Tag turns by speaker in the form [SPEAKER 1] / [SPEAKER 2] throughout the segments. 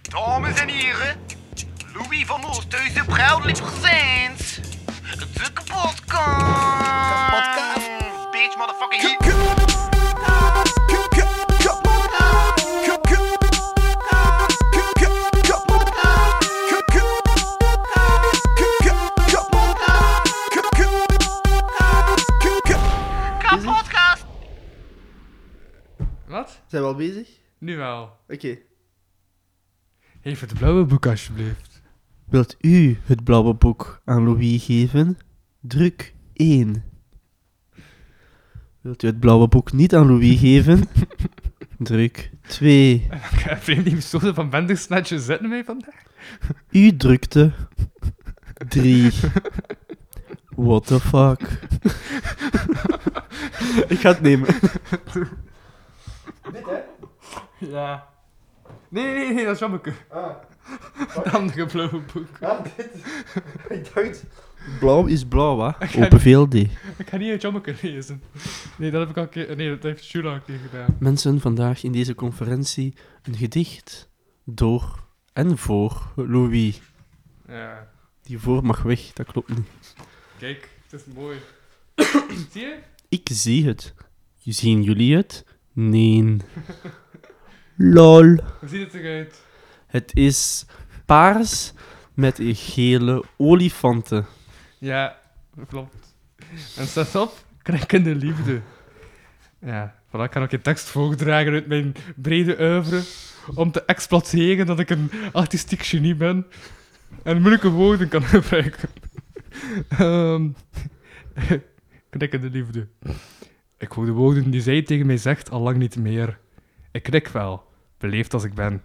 [SPEAKER 1] Dames en heren, Louis van Oosthuizen, proudly presents de kapotkast.
[SPEAKER 2] Kapotkast.
[SPEAKER 1] Bitch, motherfucking
[SPEAKER 2] K-
[SPEAKER 1] hit.
[SPEAKER 2] k- k- k- kapotkast. K- k- k- k- kapotkast. K- k- k- k- kapotkast. K- k- k- k-
[SPEAKER 1] Kapotkast.
[SPEAKER 3] Wat?
[SPEAKER 4] Zijn we al bezig?
[SPEAKER 3] Nu wel.
[SPEAKER 4] Oké.
[SPEAKER 3] Even het blauwe boek alsjeblieft.
[SPEAKER 4] Wilt u het blauwe boek aan Louis geven? Druk 1. Wilt u het blauwe boek niet aan Louis geven? Druk 2.
[SPEAKER 3] Vreemd die episode van Bandersnatch zitten mee vandaag.
[SPEAKER 4] U drukte 3. What the fuck? Ik ga het nemen.
[SPEAKER 3] Ja. Nee, nee, nee, nee, dat is Jommeke. Het andere blauwe boek.
[SPEAKER 4] Ik dacht... Blauw is blauw, hè?
[SPEAKER 3] ga-
[SPEAKER 4] Open VLD.
[SPEAKER 3] Ik ga niet uit Jommeke lezen. Nee, dat heb ik al een keer... Nee, dat heeft Shula een keer gedaan.
[SPEAKER 4] Mensen, vandaag in deze conferentie een gedicht door en voor Louis.
[SPEAKER 3] Ja.
[SPEAKER 4] Die voor mag weg, dat klopt niet.
[SPEAKER 3] Kijk, het is mooi. Zie je?
[SPEAKER 4] Ik zie het. Zien jullie het? Nee. Lol.
[SPEAKER 3] Hoe ziet het eruit?
[SPEAKER 4] Het is paars met gele olifanten.
[SPEAKER 3] Ja, klopt. En staat op, knekkende liefde. Ja, voilà, ik kan ook een tekst voordragen uit mijn brede oeuvre om te exploiteren dat ik een artistiek genie ben en moeilijke woorden kan gebruiken. Ehm knekkende liefde. Ik hoor de woorden die zij tegen mij zegt al lang niet meer. Ik knik wel, beleefd als ik ben.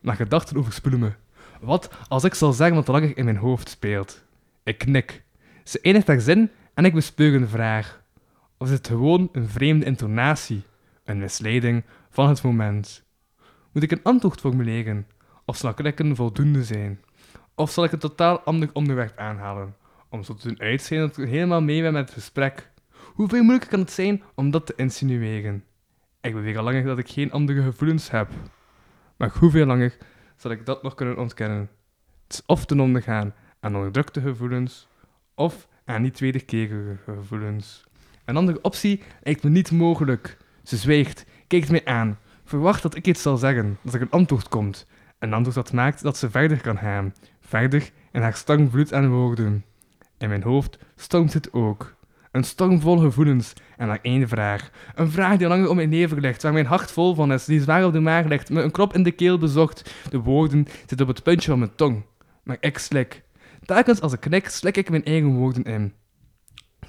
[SPEAKER 3] Maar gedachten overspoelen me. Wat als ik zal zeggen wat langer in mijn hoofd speelt? Ik knik. Ze eindigt haar zin en ik bespeur een vraag. Of is het gewoon een vreemde intonatie? Een misleiding van het moment? Moet ik een antwoord formuleren? Of zal klikken voldoende zijn? Of zal ik een totaal ander onderwerp aanhalen? Om zo te doen uitzien dat ik helemaal mee ben met het gesprek. Hoeveel moeilijker kan het zijn om dat te insinueren? Ik beweeg al langer dat ik geen andere gevoelens heb. Maar hoeveel langer zal ik dat nog kunnen ontkennen? Het is of ten onder gaan aan onderdrukte gevoelens of aan niet wederkerige gevoelens. Een andere optie lijkt me niet mogelijk. Ze zwijgt, kijkt mij aan, verwacht dat ik iets zal zeggen, dat er een antwoord komt. Een antwoord dat maakt dat ze verder kan gaan, verder in haar storm vloed aan woorden. In mijn hoofd stormt het ook. Een storm vol gevoelens en maar één vraag. Een vraag die al langer om mijn leven ligt, waar mijn hart vol van is, die zwaar op de maag ligt, me een krop in de keel bezocht. De woorden zitten op het puntje van mijn tong, maar ik slik. Telkens als ik knik, slik ik mijn eigen woorden in.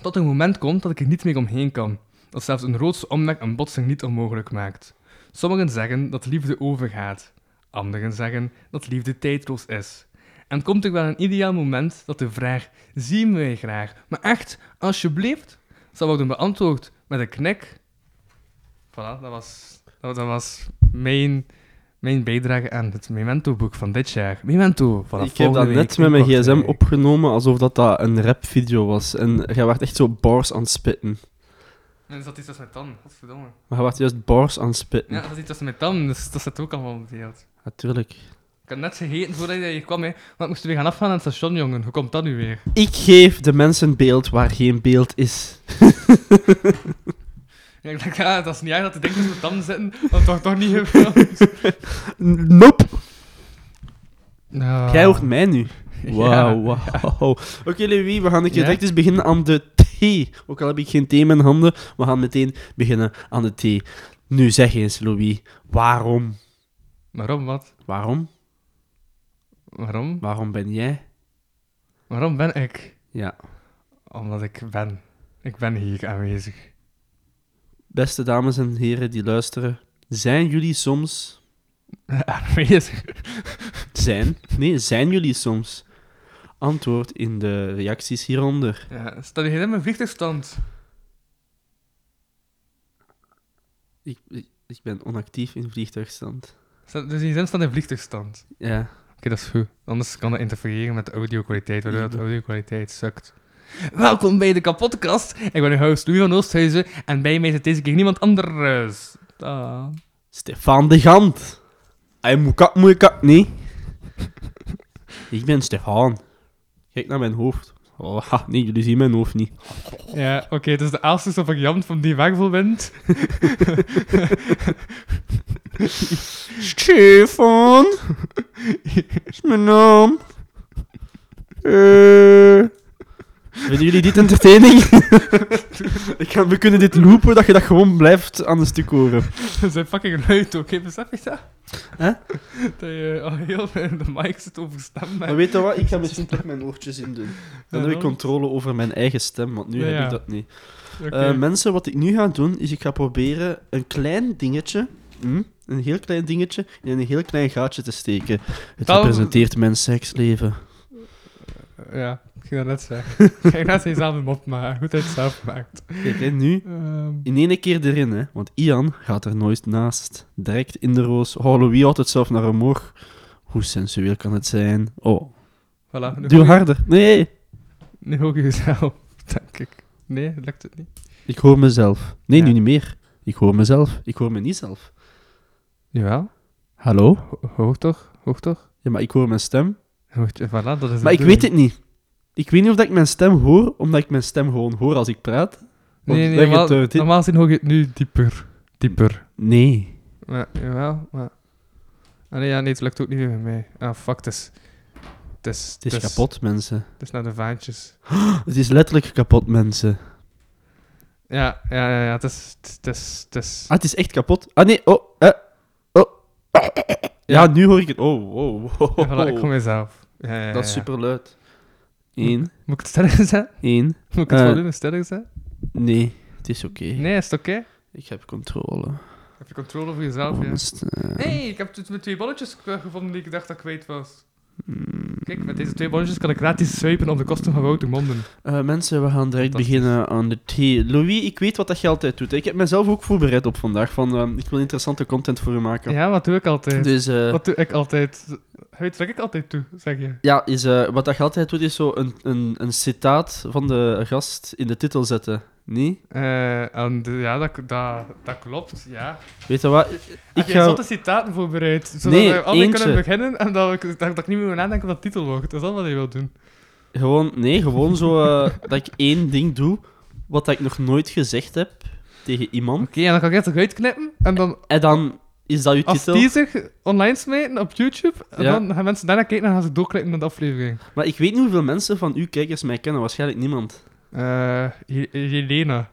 [SPEAKER 3] Tot een moment komt dat ik er niet meer omheen kan. Dat zelfs een roodse omweg een botsing niet onmogelijk maakt. Sommigen zeggen dat liefde overgaat. Anderen zeggen dat liefde tijdloos is. En komt er wel een ideaal moment dat de vraag, zie je mij graag, maar echt, alsjeblieft, zal worden beantwoord met een knik. Voilà, dat was, dat, dat was mijn, mijn bijdrage aan het Memento-boek van dit jaar. Memento, vanaf
[SPEAKER 4] ik heb dat
[SPEAKER 3] volgende
[SPEAKER 4] net
[SPEAKER 3] week
[SPEAKER 4] met mijn
[SPEAKER 3] inkort,
[SPEAKER 4] gsm
[SPEAKER 3] eh.
[SPEAKER 4] opgenomen alsof dat, dat een rapvideo was. En jij werd echt zo bars aan het spitten.
[SPEAKER 3] En er zat iets tussen mijn tanden, godverdomme.
[SPEAKER 4] Maar jij werd juist bars aan het spitten.
[SPEAKER 3] Ja, er zat iets tussen mijn tanden, dus dat zit ook allemaal beeld.
[SPEAKER 4] Natuurlijk.
[SPEAKER 3] Ik had net gegeten voordat je hier kwam, hè. Want ik moest weer gaan afgaan aan het station, jongen. Hoe komt dat nu weer?
[SPEAKER 4] Ik geef de mensen beeld waar geen beeld is.
[SPEAKER 3] Ja, ik dacht, ja, dat is niet erg dat de dingen tussen mijn tanden zitten, want toch toch niet gefilmd.
[SPEAKER 4] N- Nope.
[SPEAKER 3] Nou.
[SPEAKER 4] Jij hoort mij nu.
[SPEAKER 3] Ja.
[SPEAKER 4] Wauw, wauw. Oké, Louis, we gaan een keer
[SPEAKER 3] Ja?
[SPEAKER 4] direct eens beginnen aan de thee. Ook al heb ik geen thee in mijn handen, we gaan meteen beginnen aan de thee. Nu zeg eens, Louis, waarom?
[SPEAKER 3] Waarom wat?
[SPEAKER 4] Waarom?
[SPEAKER 3] Waarom?
[SPEAKER 4] Waarom ben jij?
[SPEAKER 3] Waarom ben ik?
[SPEAKER 4] Ja.
[SPEAKER 3] Omdat ik ben. Ik ben hier aanwezig.
[SPEAKER 4] Beste dames en heren die luisteren, zijn jullie soms.
[SPEAKER 3] aanwezig?
[SPEAKER 4] Zijn? Nee, zijn jullie soms? Antwoord in de reacties hieronder.
[SPEAKER 3] Ja, stel je helemaal in mijn vliegtuigstand.
[SPEAKER 4] Ik, ik, ik ben onactief in vliegtuigstand.
[SPEAKER 3] Stel- Dus je zin staat in vliegtuigstand.
[SPEAKER 4] Ja.
[SPEAKER 3] Oké, dat is goed. Anders kan dat interfereren met de audio-kwaliteit, waardoor de audio-kwaliteit sukt. Welkom bij de kapotkast. Ik ben uw host Louis van Oosthuizen en bij mij zit deze keer niemand anders. Ah.
[SPEAKER 4] Stefan de Gant. Hij moet kak, moet kak, nee. Ik ben Stefan. Kijk naar mijn hoofd. Oh, ha, nee, jullie zien mijn hoofd niet.
[SPEAKER 3] Ja, oké, het is de aalste van Jan van die wegvel wint.
[SPEAKER 4] Stefan. is mijn naam. Eh. Vinden jullie dit entertaining? Ik kan, we kunnen dit loopen, dat je dat gewoon blijft aan de stuk horen.
[SPEAKER 3] Dat zijn fucking luid, oké, besef je dat?
[SPEAKER 4] Hè?
[SPEAKER 3] Dat je al heel de mic zit overstemd.
[SPEAKER 4] Maar weet je wat? Ik ga misschien toch mijn oortjes in doen. Dan heb ik
[SPEAKER 3] Ja.
[SPEAKER 4] controle over mijn eigen stem, want nu
[SPEAKER 3] Ja,
[SPEAKER 4] heb
[SPEAKER 3] ja.
[SPEAKER 4] ik dat niet.
[SPEAKER 3] Oké.
[SPEAKER 4] Eh, mensen, wat ik nu ga doen, is ik ga proberen een klein dingetje, hm, een heel klein dingetje, in een heel klein gaatje te steken. Het
[SPEAKER 3] Dan-
[SPEAKER 4] representeert mijn seksleven.
[SPEAKER 3] Ja, ik ging dat net zeggen. ik ging net zijn samen mop maken, goed dat je het zelf maakt.
[SPEAKER 4] Kijk, hè, nu
[SPEAKER 3] Ehm,
[SPEAKER 4] in één keer erin, hè. Want Ian gaat er nooit naast. Direct in de roos. Oh, Louis houdt het zelf naar omhoog. Hoe sensueel kan het zijn? Oh,
[SPEAKER 3] voilà. Nu
[SPEAKER 4] doe
[SPEAKER 3] hoor je-
[SPEAKER 4] harder. Nee,
[SPEAKER 3] Nu hoor je jezelf, denk ik. Nee, lukt het niet.
[SPEAKER 4] ik hoor mezelf. Nee,
[SPEAKER 3] Ja.
[SPEAKER 4] nu niet meer. Ik hoor mezelf. Ik hoor me niet zelf.
[SPEAKER 3] Jawel,
[SPEAKER 4] Hallo?
[SPEAKER 3] ho- hoog toch? Hoog toch?
[SPEAKER 4] Ja, maar ik hoor mijn stem.
[SPEAKER 3] Hoog, voilà, dat is de
[SPEAKER 4] Maar ik
[SPEAKER 3] bedoeling.
[SPEAKER 4] weet het niet. Ik weet niet of dat ik mijn stem hoor, omdat ik mijn stem gewoon hoor als ik praat. Want
[SPEAKER 3] Nee, nee,
[SPEAKER 4] leg het eh,
[SPEAKER 3] normaal,
[SPEAKER 4] uit, hè.
[SPEAKER 3] normaal gezien hoor je het nu dieper. Dieper.
[SPEAKER 4] Nee.
[SPEAKER 3] Maar, jawel, maar... Ah, nee, ja, nee, het lukt ook niet meer met mij. Ah, fuck, het is... Het is,
[SPEAKER 4] Het is kapot, mensen.
[SPEAKER 3] Het is naar de vaantjes.
[SPEAKER 4] Het is letterlijk kapot, mensen.
[SPEAKER 3] Ja, ja, ja, ja, het is... Het is... Het is...
[SPEAKER 4] Ah, het is echt kapot. Ah, nee. Oh, eh. Oh. Ja, nu hoor ik het. Oh, wow. wow.
[SPEAKER 3] Ja, voilà, ik kom mezelf. Ja, ja, ja,
[SPEAKER 4] Dat is
[SPEAKER 3] ja.
[SPEAKER 4] super luid. Eén,
[SPEAKER 3] Moet ik het sterker zetten?
[SPEAKER 4] één.
[SPEAKER 3] Moet ik het
[SPEAKER 4] Eh.
[SPEAKER 3] volume sterker zetten?
[SPEAKER 4] Nee, het is oké.
[SPEAKER 3] Nee, is het oké?
[SPEAKER 4] Ik heb controle. eh,
[SPEAKER 3] Heb je controle over jezelf, ja?
[SPEAKER 4] Mijn stem.
[SPEAKER 3] Hé, hey, ik heb het met twee bolletjes eh, gevonden die ik dacht dat ik kwijt was. Kijk, met deze twee bolletjes kan ik gratis zuipen op de kosten van Wouter Monden.
[SPEAKER 4] Eh, mensen, we gaan direct
[SPEAKER 3] Fantastisch.
[SPEAKER 4] beginnen aan de thee. Louis, ik weet wat dat je altijd doet. hè. Ik heb mezelf ook voorbereid op vandaag. Van, ehm, ik wil interessante content voor u maken.
[SPEAKER 3] Ja, wat doe ik altijd?
[SPEAKER 4] Dus eh,
[SPEAKER 3] Wat doe ik altijd? Weet trek ik altijd toe, zeg je.
[SPEAKER 4] ja, is, eh, wat dat je altijd doet, is zo een, een, een citaat van de gast in de titel zetten. Nee?
[SPEAKER 3] Eh, en de- ja, dat, dat, dat klopt, ja.
[SPEAKER 4] Weet je wat?
[SPEAKER 3] Ah,
[SPEAKER 4] Ik
[SPEAKER 3] Ik heb
[SPEAKER 4] ga...
[SPEAKER 3] zotte citaten voorbereid, zodat
[SPEAKER 4] Nee,
[SPEAKER 3] we alle
[SPEAKER 4] eentje.
[SPEAKER 3] kunnen beginnen en dat ik, dat, dat ik niet meer moet nadenken wat de titel wordt. Dat is dat wat je wilt doen.
[SPEAKER 4] Gewoon, nee, gewoon zo eh, dat ik één ding doe wat dat ik nog nooit gezegd heb tegen iemand.
[SPEAKER 3] Oké, en dan kan ik het toch uitknippen en dan
[SPEAKER 4] En dan is dat je
[SPEAKER 3] als
[SPEAKER 4] titel.
[SPEAKER 3] die zich online smijten op YouTube en
[SPEAKER 4] Ja.
[SPEAKER 3] dan gaan mensen daarna kijken en gaan ze doorklikken naar de aflevering.
[SPEAKER 4] Maar ik weet niet hoeveel mensen van uw kijkers mij kennen. Waarschijnlijk niemand.
[SPEAKER 3] Eh, Je- Jelena.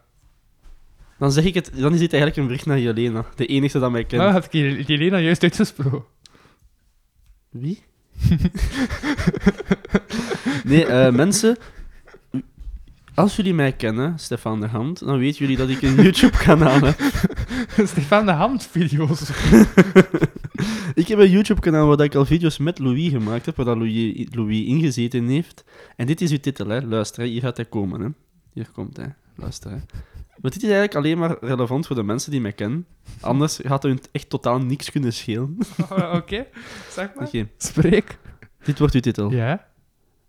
[SPEAKER 4] Dan zeg ik het, dan is dit eigenlijk een bericht naar Jelena. De enige dat mij kent.
[SPEAKER 3] Nou, had ik Jel- Jelena juist uitgesproken.
[SPEAKER 4] Wie? nee, eh, mensen. Als jullie mij kennen, Stefan de Hand, dan weten jullie dat ik een YouTube-kanaal heb.
[SPEAKER 3] Stefan de Hand video's.
[SPEAKER 4] Ik heb een YouTube-kanaal waar ik al video's met Louis gemaakt heb, waar dat Louis, Louis ingezeten heeft. En dit is uw titel, hè. Luister, hè. hier gaat hij komen, hè. Hier komt hij. Luister, hè. Maar dit is eigenlijk alleen maar relevant voor de mensen die mij kennen. Anders gaat het hun echt totaal niks kunnen schelen.
[SPEAKER 3] Oh, Oké, zeg maar.
[SPEAKER 4] Oké, Oh.
[SPEAKER 3] Spreek.
[SPEAKER 4] dit wordt uw titel.
[SPEAKER 3] Ja.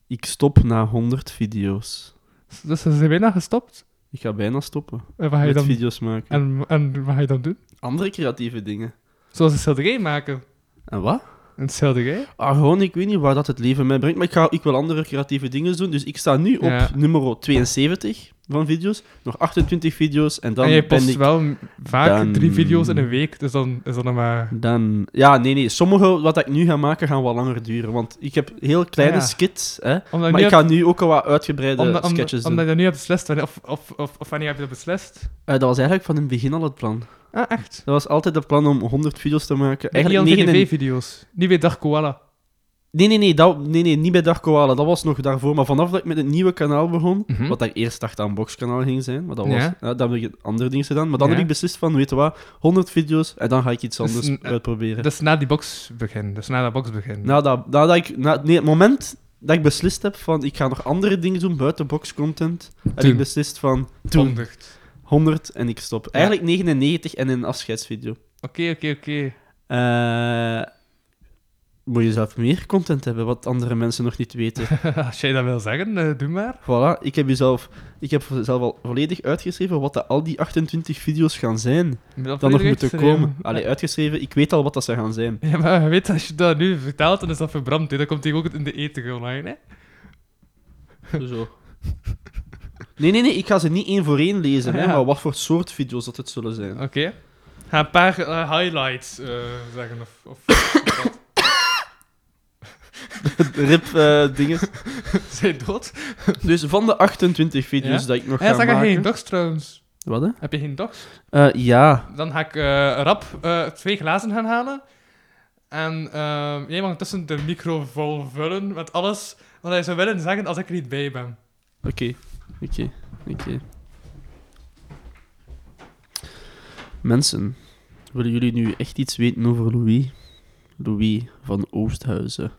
[SPEAKER 4] Ik stop na 100 video's.
[SPEAKER 3] Dus ze zijn bijna gestopt.
[SPEAKER 4] Ik ga bijna stoppen
[SPEAKER 3] En wat ga je
[SPEAKER 4] met
[SPEAKER 3] dan,
[SPEAKER 4] video's maken.
[SPEAKER 3] en, en wat ga je dan doen?
[SPEAKER 4] Andere creatieve dingen.
[SPEAKER 3] Zoals een schilderij maken.
[SPEAKER 4] En wat?
[SPEAKER 3] Een schilderij?
[SPEAKER 4] Ah, gewoon, ik weet niet waar dat het leven mij brengt, maar ik, ga, ik wil andere creatieve dingen doen. Dus ik sta nu op
[SPEAKER 3] Ja.
[SPEAKER 4] nummer 72 van video's. Nog 28 video's en dan
[SPEAKER 3] en jij
[SPEAKER 4] ben
[SPEAKER 3] post
[SPEAKER 4] ik...
[SPEAKER 3] wel m- vaak
[SPEAKER 4] dan-
[SPEAKER 3] drie video's in een week, dus dan is dat nog maar...
[SPEAKER 4] Dan... Ja, nee, nee. Sommige wat ik nu ga maken, gaan wat langer duren. Want ik heb heel kleine
[SPEAKER 3] Ah, ja.
[SPEAKER 4] skits, hè.
[SPEAKER 3] Omdat
[SPEAKER 4] Maar
[SPEAKER 3] nu
[SPEAKER 4] ik ga nu ook al wat uitgebreide
[SPEAKER 3] omdat, omdat-
[SPEAKER 4] sketches doen.
[SPEAKER 3] omdat je dat nu hebt beslist, wanneer- of, of, of, of wanneer heb je dat beslist?
[SPEAKER 4] Eh, dat was eigenlijk van in het begin al het plan.
[SPEAKER 3] Ah, echt?
[SPEAKER 4] Dat was altijd het plan om 100 video's te maken.
[SPEAKER 3] Eigenlijk
[SPEAKER 4] Eigenlijk 99
[SPEAKER 3] TV-video's. Niet weer Dag Koala.
[SPEAKER 4] Nee, nee, nee, dat, nee, nee, niet bij Dark Koala. Dat was nog daarvoor. Maar vanaf dat ik met het nieuwe kanaal begon,
[SPEAKER 3] Mhm.
[SPEAKER 4] wat ik eerst dacht aan boxkanaal ging zijn, maar dat was,
[SPEAKER 3] Ja.
[SPEAKER 4] ja, dan heb ik andere dingen gedaan. Maar dan
[SPEAKER 3] Ja.
[SPEAKER 4] heb ik beslist van, weet je wat, 100 video's en dan ga ik iets
[SPEAKER 3] Dus
[SPEAKER 4] anders
[SPEAKER 3] een-
[SPEAKER 4] uitproberen.
[SPEAKER 3] Dus na die box begin. Dus na dat box begin.
[SPEAKER 4] Nadat, nadat ik, na, nee, het moment dat ik beslist heb van, ik ga nog andere dingen doen buiten boxcontent, heb
[SPEAKER 3] Toen.
[SPEAKER 4] ik beslist van, toen, 100 en ik stop. Eigenlijk 99 en een afscheidsvideo.
[SPEAKER 3] Oké, oké, oké.
[SPEAKER 4] Eh, moet je zelf meer content hebben wat andere mensen nog niet weten.
[SPEAKER 3] Als jij dat wil zeggen, eh, doe maar.
[SPEAKER 4] Voilà, ik heb, jezelf, ik heb zelf al volledig uitgeschreven wat dat al die 28 video's gaan zijn. Dan nog moeten komen. Allee, eh. uitgeschreven, ik weet al wat dat ze gaan zijn.
[SPEAKER 3] Ja, maar je weet, als je dat nu vertelt, dan is dat verbrand. Hè. Dan komt hij ook in de eten online. Hè.
[SPEAKER 4] Zo. Nee, nee, nee, ik ga ze niet één voor één lezen,
[SPEAKER 3] Ah,
[SPEAKER 4] hè,
[SPEAKER 3] ja.
[SPEAKER 4] maar wat voor soort video's dat het zullen zijn.
[SPEAKER 3] Oké. Ga een paar eh, highlights eh, zeggen. Of, of wat.
[SPEAKER 4] Rip eh, dingen.
[SPEAKER 3] Zijn dood?
[SPEAKER 4] Dus van de 28 video's
[SPEAKER 3] Ja? Ah
[SPEAKER 4] dat ik nog
[SPEAKER 3] Ja,
[SPEAKER 4] ga
[SPEAKER 3] zeg je
[SPEAKER 4] maken...
[SPEAKER 3] geen dogs trouwens.
[SPEAKER 4] Wat, hè?
[SPEAKER 3] Heb je geen dogs?
[SPEAKER 4] Eh, ja.
[SPEAKER 3] Dan ga ik eh, rap eh, twee glazen gaan halen. En eh, jij mag tussen de micro vol vullen met alles wat hij zou willen zeggen als ik er niet bij ben.
[SPEAKER 4] Oké. Oké. Oké. Mensen, willen jullie nu echt iets weten over Louis? Louis van Oosthuizen.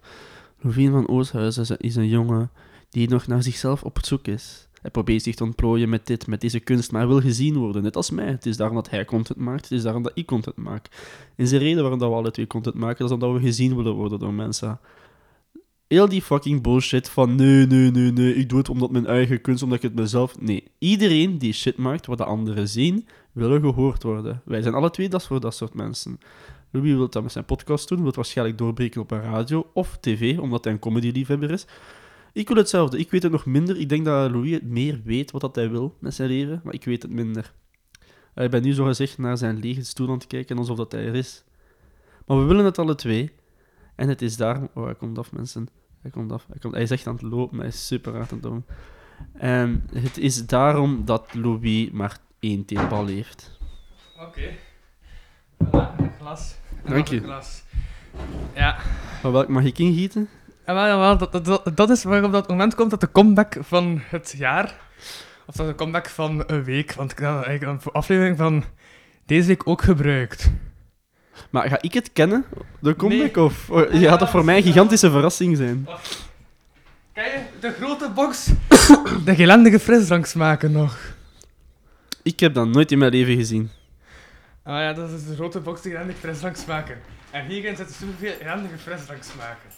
[SPEAKER 4] Louis van Oosthuizen is- is een jongen die nog naar zichzelf op zoek is. Hij probeert zich te ontplooien met dit, met deze kunst, maar hij wil gezien worden, net als mij. Het is daarom dat hij content maakt, het is daarom dat ik content maak. En is de reden waarom dat we alle twee content maken, dat is omdat we gezien willen worden door mensen. Heel die fucking bullshit van nee, nee, nee, nee, ik doe het omdat mijn eigen kunst, omdat ik het mezelf... Nee, iedereen die shit maakt wat de anderen zien, willen gehoord worden. Wij zijn alle twee dat voor dat soort mensen. Louis wil dat met zijn podcast doen, wil waarschijnlijk doorbreken op een radio of tv, omdat hij een comedy-liefhebber is. Ik wil hetzelfde, ik weet het nog minder. Ik denk dat Louis het meer weet wat dat hij wil met zijn leven, maar ik weet het minder. Eh, Ik ben nu zogezegd naar zijn lege stoel aan het kijken, alsof dat hij er is. Maar we willen het alle twee. En het is daarom... Oh, hij komt af, mensen. Hij komt af. Hij, komt... hij is echt aan het lopen. Hij is super hard aan het doen. En het is daarom dat Louis maar één teelbal heeft.
[SPEAKER 3] Oké. Voilà, een glas. En
[SPEAKER 4] Dank
[SPEAKER 3] nog een
[SPEAKER 4] je.
[SPEAKER 3] glas. Ja.
[SPEAKER 4] Maar welk mag ik ingieten?
[SPEAKER 3] En wel, jawel, dat, dat- dat, dat is waarop dat moment komt dat de comeback van het jaar, of dat de comeback van een week, want ik had eigenlijk een aflevering van deze week ook gebruikt.
[SPEAKER 4] Maar ga ik het kennen? De comeback?
[SPEAKER 3] Nee.
[SPEAKER 4] Of oh, ja, dat voor mij een gigantische verrassing zijn.
[SPEAKER 3] Kan je de grote box de gelandige frisdranks maken nog?
[SPEAKER 4] Ik heb dat nooit in mijn leven gezien.
[SPEAKER 3] Ah ja, dat is de grote box die randige frisdranks maken. En hierin zitten superveel randige frisdranks maken.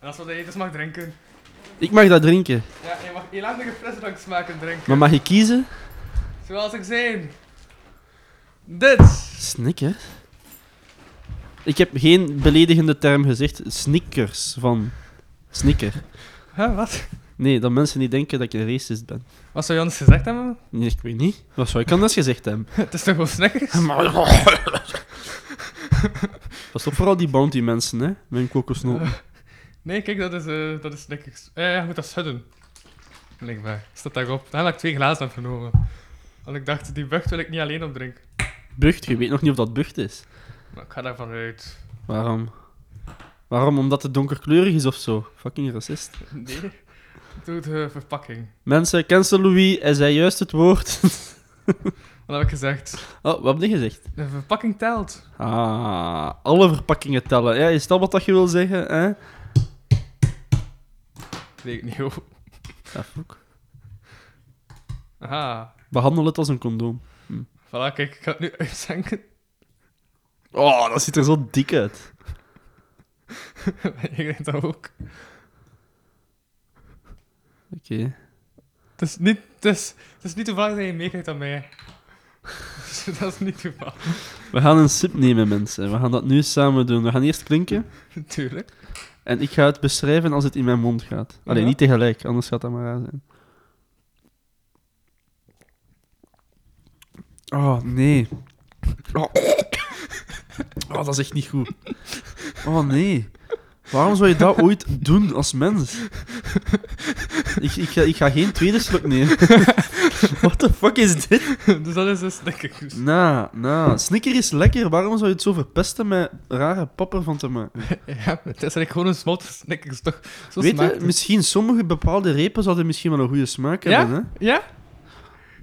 [SPEAKER 3] En dat is wat je dus mag drinken.
[SPEAKER 4] Ik mag dat drinken.
[SPEAKER 3] Ja, je mag elandige frisdranks maken drinken.
[SPEAKER 4] Maar mag ik kiezen?
[SPEAKER 3] Zoals ik zei. Dit.
[SPEAKER 4] Snickers? Ik heb geen beledigende term gezegd. Snickers van... Snicker.
[SPEAKER 3] Huh, wat?
[SPEAKER 4] Nee, dat mensen niet denken dat ik een racist ben.
[SPEAKER 3] Wat zou je anders gezegd hebben?
[SPEAKER 4] Nee, ik weet niet. Wat zou ik anders gezegd hebben?
[SPEAKER 3] Het is toch wel Snickers?
[SPEAKER 4] Pas op vooral die bounty mensen, hè. Met hun kokosnoten.
[SPEAKER 3] Nee, kijk, dat is, eh dat is Snickers. Eh, ja, goed, dat is Hudden. Blijkbaar. Staat daarop. Daar heb ik twee glazen aan genomen. Want ik dacht, die bucht wil ik niet alleen opdrinken.
[SPEAKER 4] Bucht, je weet nog niet of dat bucht is.
[SPEAKER 3] Maar ik ga daarvan uit.
[SPEAKER 4] Waarom? Waarom? Omdat het donkerkleurig is of zo? Fucking racist.
[SPEAKER 3] Nee. Doe de verpakking.
[SPEAKER 4] Mensen, cancel Louis. Hij zei juist het woord.
[SPEAKER 3] Wat heb ik gezegd?
[SPEAKER 4] Oh, wat heb je gezegd?
[SPEAKER 3] De verpakking telt.
[SPEAKER 4] Ah, alle verpakkingen tellen. Ja, is dat wat dat je wil zeggen, hè?
[SPEAKER 3] Weet ik niet, hoor.
[SPEAKER 4] Ja, fuck.
[SPEAKER 3] Aha.
[SPEAKER 4] Behandel het als een condoom.
[SPEAKER 3] Voilà, kijk, ik ga het nu uitzenken.
[SPEAKER 4] Oh, dat ziet er zo dik uit.
[SPEAKER 3] Ik denk dat ook.
[SPEAKER 4] Oké.
[SPEAKER 3] Het is niet, het is, het is niet toevallig dat je meekijkt aan mij. Dus dat is niet toevallig.
[SPEAKER 4] We gaan een sip nemen, mensen. We gaan dat nu samen doen. We gaan eerst klinken.
[SPEAKER 3] Natuurlijk.
[SPEAKER 4] En ik ga het beschrijven als het in mijn mond gaat. Alleen
[SPEAKER 3] Ja.
[SPEAKER 4] niet tegelijk, anders gaat dat maar raar zijn. Oh, nee. Oh. Oh, dat is echt niet goed. Oh, nee. Waarom zou je dat ooit doen als mens? Ik, ik, ga, ik ga geen tweede slok nemen. What the fuck is dit?
[SPEAKER 3] Dus dat is een Snickers.
[SPEAKER 4] Nou, nou. Snicker is lekker. Waarom zou je het zo verpesten met rare papper van te maken?
[SPEAKER 3] Ja, het is eigenlijk gewoon een smolt Snickers, toch? Zo
[SPEAKER 4] Weet
[SPEAKER 3] smaakt
[SPEAKER 4] je,
[SPEAKER 3] het.
[SPEAKER 4] misschien sommige bepaalde repen zouden misschien wel een goede smaak hebben.
[SPEAKER 3] Ja? Ja?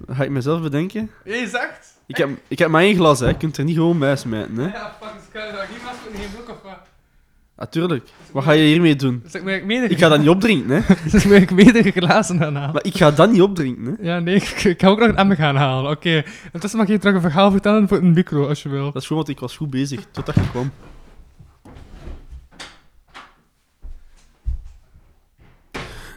[SPEAKER 4] Hè? Ga ik mezelf bedenken?
[SPEAKER 3] Je zegt?
[SPEAKER 4] Ik heb, ik heb maar één glas, hè. je kunt er niet gewoon bij smijten. Hè?
[SPEAKER 3] Ja, fuck, dus kan je daar niet vast met geen broek of wat?
[SPEAKER 4] Natuurlijk. Wat ga je hiermee doen?
[SPEAKER 3] Dus ik moet eigenlijk meerdere,
[SPEAKER 4] Ik ga dat niet opdrinken, hè?
[SPEAKER 3] dus ik moet eigenlijk meerdere glazen gaan halen.
[SPEAKER 4] Maar ik ga dat niet opdrinken. Hè?
[SPEAKER 3] Ja, nee, ik, ik ga ook nog een emmer gaan halen. Oké, intussen mag je terug een verhaal vertellen voor een micro, als je wil.
[SPEAKER 4] Dat is gewoon want ik was goed bezig totdat je kwam.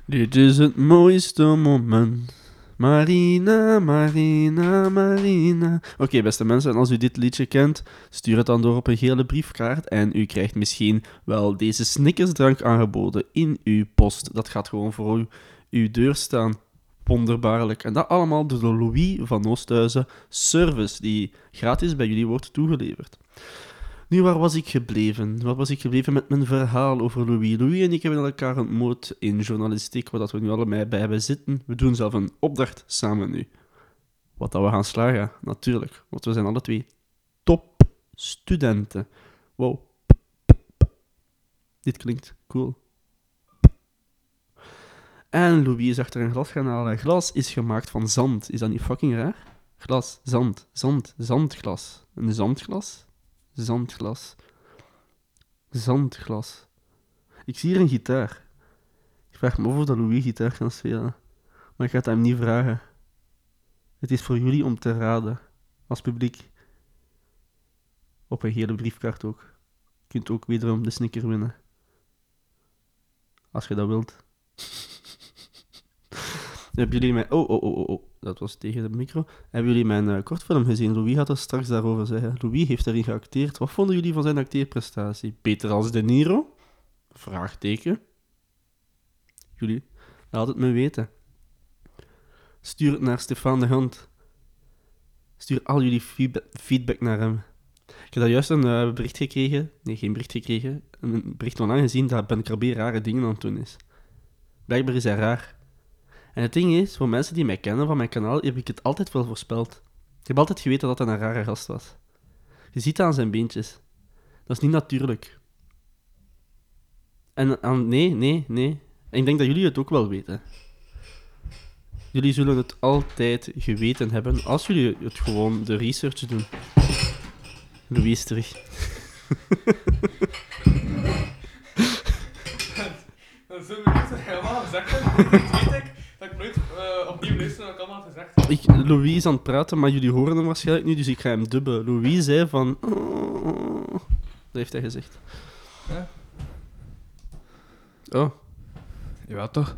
[SPEAKER 4] Dit is het mooiste moment. Marina, Marina, Marina. Oké, beste mensen, en als u dit liedje kent, stuur het dan door op een gele briefkaart en u krijgt misschien wel deze snickersdrank aangeboden in uw post. Dat gaat gewoon voor u, uw deur staan, ponderbaarlijk. En dat allemaal door de Louis van Oosthuizen service, die gratis bij jullie wordt toegeleverd. Nu, waar was ik gebleven? Waar was ik gebleven met mijn verhaal over Louis? Louis en ik hebben elkaar ontmoet in journalistiek, waar dat we nu allebei bij hebben zitten. We doen zelf een opdracht samen nu. Wat dat we gaan slagen, natuurlijk. Want we zijn alle twee topstudenten. Wow. Dit klinkt cool. En Louis is achter een glas gaan halen. Glas is gemaakt van zand. Is dat niet fucking raar? Glas, zand, zand, zandglas. Een zandglas? Zandglas. Zandglas. Ik zie hier een gitaar. Ik vraag me af of dat Louis gitaar kan spelen. Maar ik ga het hem niet vragen. Het is voor jullie om te raden. Als publiek. Op een gele briefkaart ook. Je kunt ook wederom de snicker winnen. Als je dat wilt. Hebben jullie mijn... Oh, oh, oh, oh, oh. Dat was tegen de micro. Hebben jullie mijn eh, kortfilm gezien? Louis had het straks daarover zeggen. Louis heeft daarin geacteerd. Wat vonden jullie van zijn acteerprestatie? Beter als De Niro? Vraagteken. Jullie, laat het me weten. Stuur het naar Stefan de Hand. Stuur al jullie feedba- feedback naar hem. Ik heb daar juist een eh, bericht gekregen. Nee, geen bericht gekregen. Een bericht online gezien dat Ben Krabbe rare dingen aan het doen is. Blijkbaar is hij raar. En het ding is, voor mensen die mij kennen van mijn kanaal, heb ik het altijd wel voorspeld. Ik heb altijd geweten dat hij een rare gast was. Je ziet dat aan zijn beentjes. Dat is niet natuurlijk. En aan, nee, nee, nee. En ik denk dat jullie het ook wel weten. Jullie zullen het altijd geweten hebben als jullie het gewoon de research doen. Louis is terug.
[SPEAKER 3] Dat is zo benieuwd dat je allemaal gezegd hebt. Dat weet ik. Dat ik nooit eh, opnieuw luister wat ik allemaal gezegd heb.
[SPEAKER 4] Ik, Louis is aan het praten, maar jullie horen hem waarschijnlijk niet, dus ik ga hem dubben. Louis zei van... "Oh." Dat heeft hij gezegd.
[SPEAKER 3] Ja.
[SPEAKER 4] Oh.
[SPEAKER 3] Jawel, toch.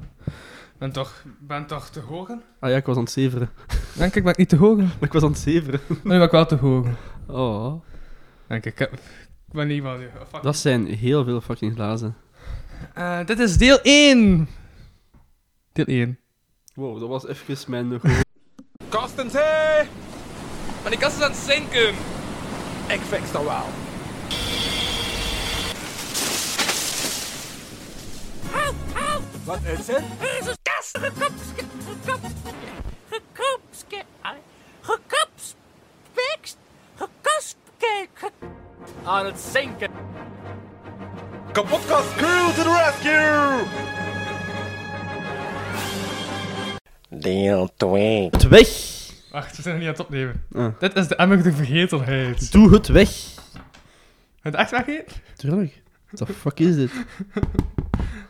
[SPEAKER 3] Ben toch, ben toch te horen?
[SPEAKER 4] Ah ja, ik was aan het zeveren.
[SPEAKER 3] Denk ik ben ik niet te horen.
[SPEAKER 4] Maar ik was aan het zeveren.
[SPEAKER 3] Maar nu ben ik wel te horen.
[SPEAKER 4] Oh.
[SPEAKER 3] Denk ik. Ik ben niet van je.
[SPEAKER 4] Dat zijn heel veel fucking glazen.
[SPEAKER 3] Eh, dit is deel 1. Deel 1.
[SPEAKER 4] Wow, dat was even mijn...
[SPEAKER 5] Kostenzee!
[SPEAKER 3] Maar die kast is aan het zinken.
[SPEAKER 5] Ik fix dat wel. Wat is het?
[SPEAKER 6] Kast gekopske, gekopske, gekopske, gekopspekst, gekospkeek.
[SPEAKER 5] Aan het zinken.
[SPEAKER 7] Deel 2.
[SPEAKER 4] Het weg!
[SPEAKER 3] Wacht, we zijn nog niet aan het opnemen.
[SPEAKER 4] Ah.
[SPEAKER 3] Dit is de emmerde vergetelheid.
[SPEAKER 4] Doe het weg!
[SPEAKER 3] Het echt weggeet?
[SPEAKER 4] Tuurlijk. What the fuck is dit?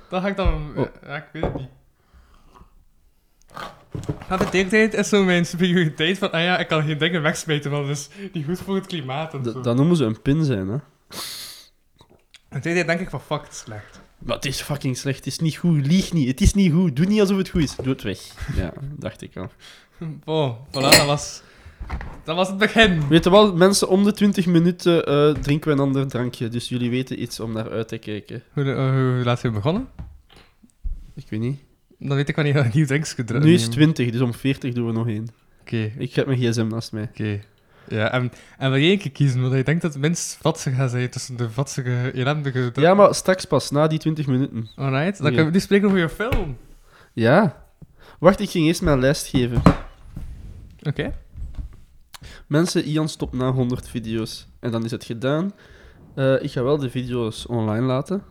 [SPEAKER 3] Dan ga ik dan...
[SPEAKER 4] Oh.
[SPEAKER 3] Ja, ik weet het niet. Nou, Vergetelheid is zo mijn superioriteit van, ah ja, ik kan geen dingen wegsmijten, want dat is niet goed voor het klimaat en zo.
[SPEAKER 4] Dat, dat noemen ze een pin zijn, hè.
[SPEAKER 3] En tweede denk ik van, fuck, het is slecht.
[SPEAKER 4] Maar het is fucking slecht, het is niet goed, lieg niet, het is niet goed, doe niet alsof het goed is. Doe het weg. Ja, dacht ik al.
[SPEAKER 3] Oh, voilà, dat was... Dat was het begin.
[SPEAKER 4] Weet je wel, mensen om de 20 minuten eh, drinken we een ander drankje, dus jullie weten iets om naar uit te kijken.
[SPEAKER 3] Hoe, eh, hoe laat zijn we begonnen?
[SPEAKER 4] Ik weet niet.
[SPEAKER 3] Dan weet ik wanneer een nieuw drinks gedrukt
[SPEAKER 4] Nu is het 20, dus om 40 doen we nog één.
[SPEAKER 3] Oké,
[SPEAKER 4] Ik heb mijn gsm naast mij.
[SPEAKER 3] Oké. Ja, en, en wil jij een keer kiezen? Want ik denk dat het minst vatsig gaat zijn tussen de vatsige, ellendige...
[SPEAKER 4] Ja, maar straks pas, na die 20 minuten.
[SPEAKER 3] Alright, dan
[SPEAKER 4] Ja.
[SPEAKER 3] kunnen we nu spreken over je film.
[SPEAKER 4] Ja. Wacht, ik ging eerst mijn lijst geven.
[SPEAKER 3] Oké.
[SPEAKER 4] Mensen, Ian stopt na 100 video's. En dan is het gedaan. Eh, ik ga wel de video's online laten.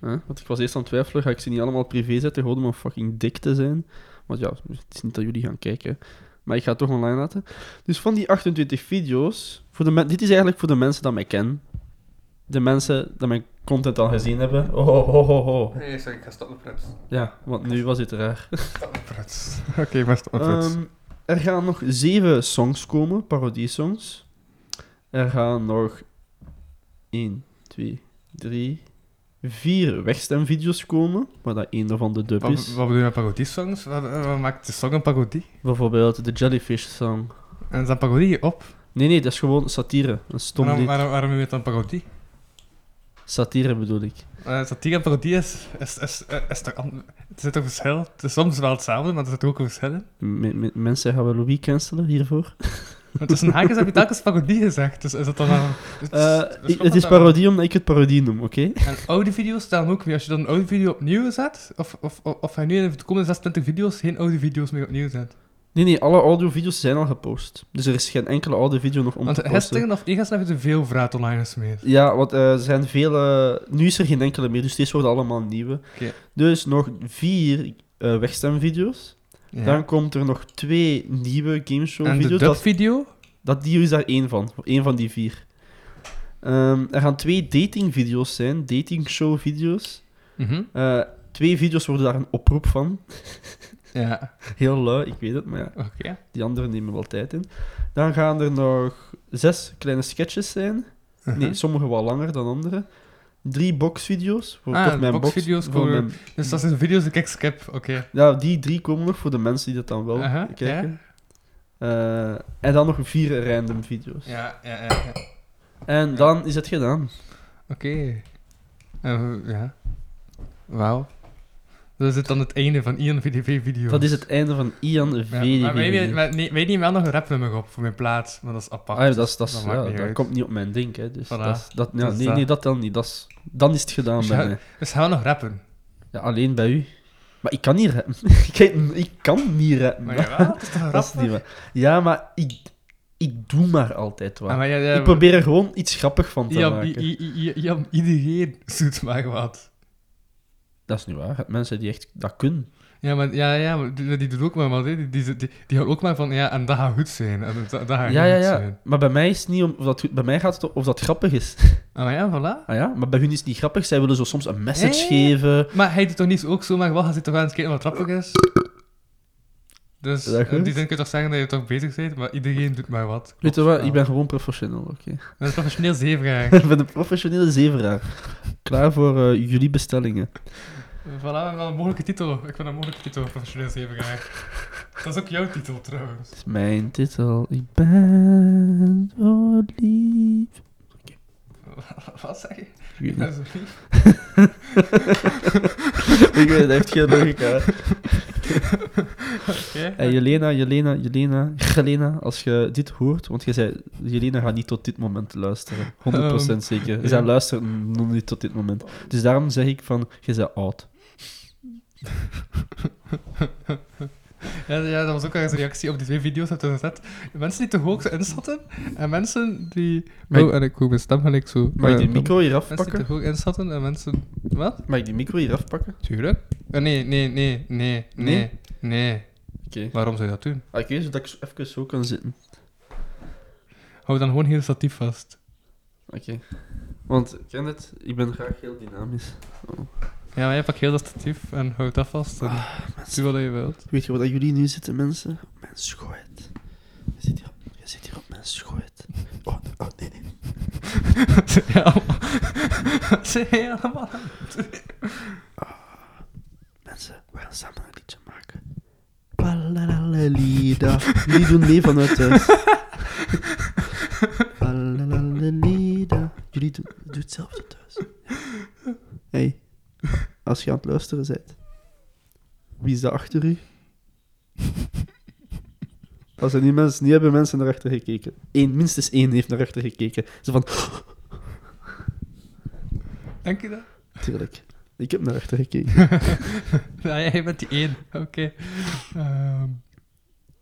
[SPEAKER 4] hè, Want ik was eerst aan het twijfelen, ga ik ze niet allemaal privé zetten, gewoon om een fucking dik te zijn. Want ja, het is niet dat jullie gaan kijken. Maar ik ga het toch online laten. Dus van die 28 video's, voor de men- dit is eigenlijk voor de mensen die mij kennen. De mensen die mijn content al gezien hebben. Oh, ho, ho, ho, ho.
[SPEAKER 3] Nee, sorry, ik ga stoppen, Prins.
[SPEAKER 4] Ja, want nu was het raar.
[SPEAKER 3] Prins. Oké, maar stoppen, Prins.
[SPEAKER 4] Ehm, er gaan nog zeven songs komen, parodie-songs. Er gaan nog 1, 2, 3, vier wegstemvideo's komen, waar dat één daarvan de dub
[SPEAKER 3] Wat,
[SPEAKER 4] is.
[SPEAKER 3] wat bedoel je met pagodie-songs? Wat, wat maakt de song een pagodie?
[SPEAKER 4] Bijvoorbeeld de Jellyfish Song.
[SPEAKER 3] En is dat pagodie op?
[SPEAKER 4] Nee, nee, dat is gewoon satire. Een stom
[SPEAKER 3] Waarom,
[SPEAKER 4] lied.
[SPEAKER 3] waarom, waarom noem je het dan pagodie?
[SPEAKER 4] Satire bedoel ik.
[SPEAKER 3] Eh, satire en parodie is, is, is, is, toch an- er zit toch verschil? Het is soms wel hetzelfde, maar er zit ook een verschil in.
[SPEAKER 4] M- m- mensen gaan wel Louis cancelen hiervoor.
[SPEAKER 3] Maar tussen haakjes heb je telkens parodie gezegd, dus is dat dan wel... dus-
[SPEAKER 4] Eh,
[SPEAKER 3] dus
[SPEAKER 4] ik-
[SPEAKER 3] klopt
[SPEAKER 4] het
[SPEAKER 3] dat
[SPEAKER 4] is
[SPEAKER 3] dan?
[SPEAKER 4] parodie omdat ik het parodie noem, oké?
[SPEAKER 3] En oude video's dan ook weer. Als je dan een oude video opnieuw zet, of, of, of, of hij nu in de komende 26 video's geen oude video's meer opnieuw zet.
[SPEAKER 4] Nee, nee, alle audiovideo's zijn al gepost. Dus er is geen enkele oude video nog om
[SPEAKER 3] Want
[SPEAKER 4] te posten.
[SPEAKER 3] gisteren of eergisteren hebben ze veel vraat online gesmeerd.
[SPEAKER 4] Ja, want eh, er zijn vele... Nu is er geen enkele meer, dus steeds worden allemaal nieuwe.
[SPEAKER 3] Oké.
[SPEAKER 4] Dus nog vier eh, wegstemvideo's.
[SPEAKER 3] Ja.
[SPEAKER 4] Dan komt er nog twee nieuwe
[SPEAKER 3] en de
[SPEAKER 4] gameshow-video's. Dat,
[SPEAKER 3] dubvideo?
[SPEAKER 4] dat die is daar één van. Eén van die vier. Ehm, er gaan twee datingvideo's zijn, datingshow-video's.
[SPEAKER 3] Mhm.
[SPEAKER 4] Eh, twee video's worden daar een oproep van.
[SPEAKER 3] Ja,
[SPEAKER 4] Heel lui, ik weet het, maar ja,
[SPEAKER 3] oké.
[SPEAKER 4] die anderen nemen wel tijd in. Dan gaan er nog zes kleine sketches zijn.
[SPEAKER 3] Mhm.
[SPEAKER 4] Nee, sommige wel langer dan andere. Drie boxvideo's. Voor
[SPEAKER 3] Ah,
[SPEAKER 4] toch
[SPEAKER 3] de
[SPEAKER 4] mijn box,
[SPEAKER 3] boxvideo's
[SPEAKER 4] voor
[SPEAKER 3] komen-
[SPEAKER 4] mijn-
[SPEAKER 3] Dus dat zijn video's die ik skip, oké.
[SPEAKER 4] Ja, die drie komen nog voor de mensen die dat dan wel
[SPEAKER 3] Aha,
[SPEAKER 4] kijken. Eh, en dan nog vier random video's.
[SPEAKER 3] Ja, ja, ja. ja. Oké.
[SPEAKER 4] En dan is het gedaan.
[SPEAKER 3] Eh, ja. Wauw. Dat is het dan het einde van Ian VDV-video's.
[SPEAKER 4] Dat is het einde van Ian
[SPEAKER 3] Ja,
[SPEAKER 4] VDV.
[SPEAKER 3] maar weet, je- maar nee, weet niet wel nog een rapnummer op voor mijn plaats, maar dat is apart.
[SPEAKER 4] Ah, ja, dat, is, dat, is-
[SPEAKER 3] Dat
[SPEAKER 4] ja,
[SPEAKER 3] maakt niet
[SPEAKER 4] dat
[SPEAKER 3] uit.
[SPEAKER 4] komt niet op mijn ding. Hè. Dus
[SPEAKER 3] Voilà.
[SPEAKER 4] dat, is- dat, ja,
[SPEAKER 3] Dat is
[SPEAKER 4] nee,
[SPEAKER 3] dat.
[SPEAKER 4] nee, dat telt niet. Dat is, dan is het gedaan
[SPEAKER 3] Dus
[SPEAKER 4] bij
[SPEAKER 3] ja.
[SPEAKER 4] mij.
[SPEAKER 3] Dus gaan we nog rappen?
[SPEAKER 4] Ja, alleen bij u. Maar ik kan niet rappen. Kijk, ik kan niet rappen.
[SPEAKER 3] Maar jawel, het is toch een
[SPEAKER 4] dat is
[SPEAKER 3] rapper?
[SPEAKER 4] niet waar. Ja, maar ik, ik doe maar altijd wat.
[SPEAKER 3] Ah, maar ja, ja,
[SPEAKER 4] ik probeer er gewoon iets grappig van te
[SPEAKER 3] Jam,
[SPEAKER 4] maken.
[SPEAKER 3] i- i- i- Jam, iedereen doet maar wat.
[SPEAKER 4] Dat is niet waar. Je hebt Mensen die echt dat kunnen.
[SPEAKER 3] Ja, maar, ja, ja, maar die, die doet ook maar wat. hè. Die, die, die, die houdt ook maar van, ja, en dat gaat goed zijn. En dat, dat gaat
[SPEAKER 4] Ja, ja,
[SPEAKER 3] Ah, goed
[SPEAKER 4] ja.
[SPEAKER 3] zijn.
[SPEAKER 4] Maar bij mij, is het niet om, of dat, goed- bij mij gaat het om of dat grappig is.
[SPEAKER 3] Ah, maar ja, voilà.
[SPEAKER 4] Ah ja, maar bij hun is het niet grappig. Zij willen zo soms een message
[SPEAKER 3] Ja, ja, ja.
[SPEAKER 4] geven.
[SPEAKER 3] Maar hij doet toch niet ook zomaar wat? Hij zit toch wel eens kijken wat grappig is? Dus
[SPEAKER 4] Is dat
[SPEAKER 3] eh, die
[SPEAKER 4] goed?
[SPEAKER 3] zin kun je toch zeggen dat je toch bezig bent, maar iedereen doet maar wat.
[SPEAKER 4] Weet je wat? Ik ben
[SPEAKER 3] ben...
[SPEAKER 4] gewoon professional, oké?
[SPEAKER 3] Dat is professioneel zeevraag.
[SPEAKER 4] ik ben een professionele zeveraar. Klaar voor eh, jullie bestellingen.
[SPEAKER 3] Voilà, we hebben wel een mogelijke titel. Ik vind dat een mogelijke titel, professioneel zeevraag. Dat is ook jouw titel, trouwens.
[SPEAKER 4] Dat is mijn titel. Ik ben zo lief.
[SPEAKER 3] Wat zeg je?
[SPEAKER 4] Ik weet
[SPEAKER 3] Dat
[SPEAKER 4] niet.
[SPEAKER 3] is ook niet...
[SPEAKER 4] Ik weet, dat heeft geen logica.
[SPEAKER 3] Oké.
[SPEAKER 4] En Jelena, Jelena, Jelena, Jelena, als je dit hoort, want je zei, Jelena gaat niet tot dit moment luisteren. 100%
[SPEAKER 3] Ehm,
[SPEAKER 4] zeker.
[SPEAKER 3] ja.
[SPEAKER 4] Zij luistert nog niet tot dit moment. Dus daarom zeg ik van, je bent oud.
[SPEAKER 3] Ja, ja, dat was ook ergens een reactie op die twee video's op de gezet. Mensen die te hoog zo inschatten en mensen die...
[SPEAKER 4] Mag ik-
[SPEAKER 3] Oh, en ik hoor mijn stem gelijk zo...
[SPEAKER 4] Mag ik die
[SPEAKER 3] eh,
[SPEAKER 4] micro hier
[SPEAKER 3] Mensen die
[SPEAKER 4] afpakken?
[SPEAKER 3] te hoog inschatten en mensen... Wat?
[SPEAKER 4] Mag ik die micro hier afpakken?
[SPEAKER 3] Tuurlijk. Eh, nee, nee, nee, nee, nee,
[SPEAKER 4] Nee?
[SPEAKER 3] nee.
[SPEAKER 4] Oké.
[SPEAKER 3] Waarom zou je dat doen?
[SPEAKER 4] Ah, ik weet zodat ik zo even zo kan zitten.
[SPEAKER 3] Hou dan gewoon heel statief vast.
[SPEAKER 4] Oké. Want, ik ken het, ik ben graag heel dynamisch.
[SPEAKER 3] Ja, maar jij pakt heel dat statief en houd dat vast. En doe wat je wilt.
[SPEAKER 4] Weet je wat dat jullie nu zitten, mensen? Op mijn schoot. Je zit hier op, je zit hier op mijn schoot. Oh, oh, nee, nee.
[SPEAKER 3] ja, Wat zeg je allemaal?
[SPEAKER 4] Mensen, we gaan samen een liedje maken. Palalalida. Jullie doen mee vanuit thuis. Palalalida. Jullie doen, doe hetzelfde thuis. hey, als je aan het luisteren bent, wie is daar achter u? Als er niet mensen, niet hebben mensen naar achter gekeken. Eén, minstens één heeft naar achter gekeken. Ze van,
[SPEAKER 3] Denk je dat?
[SPEAKER 4] tuurlijk, ik heb naar achter gekeken.
[SPEAKER 3] Ja, jij bent die één. Oké. Ehm,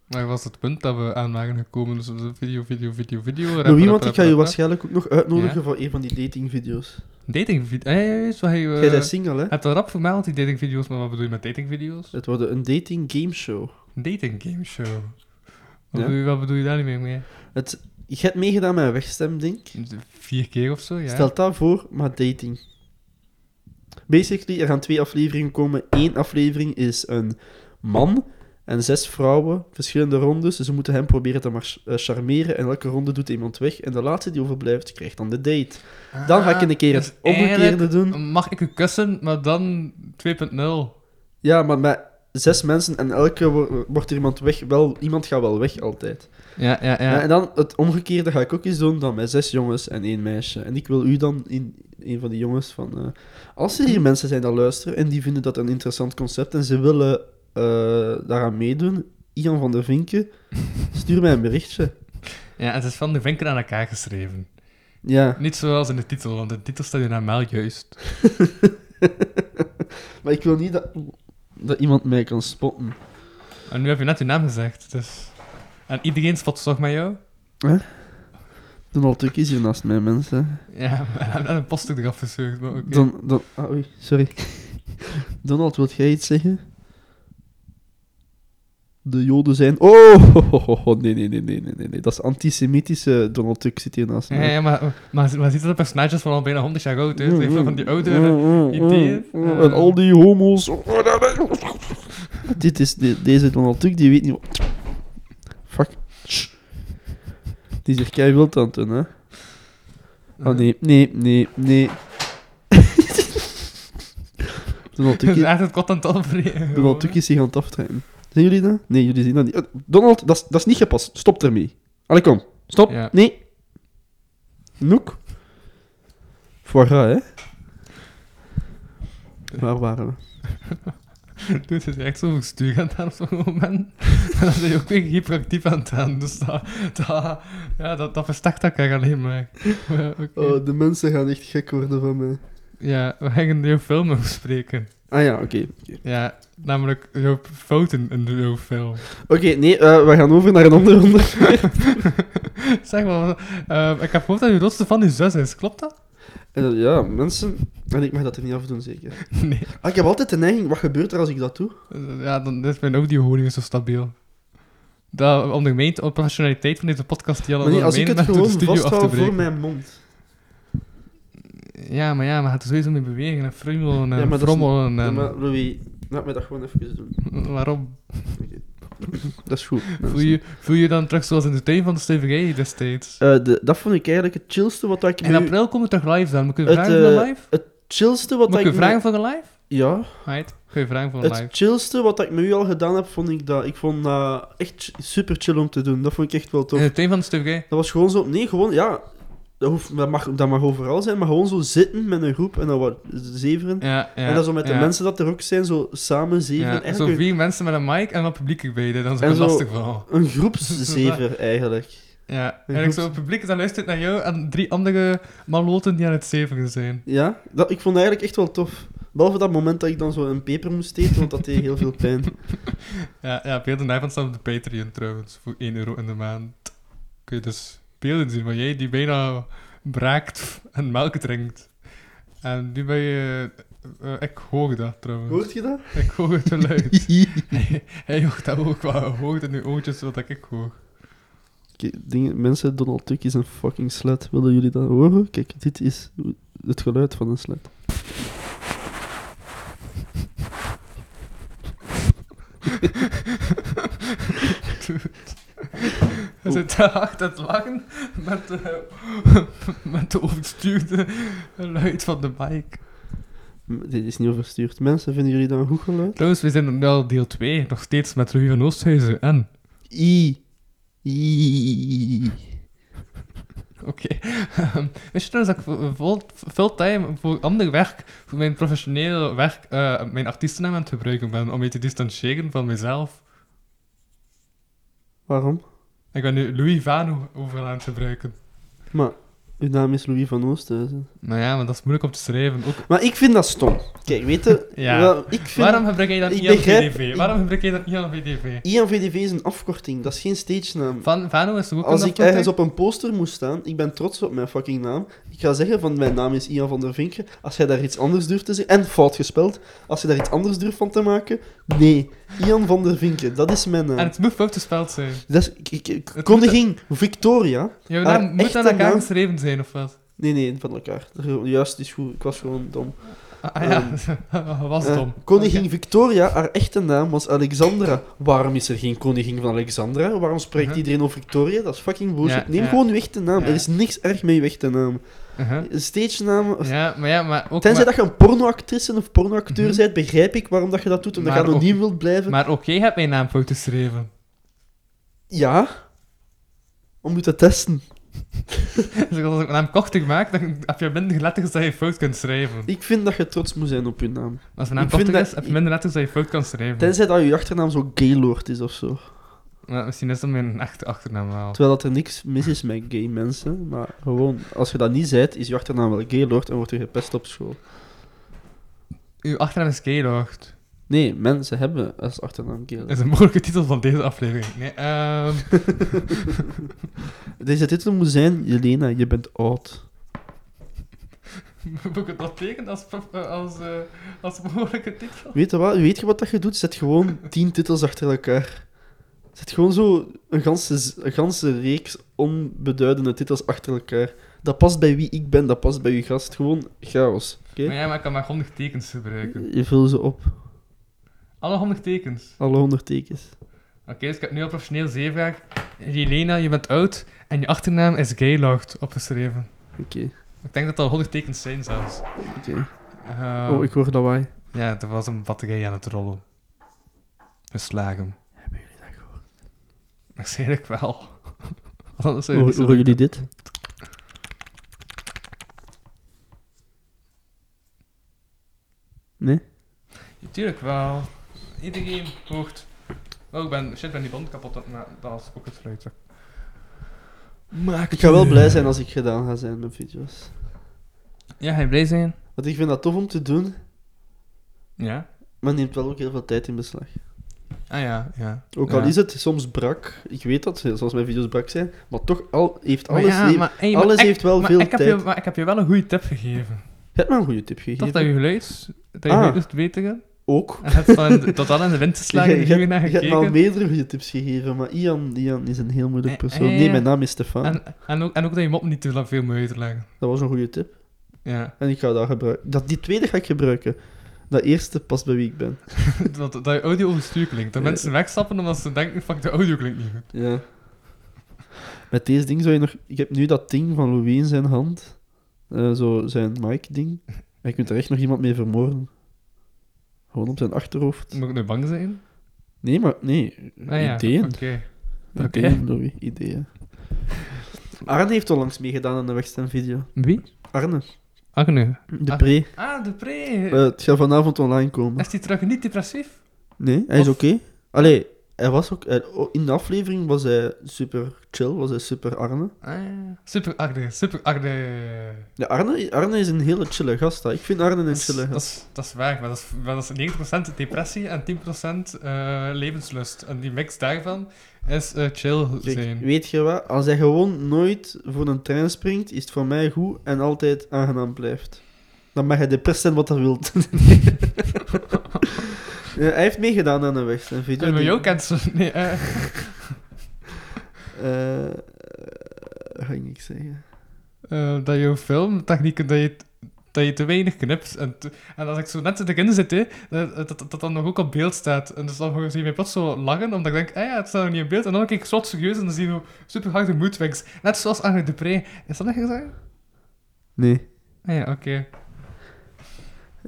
[SPEAKER 3] maar was het punt dat we aan waren gekomen? Dus we- video, video, video, video. rap,
[SPEAKER 4] Louis,
[SPEAKER 3] rap,
[SPEAKER 4] want ik
[SPEAKER 3] rap,
[SPEAKER 4] ga
[SPEAKER 3] rap,
[SPEAKER 4] je
[SPEAKER 3] rap.
[SPEAKER 4] waarschijnlijk ook nog uitnodigen
[SPEAKER 3] Ja?
[SPEAKER 4] voor een van die datingvideo's.
[SPEAKER 3] Datingvideo. Hé, hey, zo heb
[SPEAKER 4] Jij bent
[SPEAKER 3] je.
[SPEAKER 4] single, hè?
[SPEAKER 3] Het rap vermeld, die datingvideo's, maar wat bedoel je met datingvideo's?
[SPEAKER 4] Het wordt een dating gameshow.
[SPEAKER 3] Een dating game show. Wat,
[SPEAKER 4] Ja.
[SPEAKER 3] bedoel je, wat bedoel je daar niet meer mee?
[SPEAKER 4] Het, je hebt meegedaan met een wegstemding.
[SPEAKER 3] Vier keer of zo, ja.
[SPEAKER 4] Stel dat voor, maar dating. Basically, er gaan twee afleveringen komen. Eén aflevering is een man En zes vrouwen, verschillende rondes. Ze moeten hem proberen te mar- eh, charmeren. En elke ronde doet iemand weg. En de laatste die overblijft, krijgt dan de date. Dan ga ik een keer
[SPEAKER 3] Dus
[SPEAKER 4] het omgekeerde
[SPEAKER 3] eigenlijk
[SPEAKER 4] doen.
[SPEAKER 3] Mag ik u kussen, maar dan 2.0.
[SPEAKER 4] Ja, maar met zes mensen en elke wo- wordt er iemand weg. Wel, iemand gaat wel weg altijd.
[SPEAKER 3] Ja, ja,
[SPEAKER 4] Ja,
[SPEAKER 3] ja.
[SPEAKER 4] en dan het omgekeerde ga ik ook eens doen, dan met zes jongens en één meisje. En ik wil u dan, in, een van die jongens, van... eh, als er hier mensen zijn die luisteren en die vinden dat een interessant concept en ze willen eh, daaraan meedoen, Ian van der Vinken, stuur mij een berichtje.
[SPEAKER 3] ja, het is van de vinken aan elkaar geschreven.
[SPEAKER 4] Ja,
[SPEAKER 3] Niet zoals in de titel, want in de titel staat je normaal juist.
[SPEAKER 4] maar ik wil niet dat, dat iemand mij kan spotten.
[SPEAKER 3] En nu heb je net je naam gezegd, dus... En iedereen spot toch met jou?
[SPEAKER 4] Dan al is hier naast mij, mensen.
[SPEAKER 3] Ja, maar hij heeft net een post eraf gezuurd, maar oké.
[SPEAKER 4] Dan, dan, ah, oei, sorry. Donald, wilt jij iets zeggen? De Joden zijn. Oh, ho, ho, ho, ho, nee, nee, nee, nee, nee, nee, nee. Dat is antisemitische. Donald Tuck zit hier naast
[SPEAKER 3] Ja,
[SPEAKER 4] mij.
[SPEAKER 3] ja, maar, maar, maar ziet dat de personages van al bijna 100 jaar oud uit?
[SPEAKER 4] Mm,
[SPEAKER 3] Even
[SPEAKER 4] mm,
[SPEAKER 3] van die oude...
[SPEAKER 4] mm, mm,
[SPEAKER 3] ideeën,
[SPEAKER 4] mm, mm.
[SPEAKER 3] eh.
[SPEAKER 4] En al die homo's. Dit is de- deze Donald Tuck, die weet niet wat. Fuck. Shh. Die zegt kei wild aan het doen, hè? Oh nee,
[SPEAKER 3] Eh.
[SPEAKER 4] nee, nee, nee. Donald Tuck
[SPEAKER 3] Het is
[SPEAKER 4] is-
[SPEAKER 3] echt het kot aan het afbreken.
[SPEAKER 4] Donald Duck is zich aan het aftrekken. Zien jullie dat? Nee, jullie zien dat niet. Eh, Donald, dat is- dat is niet gepast. Stop ermee. Allee, kom. Stop.
[SPEAKER 3] Ja.
[SPEAKER 4] Nee. Noek. Voor hè? Waar waren we?
[SPEAKER 3] Doe het Dus echt zo verstuur aan het aan op zo'n moment. En dan ben je ook weer hyperactief aan het aan. Dus dat, dat, ja, dat, dat versterkt elkaar alleen maar. Ja, oké.
[SPEAKER 4] Oh, de mensen gaan echt gek worden van mij.
[SPEAKER 3] Ja, we gaan jouw film bespreken.
[SPEAKER 4] Ah ja, oké. Oké,
[SPEAKER 3] Ja, namelijk jouw fouten in jouw film.
[SPEAKER 4] Oké, nee, eh, we gaan over naar een ander onderwerp.
[SPEAKER 3] Zeg maar, eh, ik heb gehoord dat je grootste van je zus is, klopt dat?
[SPEAKER 4] En dat- ja, mensen... En ik mag dat er niet afdoen, zeker.
[SPEAKER 3] Nee.
[SPEAKER 4] Ah, ik heb altijd de neiging, wat gebeurt er als ik dat doe?
[SPEAKER 3] Eh, Ja, dan is mijn audio zo stabiel. Dat ondermijnt de professionaliteit van deze podcast die al
[SPEAKER 4] Maar nee, als ik het
[SPEAKER 3] ondermijnt met door
[SPEAKER 4] gewoon
[SPEAKER 3] de studio af te
[SPEAKER 4] vasthoud voor
[SPEAKER 3] breken.
[SPEAKER 4] mijn mond.
[SPEAKER 3] Ja, maar ja, maar het is sowieso mee bewegen en frummelen en
[SPEAKER 4] Ja, maar dat is-
[SPEAKER 3] frommelen
[SPEAKER 4] Ja,
[SPEAKER 3] en...
[SPEAKER 4] maar Louis, laat mij dat gewoon even doen.
[SPEAKER 3] Waarom?
[SPEAKER 4] Dat is goed.
[SPEAKER 3] Voel je, voel je dan terug zoals in de tuin van de stuiverij destijds?
[SPEAKER 4] Eh, de, dat vond ik eigenlijk het chillste wat ik
[SPEAKER 3] In
[SPEAKER 4] met u-
[SPEAKER 3] april komen we terug live dan. Moet ik je
[SPEAKER 4] Het,
[SPEAKER 3] vragen voor
[SPEAKER 4] eh,
[SPEAKER 3] een live?
[SPEAKER 4] Het chillste wat
[SPEAKER 3] Moet ik
[SPEAKER 4] ik
[SPEAKER 3] je
[SPEAKER 4] met-
[SPEAKER 3] vragen voor een live?
[SPEAKER 4] Ja.
[SPEAKER 3] Right, kun je vragen voor een
[SPEAKER 4] Het
[SPEAKER 3] live?
[SPEAKER 4] chillste wat ik met u al gedaan heb, vond ik dat. Ik vond dat echt ch- super chill om te doen. Dat vond ik echt wel tof.
[SPEAKER 3] In de tuin van de stuiverij?
[SPEAKER 4] Dat was gewoon zo... Nee, gewoon... Ja, dat, hoeft, dat, mag, dat mag overal zijn, maar gewoon zo zitten met een groep en dan wat zeveren.
[SPEAKER 3] Ja, ja.
[SPEAKER 4] en dan zo met de
[SPEAKER 3] ja,
[SPEAKER 4] mensen dat er ook zijn, zo samen
[SPEAKER 3] ja.
[SPEAKER 4] zeveren. Echt
[SPEAKER 3] Zo
[SPEAKER 4] een,
[SPEAKER 3] vier mensen met een mic en wat publiek erbij. Dat is
[SPEAKER 4] En
[SPEAKER 3] een
[SPEAKER 4] zo-
[SPEAKER 3] lastig verhaal.
[SPEAKER 4] een groepszever eigenlijk.
[SPEAKER 3] Ja, eigenlijk zo het publiek dat luistert naar jou en drie andere maloten die aan het zeveren zijn.
[SPEAKER 4] Ja, dat, ik vond dat eigenlijk echt wel tof. Behalve dat moment dat ik dan zo een peper moest eten, want dat deed heel veel pijn.
[SPEAKER 3] Ja, ja beelden daarvan staan op de Patreon trouwens, voor 1 euro in de maand. Kun je dus beelden zien van jij die bijna braakt en melk drinkt. En nu ben je... eh, ik hoor dat trouwens.
[SPEAKER 4] Hoort je dat?
[SPEAKER 3] Ik hoor het geluid. hij, hij hoort dat ook wel. Hij hoort in uw oortjes wat ik hoor.
[SPEAKER 4] Kijk, dingen, mensen, Donald Duck is een fucking slet. Willen jullie dat horen? Kijk, dit is het geluid van een slet.
[SPEAKER 3] Hij zit te hard aan het lachen met de, met de overstuurde geluid van de mic.
[SPEAKER 4] M- Dit is niet overstuurd. Mensen, vinden jullie dat een goed geluid?
[SPEAKER 3] Trouwens, we zijn nu al deel 2, nog steeds met Louis van Oosthuizen en...
[SPEAKER 4] I. I.
[SPEAKER 3] Oké. Ehm, Wist je trouwens dat ik vo- vol, veel time voor ander werk, voor mijn professioneel werk, eh, mijn artiestennaam aan het gebruiken ben om me te distancieren van mezelf?
[SPEAKER 4] Waarom?
[SPEAKER 3] Ik ben nu Louis Vano overal aan het gebruiken.
[SPEAKER 4] Maar, uw naam is Louis van Oosthuizen.
[SPEAKER 3] Nou ja, maar dat is moeilijk om te schrijven. Ook,
[SPEAKER 4] Maar ik vind dat stom. Kijk, weet je...
[SPEAKER 3] Ja.
[SPEAKER 4] wel, ik vind...
[SPEAKER 3] waarom gebruik jij dan
[SPEAKER 4] ik
[SPEAKER 3] Ian
[SPEAKER 4] begrijp-
[SPEAKER 3] VDV?
[SPEAKER 4] ik-
[SPEAKER 3] Waarom gebruik jij dan Ian VDV?
[SPEAKER 4] Ian VDV is een afkorting, dat is geen stage naam.
[SPEAKER 3] Van, Vano is toch ook
[SPEAKER 4] Als
[SPEAKER 3] een
[SPEAKER 4] ik ergens
[SPEAKER 3] afkorting?
[SPEAKER 4] op een poster moest staan, ik ben trots op mijn fucking naam. Ik ga zeggen van mijn naam is Ian van der Vinken. Als jij daar iets anders durft te zeggen, en fout gespeld, als je daar iets anders durft van te maken, nee. Ian van der Vinken, dat is mijn naam.
[SPEAKER 3] En het moet fout gespeld zijn.
[SPEAKER 4] Dat is, ik- ik- ik-
[SPEAKER 3] moet-
[SPEAKER 4] kondiging Victoria.
[SPEAKER 3] Jouw
[SPEAKER 4] Haar
[SPEAKER 3] naam moet
[SPEAKER 4] echte
[SPEAKER 3] aan elkaar
[SPEAKER 4] naam-
[SPEAKER 3] geschreven zijn, of wat?
[SPEAKER 4] Nee, nee, van elkaar. Juist, is goed. Ik was gewoon dom.
[SPEAKER 3] Ah ja, was
[SPEAKER 4] Eh,
[SPEAKER 3] dom.
[SPEAKER 4] koningin Victoria, haar echte naam was Alexandra. Waarom is er geen koningin van Alexandra? Waarom spreekt
[SPEAKER 3] Mhm.
[SPEAKER 4] iedereen over Victoria? Dat is fucking
[SPEAKER 3] Ja,
[SPEAKER 4] bullshit. Neem
[SPEAKER 3] ja.
[SPEAKER 4] gewoon uw echte naam.
[SPEAKER 3] Ja.
[SPEAKER 4] Er is niks erg met uw echte naam.
[SPEAKER 3] Uh-huh.
[SPEAKER 4] Stage naam...
[SPEAKER 3] Ja, maar ja, maar ook...
[SPEAKER 4] Tenzij
[SPEAKER 3] maar, Mhm.
[SPEAKER 4] dat je een pornoactrice of pornoacteur bent, begrijp ik waarom dat je dat doet. Omdat
[SPEAKER 3] Maar
[SPEAKER 4] je anoniem wilt blijven.
[SPEAKER 3] maar ook jij hebt mijn naam fout geschreven.
[SPEAKER 4] Ja. Om u te testen.
[SPEAKER 3] Dus als ik mijn naam kochtig maak, dan heb je minder letters dat je fout kunt schrijven.
[SPEAKER 4] Ik vind dat je trots moet zijn op je naam.
[SPEAKER 3] Als mijn naam
[SPEAKER 4] Ik vind
[SPEAKER 3] kochtig
[SPEAKER 4] dat-
[SPEAKER 3] is, heb je minder letters dat je fout kan schrijven.
[SPEAKER 4] Tenzij dat je achternaam zo Gaylord is of zo.
[SPEAKER 3] Maar misschien is dat mijn echte achternaam wel.
[SPEAKER 4] Terwijl dat er niks mis is met gay mensen. Maar gewoon, als je dat niet zijt, is je achternaam wel Gaylord en wordt je gepest op school.
[SPEAKER 3] Uw achternaam is Gaylord.
[SPEAKER 4] Nee, mensen hebben als achternaam Gaylord.
[SPEAKER 3] Dat is een mogelijke titel van deze aflevering. Nee, ehm...
[SPEAKER 4] Deze titel moet zijn: Jelena, je bent oud.
[SPEAKER 3] Moet ik het dat tekenen als, als, eh, als mogelijke titel?
[SPEAKER 4] Weet je, wat, weet je wat dat je doet? Zet gewoon tien titels achter elkaar. Zet gewoon zo een ganse, z- een ganse reeks onbeduidende titels achter elkaar. Dat past bij wie ik ben, dat past bij je gast. Gewoon chaos. Oké?
[SPEAKER 3] Maar ja, maar ik kan maar 100 tekens gebruiken.
[SPEAKER 4] Je vult ze op,
[SPEAKER 3] Alle 100 tekens.
[SPEAKER 4] alle honderd tekens.
[SPEAKER 3] Oké, dus ik heb nu al professioneel zeevraag. Jelena, je bent oud en je achternaam is Gaylord opgeschreven.
[SPEAKER 4] Oké,
[SPEAKER 3] Ik denk dat dat al 100 tekens zijn zelfs.
[SPEAKER 4] oké.
[SPEAKER 3] Ehm,
[SPEAKER 4] Oh, ik hoor lawaai.
[SPEAKER 3] Ja, er was een batterij aan het rollen. Geslagen. Hebben jullie dat gehoord? Waarschijnlijk wel. Want Anders zou je
[SPEAKER 4] Hoor-
[SPEAKER 3] niet zo
[SPEAKER 4] Horen jullie dit? Nee?
[SPEAKER 3] Natuurlijk wel. Iedereen hoort. Oh, ik ben, shit, ik ben die band kapot aan het maken. Dat was ook het fruit. Maak
[SPEAKER 4] Ik ga wel blij zijn als ik gedaan ga zijn met video's.
[SPEAKER 3] Ja, ga je blij zijn?
[SPEAKER 4] Want ik vind dat tof om te doen,
[SPEAKER 3] Ja.
[SPEAKER 4] maar het neemt wel ook heel veel tijd in beslag.
[SPEAKER 3] Ah ja, ja.
[SPEAKER 4] Ook al is het soms brak, ik weet dat, zoals mijn video's brak zijn, maar toch al, heeft alles...
[SPEAKER 3] maar Oh ja,
[SPEAKER 4] le-
[SPEAKER 3] maar, hey, maar
[SPEAKER 4] alles
[SPEAKER 3] ik-
[SPEAKER 4] heeft wel
[SPEAKER 3] maar
[SPEAKER 4] veel
[SPEAKER 3] ik heb
[SPEAKER 4] tijd.
[SPEAKER 3] Je, maar ik heb je wel een goede tip gegeven.
[SPEAKER 4] Je hebt me een goede tip gegeven.
[SPEAKER 3] Toch dat je geluid, dat je
[SPEAKER 4] Ah.
[SPEAKER 3] geluid is beter.
[SPEAKER 4] Ook.
[SPEAKER 3] En heb dan tot dan in de wind te
[SPEAKER 4] Je,
[SPEAKER 3] slagen en hier weer naar
[SPEAKER 4] hebt- je hebt me al
[SPEAKER 3] gekeken.
[SPEAKER 4] meerdere goede tips gegeven, maar Ian, Ian is een heel moeilijk
[SPEAKER 3] Eh, eh,
[SPEAKER 4] persoon.
[SPEAKER 3] ja,
[SPEAKER 4] Nee,
[SPEAKER 3] ja.
[SPEAKER 4] mijn naam is Stefan.
[SPEAKER 3] en, en, ook, en ook dat je mop niet te lang veel moet uitleggen.
[SPEAKER 4] Dat was een goede tip.
[SPEAKER 3] Ja.
[SPEAKER 4] En ik ga dat gebruiken. Dat, die tweede ga ik gebruiken. Dat eerste past bij wie ik ben.
[SPEAKER 3] dat, dat je audio overstuur klinkt. Dat
[SPEAKER 4] Ja.
[SPEAKER 3] mensen wegstappen omdat ze denken, fuck, de audio klinkt niet goed.
[SPEAKER 4] Ja. Met deze ding zou je nog... Ik heb nu dat ding van Louis in zijn hand. Eh, zo zijn mic-ding. En je kunt er echt nog iemand mee vermoorden. Gewoon op zijn achterhoofd.
[SPEAKER 3] Moet ik nu bang zijn?
[SPEAKER 4] Nee, maar... Nee.
[SPEAKER 3] Ah ja,
[SPEAKER 4] ideeën.
[SPEAKER 3] Oké. oké.
[SPEAKER 4] Ideeën, Louis. Ideeën. Arne heeft onlangs meegedaan aan de Wegstem video.
[SPEAKER 3] Wie?
[SPEAKER 4] Arne.
[SPEAKER 3] Agne.
[SPEAKER 4] De
[SPEAKER 3] Ah.
[SPEAKER 4] pre.
[SPEAKER 3] Ah, de pre.
[SPEAKER 4] Eh, het gaat vanavond online komen.
[SPEAKER 3] is die terug niet depressief?
[SPEAKER 4] Nee, hij is
[SPEAKER 3] Of-
[SPEAKER 4] oké. Allee, hij was ook... hij- oh, in de aflevering was hij super chill, was hij super Arne.
[SPEAKER 3] Ah, ja. Super Agne, super Agne.
[SPEAKER 4] Ja, Arne, Arne is een hele chille gast. hè. Ik vind Arne een
[SPEAKER 3] Dat is,
[SPEAKER 4] chille
[SPEAKER 3] dat,
[SPEAKER 4] gast.
[SPEAKER 3] is, dat is waar, maar dat is, maar dat is 90% depressie en 10% eh, levenslust. En die mix daarvan is eh, chill
[SPEAKER 4] Kijk,
[SPEAKER 3] zijn.
[SPEAKER 4] weet je wat? Als hij gewoon nooit voor een trein springt, is het voor mij goed en altijd aangenaam blijft. Dan mag hij depress zijn wat hij wilt. Ja, hij heeft meegedaan aan de weg. Zijn video.
[SPEAKER 3] En wil
[SPEAKER 4] die-
[SPEAKER 3] je ook cancelen? Nee, eh.
[SPEAKER 4] Eh, eh, ga ik niks zeggen.
[SPEAKER 3] Eh, dat jouw filmtechnieken, dat je, dat je te weinig knipt. En, te- en als ik zo net erin zit, hè, dat, dat, dat dan nog ook op beeld staat. En dus dan zie je mij plots zo lachen, omdat ik denk, ah ja, het staat nog niet in beeld. En dan kijk ik zo serieus en dan zie je super harde moedwings. Net zoals Arne Dupré. Is dat net gezegd?
[SPEAKER 4] Nee.
[SPEAKER 3] Ah ja, oké.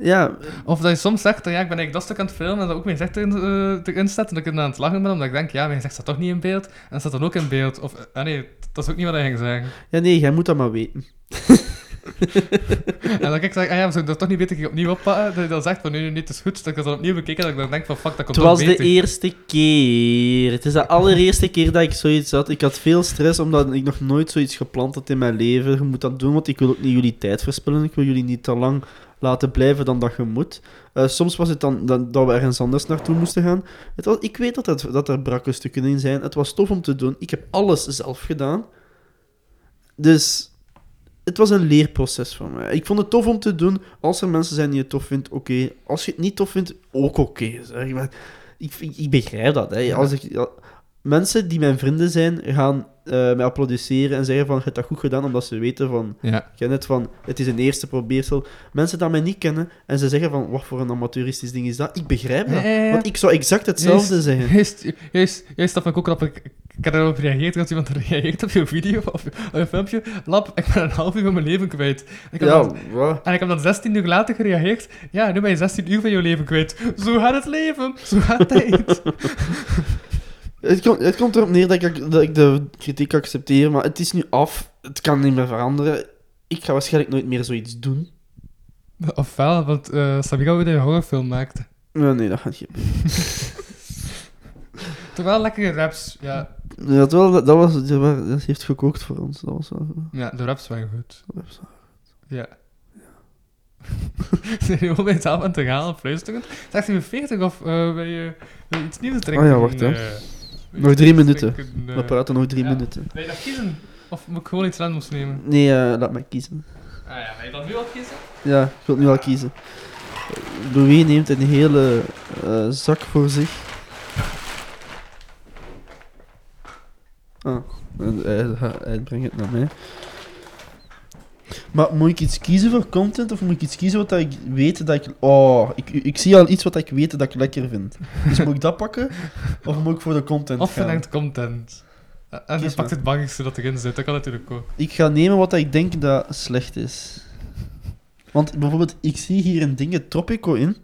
[SPEAKER 4] Ja,
[SPEAKER 3] Of dat je soms zegt, ja, ik ben eigenlijk dat stuk aan het filmen en dat ook mijn gezicht erin, eh, erin staat en dat ik dan aan het lachen ben, omdat ik denk, ja, mijn gezicht staat toch niet in beeld. En het staat dan ook in beeld. Of, eh, ah nee, dat is ook niet wat hij ging zeggen.
[SPEAKER 4] ja, nee, jij moet dat maar weten.
[SPEAKER 3] En dan kijk ik zeg, ah ja, we zouden dat toch niet beter keer opnieuw oppakken? Dat je dan zegt van, nee, nee, nee, het is goed. Dat ik dat dan opnieuw bekeken en dat ik dan denk van, fuck, dat komt
[SPEAKER 4] Het was
[SPEAKER 3] toch beter.
[SPEAKER 4] de eerste keer. Het is de allereerste keer dat ik zoiets had. Ik had veel stress omdat ik nog nooit zoiets gepland had in mijn leven. Je moet dat doen, want ik wil ook niet jullie tijd verspillen. Ik wil jullie niet te lang laten blijven dan dat je moet. Eh, soms was het dan, dan dat we ergens anders naartoe moesten gaan. Het was, ik weet dat, het, dat er brakke stukken in zijn. Het was tof om te doen. Ik heb alles zelf gedaan. Dus het was een leerproces voor mij. Ik vond het tof om te doen. Als er mensen zijn die het tof vindt, oké. Als je het niet tof vindt, ook oké. zeg maar. ik, ik, ik begrijp dat. Hè. Als ik, ja, mensen die mijn vrienden zijn, gaan eh, mij applaudisseren en zeggen van, je hebt dat goed gedaan, omdat ze weten van,
[SPEAKER 3] Ja.
[SPEAKER 4] ken het van, het is een eerste probeersel. Mensen die mij niet kennen en ze zeggen van, wat voor een amateuristisch ding is dat? Ik begrijp dat.
[SPEAKER 3] Ja, ja, ja.
[SPEAKER 4] Want ik zou exact hetzelfde
[SPEAKER 3] Juist,
[SPEAKER 4] zeggen.
[SPEAKER 3] Juist, juist, juist, dat vind ik ook grappig. Ik ik heb erop gereageerd als iemand reageert op je video of op je filmpje. Lap, ik ben een half uur van mijn leven kwijt. Ik heb
[SPEAKER 4] Ja,
[SPEAKER 3] dan-
[SPEAKER 4] wat?
[SPEAKER 3] en ik heb dan 16 uur later gereageerd. Ja, nu ben je 16 uur van je leven kwijt. Zo gaat het leven. Zo gaat tijd.
[SPEAKER 4] Het, komt, het komt erop neer dat ik, dat ik de kritiek accepteer, maar het is nu af. Het kan niet meer veranderen. Ik ga waarschijnlijk nooit meer zoiets doen.
[SPEAKER 3] Ofwel, want eh Sabiga weer een horrorfilm maakte.
[SPEAKER 4] Nee, nee, dat gaat niet.
[SPEAKER 3] Terwijl lekkere raps. Ja,
[SPEAKER 4] Dat, wel, dat, dat, was, dat wa- dat heeft gekookt voor ons. Dat was wel...
[SPEAKER 3] ja de raps waren goed.
[SPEAKER 4] dat was wel-
[SPEAKER 3] Ja. Zijn jullie bij het aan te gaan en fluisteren? Zegt hij 40 of eh wil je wil je iets nieuws drinken?
[SPEAKER 4] Oh ja, wacht, hè.
[SPEAKER 3] Eh, wil je
[SPEAKER 4] Nog
[SPEAKER 3] iets
[SPEAKER 4] drie
[SPEAKER 3] nieuws
[SPEAKER 4] minuten.
[SPEAKER 3] drinken, eh,
[SPEAKER 4] We praten nog drie
[SPEAKER 3] ja.
[SPEAKER 4] minuten.
[SPEAKER 3] Wil je dat kiezen? Of moet ik gewoon iets randoms nemen?
[SPEAKER 4] Nee, eh, laat mij kiezen.
[SPEAKER 3] Ah ja, wil je dat nu al kiezen?
[SPEAKER 4] Ja, ik wil het nu al kiezen. Louis neemt een hele eh, zak voor zich. Ah, en hij, hij brengt het naar mij. Maar moet ik iets kiezen voor content of moet ik iets kiezen wat dat ik weet dat ik... Oh, ik, ik zie al iets wat ik weet dat ik lekker vind. Dus moet ik dat pakken of moet ik voor de content
[SPEAKER 3] Of
[SPEAKER 4] gaan?
[SPEAKER 3] verlengd content. Eh, En
[SPEAKER 4] Kies
[SPEAKER 3] je pakt
[SPEAKER 4] maar.
[SPEAKER 3] het bangigste dat erin zit, dat kan natuurlijk ook.
[SPEAKER 4] Ik ga nemen wat ik denk dat slecht is. Want bijvoorbeeld, ik zie hier een ding, Tropico in.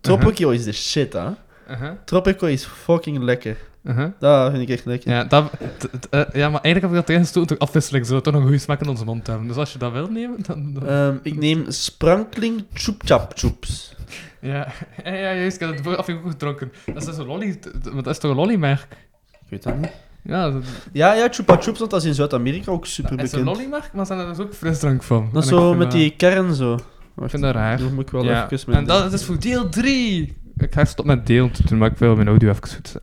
[SPEAKER 4] Tropico is de shit, hè.
[SPEAKER 3] Uh-huh.
[SPEAKER 4] Tropico is fucking lekker.
[SPEAKER 3] uh-huh.
[SPEAKER 4] Dat vind ik echt lekker.
[SPEAKER 3] Ja, dat, t- t- eh, ja, maar eigenlijk heb ik dat tegengestoten door afwisseling, zodat we toch nog goed smaak in onze mond hebben. Dus als je dat wil nemen, dan... dan-
[SPEAKER 4] Ehm, ik neem Sprankling Choep Chap Choeps.
[SPEAKER 3] Ja, ja, ja, juist, ik heb het vooraf ook gedronken. Dat is dus een lolly, t- t- want dat is toch een lollymerk?
[SPEAKER 4] Ik weet dat niet.
[SPEAKER 3] Ja, dat
[SPEAKER 4] Ja, ja, Chupa Chups, want dat is in Zuid-Amerika ook super
[SPEAKER 3] dat is een
[SPEAKER 4] bekend.
[SPEAKER 3] lollymerk, maar ze hebben er dus ook frisdrank van.
[SPEAKER 4] Dat is
[SPEAKER 3] En ik
[SPEAKER 4] zo
[SPEAKER 3] vind
[SPEAKER 4] met die kern zo. Wacht,
[SPEAKER 3] vind dat raar.
[SPEAKER 4] Daar moet ik wel
[SPEAKER 3] ja.
[SPEAKER 4] even mee.
[SPEAKER 3] En dat is dus voor deel 3! Ik ga stop met deel te doen, maar ik wil mijn audio even goed zetten.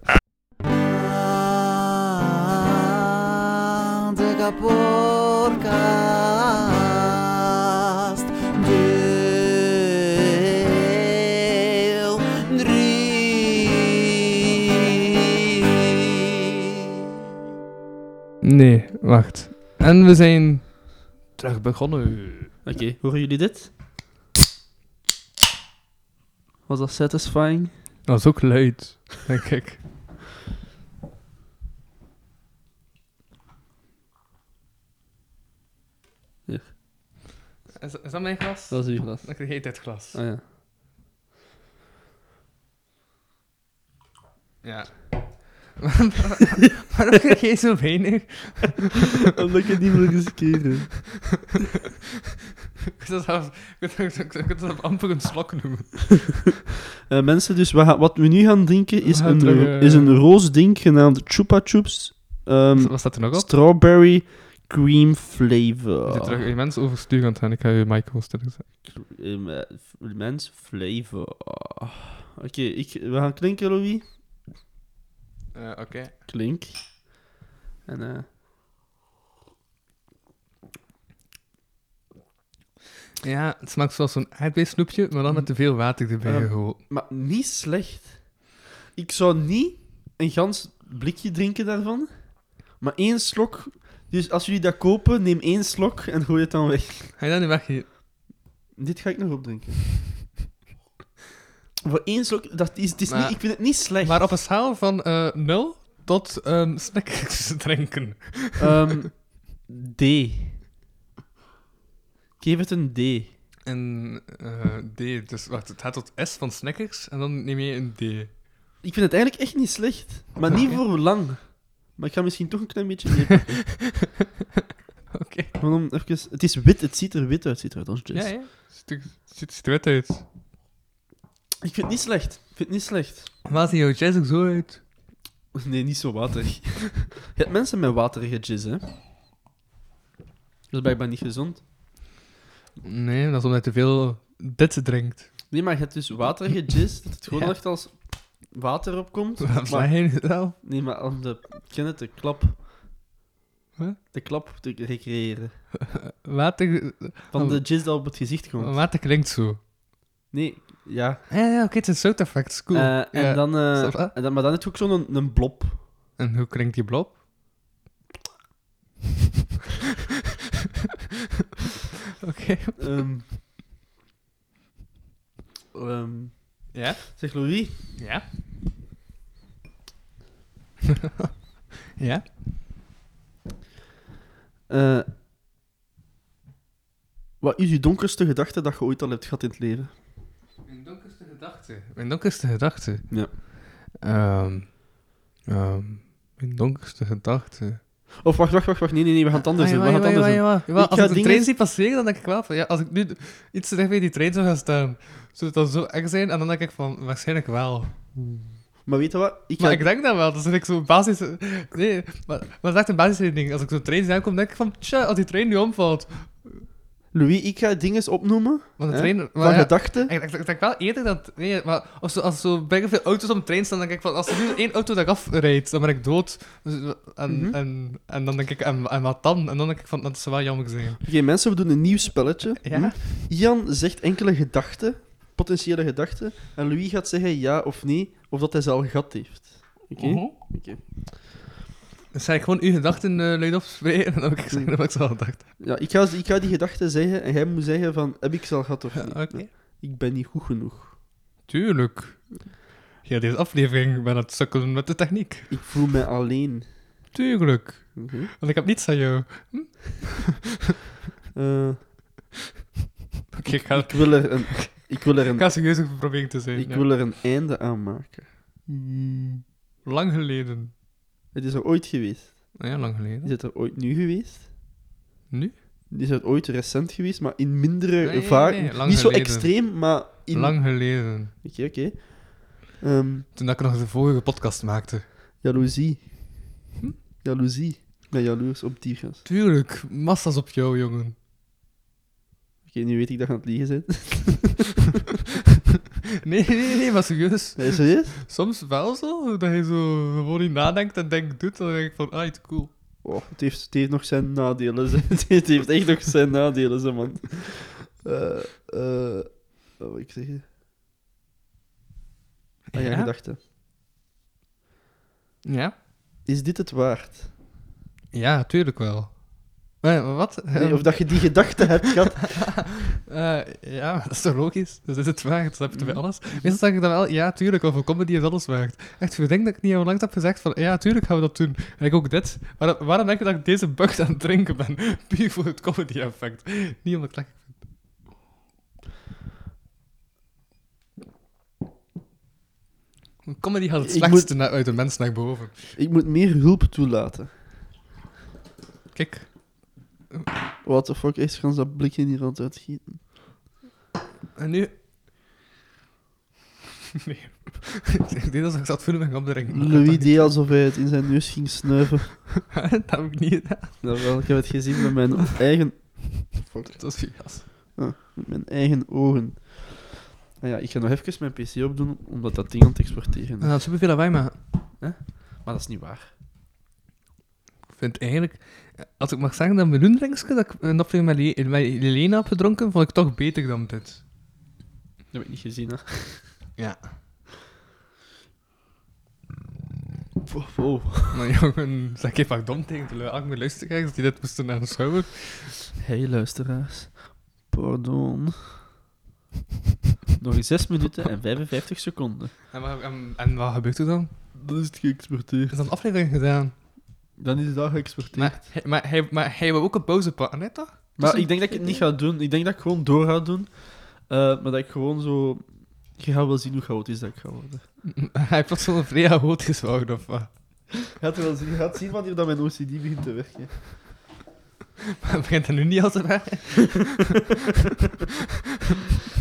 [SPEAKER 2] De kapotkast. Deel drie.
[SPEAKER 3] Nee, wacht. En we zijn terug begonnen.
[SPEAKER 4] Oké, horen jullie dit? Was dat satisfying?
[SPEAKER 3] Dat is ook luid, denk ik.
[SPEAKER 4] Hier.
[SPEAKER 3] Is, is dat mijn glas?
[SPEAKER 4] Dat is uw glas.
[SPEAKER 3] Dan krijg je dit glas.
[SPEAKER 4] Ah ja.
[SPEAKER 3] Ja. Waarom krijg jij zo weinig?
[SPEAKER 4] Omdat ik het niet wil riskeren.
[SPEAKER 3] Ik zou zelf- ik zou- ik zou- ik zou het amper een slok noemen.
[SPEAKER 4] Eh, mensen, dus we gaan- wat we nu gaan drinken is,
[SPEAKER 3] We gaan
[SPEAKER 4] een,
[SPEAKER 3] terug,
[SPEAKER 4] ro-
[SPEAKER 3] eh,
[SPEAKER 4] is een roze ding genaamd Chupa Chups ehm,
[SPEAKER 3] Wat staat er nog op?
[SPEAKER 4] Strawberry Cream
[SPEAKER 3] Je zit
[SPEAKER 4] Flavor.
[SPEAKER 3] terug immens overstuur aan het gaan. Ik ga je Michael sterren zetten.
[SPEAKER 4] Ehm, eh, f- Mens Flavor. Oké, ik- we gaan klinken, Louis.
[SPEAKER 3] Oké.
[SPEAKER 4] Klink. En, eh,
[SPEAKER 3] Ja, het smaakt zoals zo'n aardbeisnoepje, maar dan met te veel water erbij
[SPEAKER 4] Ehm,
[SPEAKER 3] gegoten.
[SPEAKER 4] maar niet slecht. Ik zou niet een gans blikje drinken daarvan, maar één slok. Dus als jullie dat kopen, neem één slok en gooi het dan weg.
[SPEAKER 3] Ga je dat nu weg hier?
[SPEAKER 4] Dit ga ik nog opdrinken. Voor één slok, dat is, het is
[SPEAKER 3] Maar-
[SPEAKER 4] niet, ik vind het niet slecht.
[SPEAKER 3] Maar op een schaal van eh 0 tot ehm Snickers drinken.
[SPEAKER 4] Ehm, D. Ik geef het een D.
[SPEAKER 3] En eh, D, dus wacht, het gaat tot S van Snickers en dan neem je een D.
[SPEAKER 4] Ik vind het eigenlijk echt niet slecht. Maar niet
[SPEAKER 3] Oké.
[SPEAKER 4] voor lang. Maar ik ga misschien toch een klein beetje meer.
[SPEAKER 3] Oké.
[SPEAKER 4] Gewoon om even... Het is wit, het ziet er wit uit, ziet er uit ons
[SPEAKER 3] Ja,
[SPEAKER 4] juice.
[SPEAKER 3] ja. Dus Ziet er- Ziet ziet er wet uit.
[SPEAKER 4] Ik vind het niet slecht. Ik vind het niet slecht.
[SPEAKER 3] Maar ziet jouw jazz ook zo uit?
[SPEAKER 4] Nee, niet zo waterig. Je hebt mensen met waterige jizz, hè. Dat is blijkbaar niet gezond.
[SPEAKER 3] Nee, dat is omdat je te veel dit drinkt.
[SPEAKER 4] Nee, maar je hebt dus waterige jizz, dat het gewoon
[SPEAKER 3] Ja.
[SPEAKER 4] echt als water opkomt.
[SPEAKER 3] Waarom
[SPEAKER 4] maar-
[SPEAKER 3] sla je het wel?
[SPEAKER 4] Nee, maar om de, ken het, de klap.
[SPEAKER 3] Huh?
[SPEAKER 4] De klap te recreëren.
[SPEAKER 3] Water,
[SPEAKER 4] Van
[SPEAKER 3] Oh.
[SPEAKER 4] de jizz dat op het gezicht komt.
[SPEAKER 3] water klinkt zo.
[SPEAKER 4] Nee, ja.
[SPEAKER 3] Ja, ja, oké, het is een sound effect, is cool.
[SPEAKER 4] Eh, en,
[SPEAKER 3] Ja.
[SPEAKER 4] dan, eh,
[SPEAKER 3] Snap je?
[SPEAKER 4] en dan, maar dan heb je ook zo'n een blob.
[SPEAKER 3] En hoe kringt die blob? Oké.
[SPEAKER 4] Ehm. Ehm,
[SPEAKER 3] Ja?
[SPEAKER 4] zeg Louis,
[SPEAKER 3] Ja? ja?
[SPEAKER 4] eh, wat is je donkerste gedachte dat je ooit al hebt gehad in het leven?
[SPEAKER 3] Mijn donkerste gedachte. Mijn donkerste gedachte.
[SPEAKER 4] Ja.
[SPEAKER 3] Ehm, ehm, mijn donkerste gedachte.
[SPEAKER 4] Of wacht, wacht, wacht, wacht. Nee, nee, nee, we gaan
[SPEAKER 3] Ah,
[SPEAKER 4] het anders doen. We gaan het anders doen. Ik
[SPEAKER 3] Als
[SPEAKER 4] ga
[SPEAKER 3] ik de
[SPEAKER 4] dingen-
[SPEAKER 3] trein zie passeren, dan denk ik wel van... Ja, als ik nu iets dicht bij die trein zou gaan staan, zou het dan zo eng zijn? En dan denk ik van, waarschijnlijk wel.
[SPEAKER 4] Maar weet je wat? Ik ga...
[SPEAKER 3] Maar ik denk dat wel. Dat is ik zo'n basis... Nee, maar, maar dat is echt een basis ding. Als ik zo'n trein zie aankomen, denk ik van... Tja, als die trein nu omvalt...
[SPEAKER 4] Louis, ik ga dingen opnoemen
[SPEAKER 3] Want de
[SPEAKER 4] hè,
[SPEAKER 3] trein... maar
[SPEAKER 4] van
[SPEAKER 3] ja,
[SPEAKER 4] gedachten.
[SPEAKER 3] Ik, ik, ik denk wel eerder dat... Nee, maar als, zo- als zo bijna veel auto's op een trein staan, denk ik van... Als er nu één auto dat ik afrijdt, dan ben ik dood. Dus, en,
[SPEAKER 4] Mhm.
[SPEAKER 3] en, en dan denk ik... En, en wat dan? En dan denk ik van... Dat zou wel jammer zijn.
[SPEAKER 4] Oké, mensen, we doen een nieuw spelletje.
[SPEAKER 3] Ja?
[SPEAKER 4] Hm? Jan zegt enkele gedachten, potentiële gedachten, en Louis gaat zeggen ja of nee, of dat hij ze al gehad heeft. Oké?
[SPEAKER 3] Mhm.
[SPEAKER 4] Oké.
[SPEAKER 3] Dan zei Dus ik gewoon uw gedachten eh luid opspreken en dan heb ik gezegd
[SPEAKER 4] Mhm.
[SPEAKER 3] dat ik ze al dacht.
[SPEAKER 4] Ja, ik ga, ik ga die gedachten zeggen en jij moet zeggen van, heb ik ze al gehad of niet?
[SPEAKER 3] Oké.
[SPEAKER 4] Ik ben niet goed genoeg.
[SPEAKER 3] Tuurlijk. Ja, deze aflevering ben aan het sukkelen met de techniek.
[SPEAKER 4] Ik voel mij alleen.
[SPEAKER 3] Tuurlijk.
[SPEAKER 4] Mhm.
[SPEAKER 3] Want ik heb niets aan jou. Oké,
[SPEAKER 4] Eh,
[SPEAKER 3] ik ga,
[SPEAKER 4] ik, wil er een, ik, wil er
[SPEAKER 3] ik
[SPEAKER 4] een,
[SPEAKER 3] ga serieus over proberen te zijn.
[SPEAKER 4] ik
[SPEAKER 3] ja.
[SPEAKER 4] wil er een einde aan maken.
[SPEAKER 3] Mm, Lang geleden.
[SPEAKER 4] Het is er ooit geweest.
[SPEAKER 3] Nou ja, lang geleden.
[SPEAKER 4] Is het er ooit nu geweest?
[SPEAKER 3] Nu?
[SPEAKER 4] Is het ooit recent geweest, maar in mindere
[SPEAKER 3] nee, nee,
[SPEAKER 4] vaak.
[SPEAKER 3] lang
[SPEAKER 4] Niet zo
[SPEAKER 3] geleden.
[SPEAKER 4] extreem, maar in... Oké,
[SPEAKER 3] Lang geleden.
[SPEAKER 4] oké. Ehm,
[SPEAKER 3] Toen dat ik nog de vorige podcast maakte.
[SPEAKER 4] Jaloezie.
[SPEAKER 3] Hm?
[SPEAKER 4] Jaloezie. Ik ben jaloers op die gast.
[SPEAKER 3] Tuurlijk. Massa's op jou, jongen.
[SPEAKER 4] Oké, nu weet ik dat je aan het liegen bent.
[SPEAKER 3] Nee, nee, nee, maar serieus.
[SPEAKER 4] Nee, serieus?
[SPEAKER 3] Soms wel zo, dat je zo gewoon niet nadenkt en denkt, doet, dan denk ik van, ah, iets cool.
[SPEAKER 4] Oh, het, heeft, het heeft nog zijn nadelen. Ze. Het heeft echt nog zijn nadelen, ze, man. Eh, eh, wat wil ik zeggen? Ah ja,
[SPEAKER 3] Ja?
[SPEAKER 4] gedachte.
[SPEAKER 3] Ja?
[SPEAKER 4] Is dit het waard?
[SPEAKER 3] Ja, tuurlijk wel. Maar ja, maar wat? ehm,
[SPEAKER 4] Nee, of dat je die gedachte hebt gehad?
[SPEAKER 3] Eh, ja, dat is toch logisch? Dat is het waard. Dat heb je bij alles. Meestal zeg ik dan wel, ja, tuurlijk, want voor comedy is alles waard. Echt, ik denk dat ik niet al lang heb gezegd van, ja, tuurlijk gaan we dat doen. En ik ook dit. Waarom, waarom denk je dat ik deze bug aan het drinken ben? Puur voor het comedy-effect. Niet omdat ik het lekker vind. Een Comedy haalt het
[SPEAKER 4] Ik
[SPEAKER 3] slechtste na- uit de mens naar boven.
[SPEAKER 4] Ik moet meer hulp toelaten.
[SPEAKER 3] Kijk,
[SPEAKER 4] What the fuck, is gaan ze dat blikje hier aan het uitschieten?
[SPEAKER 3] en nu... Nee. ik deed alsof ik zat voelen met een opdrinken. maar ik had
[SPEAKER 4] Louis
[SPEAKER 3] dat niet-
[SPEAKER 4] deed alsof hij het in zijn neus ging snuiven.
[SPEAKER 3] dat heb ik niet gedaan.
[SPEAKER 4] Nou, wel, ik heb het gezien met mijn eigen
[SPEAKER 3] Dat was gas.
[SPEAKER 4] Met mijn eigen ogen. Ah ja, ik ga nog even mijn PC opdoen, omdat dat ding aan het exporteren is.
[SPEAKER 3] dat is superveel lawaai, maar
[SPEAKER 4] Maar dat is niet waar.
[SPEAKER 3] ik vind eigenlijk... Als ik mag zeggen dat mijn loendrinkske dat ik een aflevering met, Le- met Elena heb gedronken, vond ik toch beter dan dit.
[SPEAKER 4] Dat heb ik niet gezien, hè.
[SPEAKER 3] Ja.
[SPEAKER 4] Wow, wow.
[SPEAKER 3] Maar jongen, zeg ik vaak dom tegen de lu- andere luisteraars dat die dit moesten aanschouwen.
[SPEAKER 4] Hey, luisteraars. Pardon. Nog 6 minuten en 55 seconden.
[SPEAKER 3] En, wat- en, en wat gebeurt er dan?
[SPEAKER 4] Dat is het geëxporteerd.
[SPEAKER 3] Is dan een aflevering gedaan?
[SPEAKER 4] Dan is dat geëxporteerd. Maar,
[SPEAKER 3] Maar, hij- maar, hij, maar hij wil ook een pauze pakken, net toch?
[SPEAKER 4] ik denk dat ik het niet ga doen. Ik denk dat ik gewoon door ga doen. Eh, maar dat ik gewoon zo... Je gaat wel zien hoe chaotisch dat ik ga worden.
[SPEAKER 3] Hij heeft plots zo'n vrij hoog geslagen, of wat?
[SPEAKER 4] Je gaat, wel zien, je gaat zien wanneer dat mijn OCD begint te werken.
[SPEAKER 3] Maar begint dat nu niet al te ver?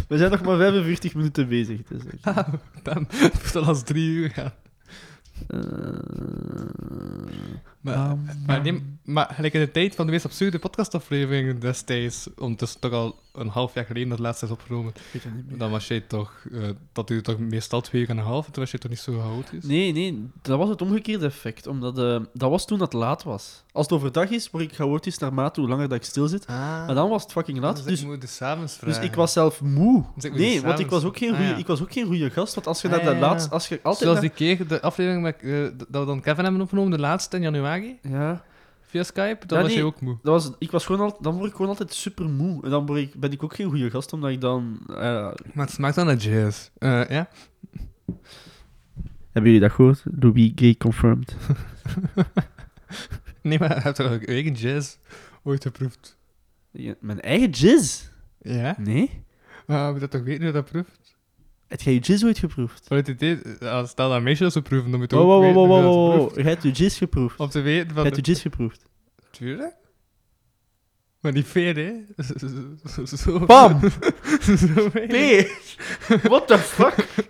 [SPEAKER 4] We zijn nog maar 45 minuten bezig. Dus, oké.
[SPEAKER 3] Dan moet het al als drie uur gaan.
[SPEAKER 4] Eh,
[SPEAKER 3] Maar, maar, nee, maar gelijk in de tijd van de meest absurde podcastafleveringen destijds, ondertussen toch al een half jaar geleden dat laatst is opgenomen, dan was jij toch, eh, dat duurde toch meestal twee uur en een half, en toen was je toch niet zo oud is?
[SPEAKER 4] Nee, nee, dat was het omgekeerde effect. Omdat eh, dat was toen dat laat was. Als het overdag is, word ik chaotisch naarmate hoe langer Ah, dat ik stil zit. Maar dan was het fucking laat. Dus,
[SPEAKER 3] ik moet de s'avonds
[SPEAKER 4] dus
[SPEAKER 3] vragen.
[SPEAKER 4] ik was zelf moe.
[SPEAKER 3] Dus ik eh, moet
[SPEAKER 4] nee,
[SPEAKER 3] die
[SPEAKER 4] want ik
[SPEAKER 3] s'avonds-
[SPEAKER 4] was ook geen
[SPEAKER 3] Ah,
[SPEAKER 4] goede
[SPEAKER 3] ja.
[SPEAKER 4] ik was ook geen goede gast. Want als je
[SPEAKER 3] Ah,
[SPEAKER 4] naar de
[SPEAKER 3] ja, ja.
[SPEAKER 4] laatst, als je altijd.
[SPEAKER 3] Zoals
[SPEAKER 4] naar-
[SPEAKER 3] die keer, de aflevering met, eh, dat we dan Kevin hebben opgenomen, de laatste in januari,
[SPEAKER 4] Ja,
[SPEAKER 3] via Skype, dan
[SPEAKER 4] Ja,
[SPEAKER 3] was
[SPEAKER 4] nee.
[SPEAKER 3] je ook moe.
[SPEAKER 4] dat was, ik was gewoon al, dan word ik gewoon altijd super moe. En dan word ik, ben ik ook geen goede gast, omdat ik dan. eh,
[SPEAKER 3] Maar het smaakt dan naar jazz. Eh, ja?
[SPEAKER 4] Hebben jullie dat gehoord? Ruby gay confirmed.
[SPEAKER 3] Nee, maar heb je ook eigen jazz ooit geproefd?
[SPEAKER 4] Ja, mijn eigen jizz?
[SPEAKER 3] Ja?
[SPEAKER 4] Nee?
[SPEAKER 3] Maar moet dat toch weten hoe dat proeft?
[SPEAKER 4] Heb jij je jizz ooit geproefd?
[SPEAKER 3] Vanuit het idee, eh, als stel dat meisjes dat ze proeven, dan moet je
[SPEAKER 4] Wow,
[SPEAKER 3] ook
[SPEAKER 4] wow,
[SPEAKER 3] weten
[SPEAKER 4] wow, wow,
[SPEAKER 3] hoe dat
[SPEAKER 4] wow,
[SPEAKER 3] Oh, ze
[SPEAKER 4] wow,
[SPEAKER 3] proeft.
[SPEAKER 4] wow. Jij hebt je jizz geproefd.
[SPEAKER 3] Om te weten
[SPEAKER 4] Jij
[SPEAKER 3] van...
[SPEAKER 4] hebt je jizz geproefd.
[SPEAKER 3] Tuurlijk. Maar niet veel, hè? Zo...
[SPEAKER 4] Bam!
[SPEAKER 3] Zo veel.
[SPEAKER 4] Nee! What the fuck?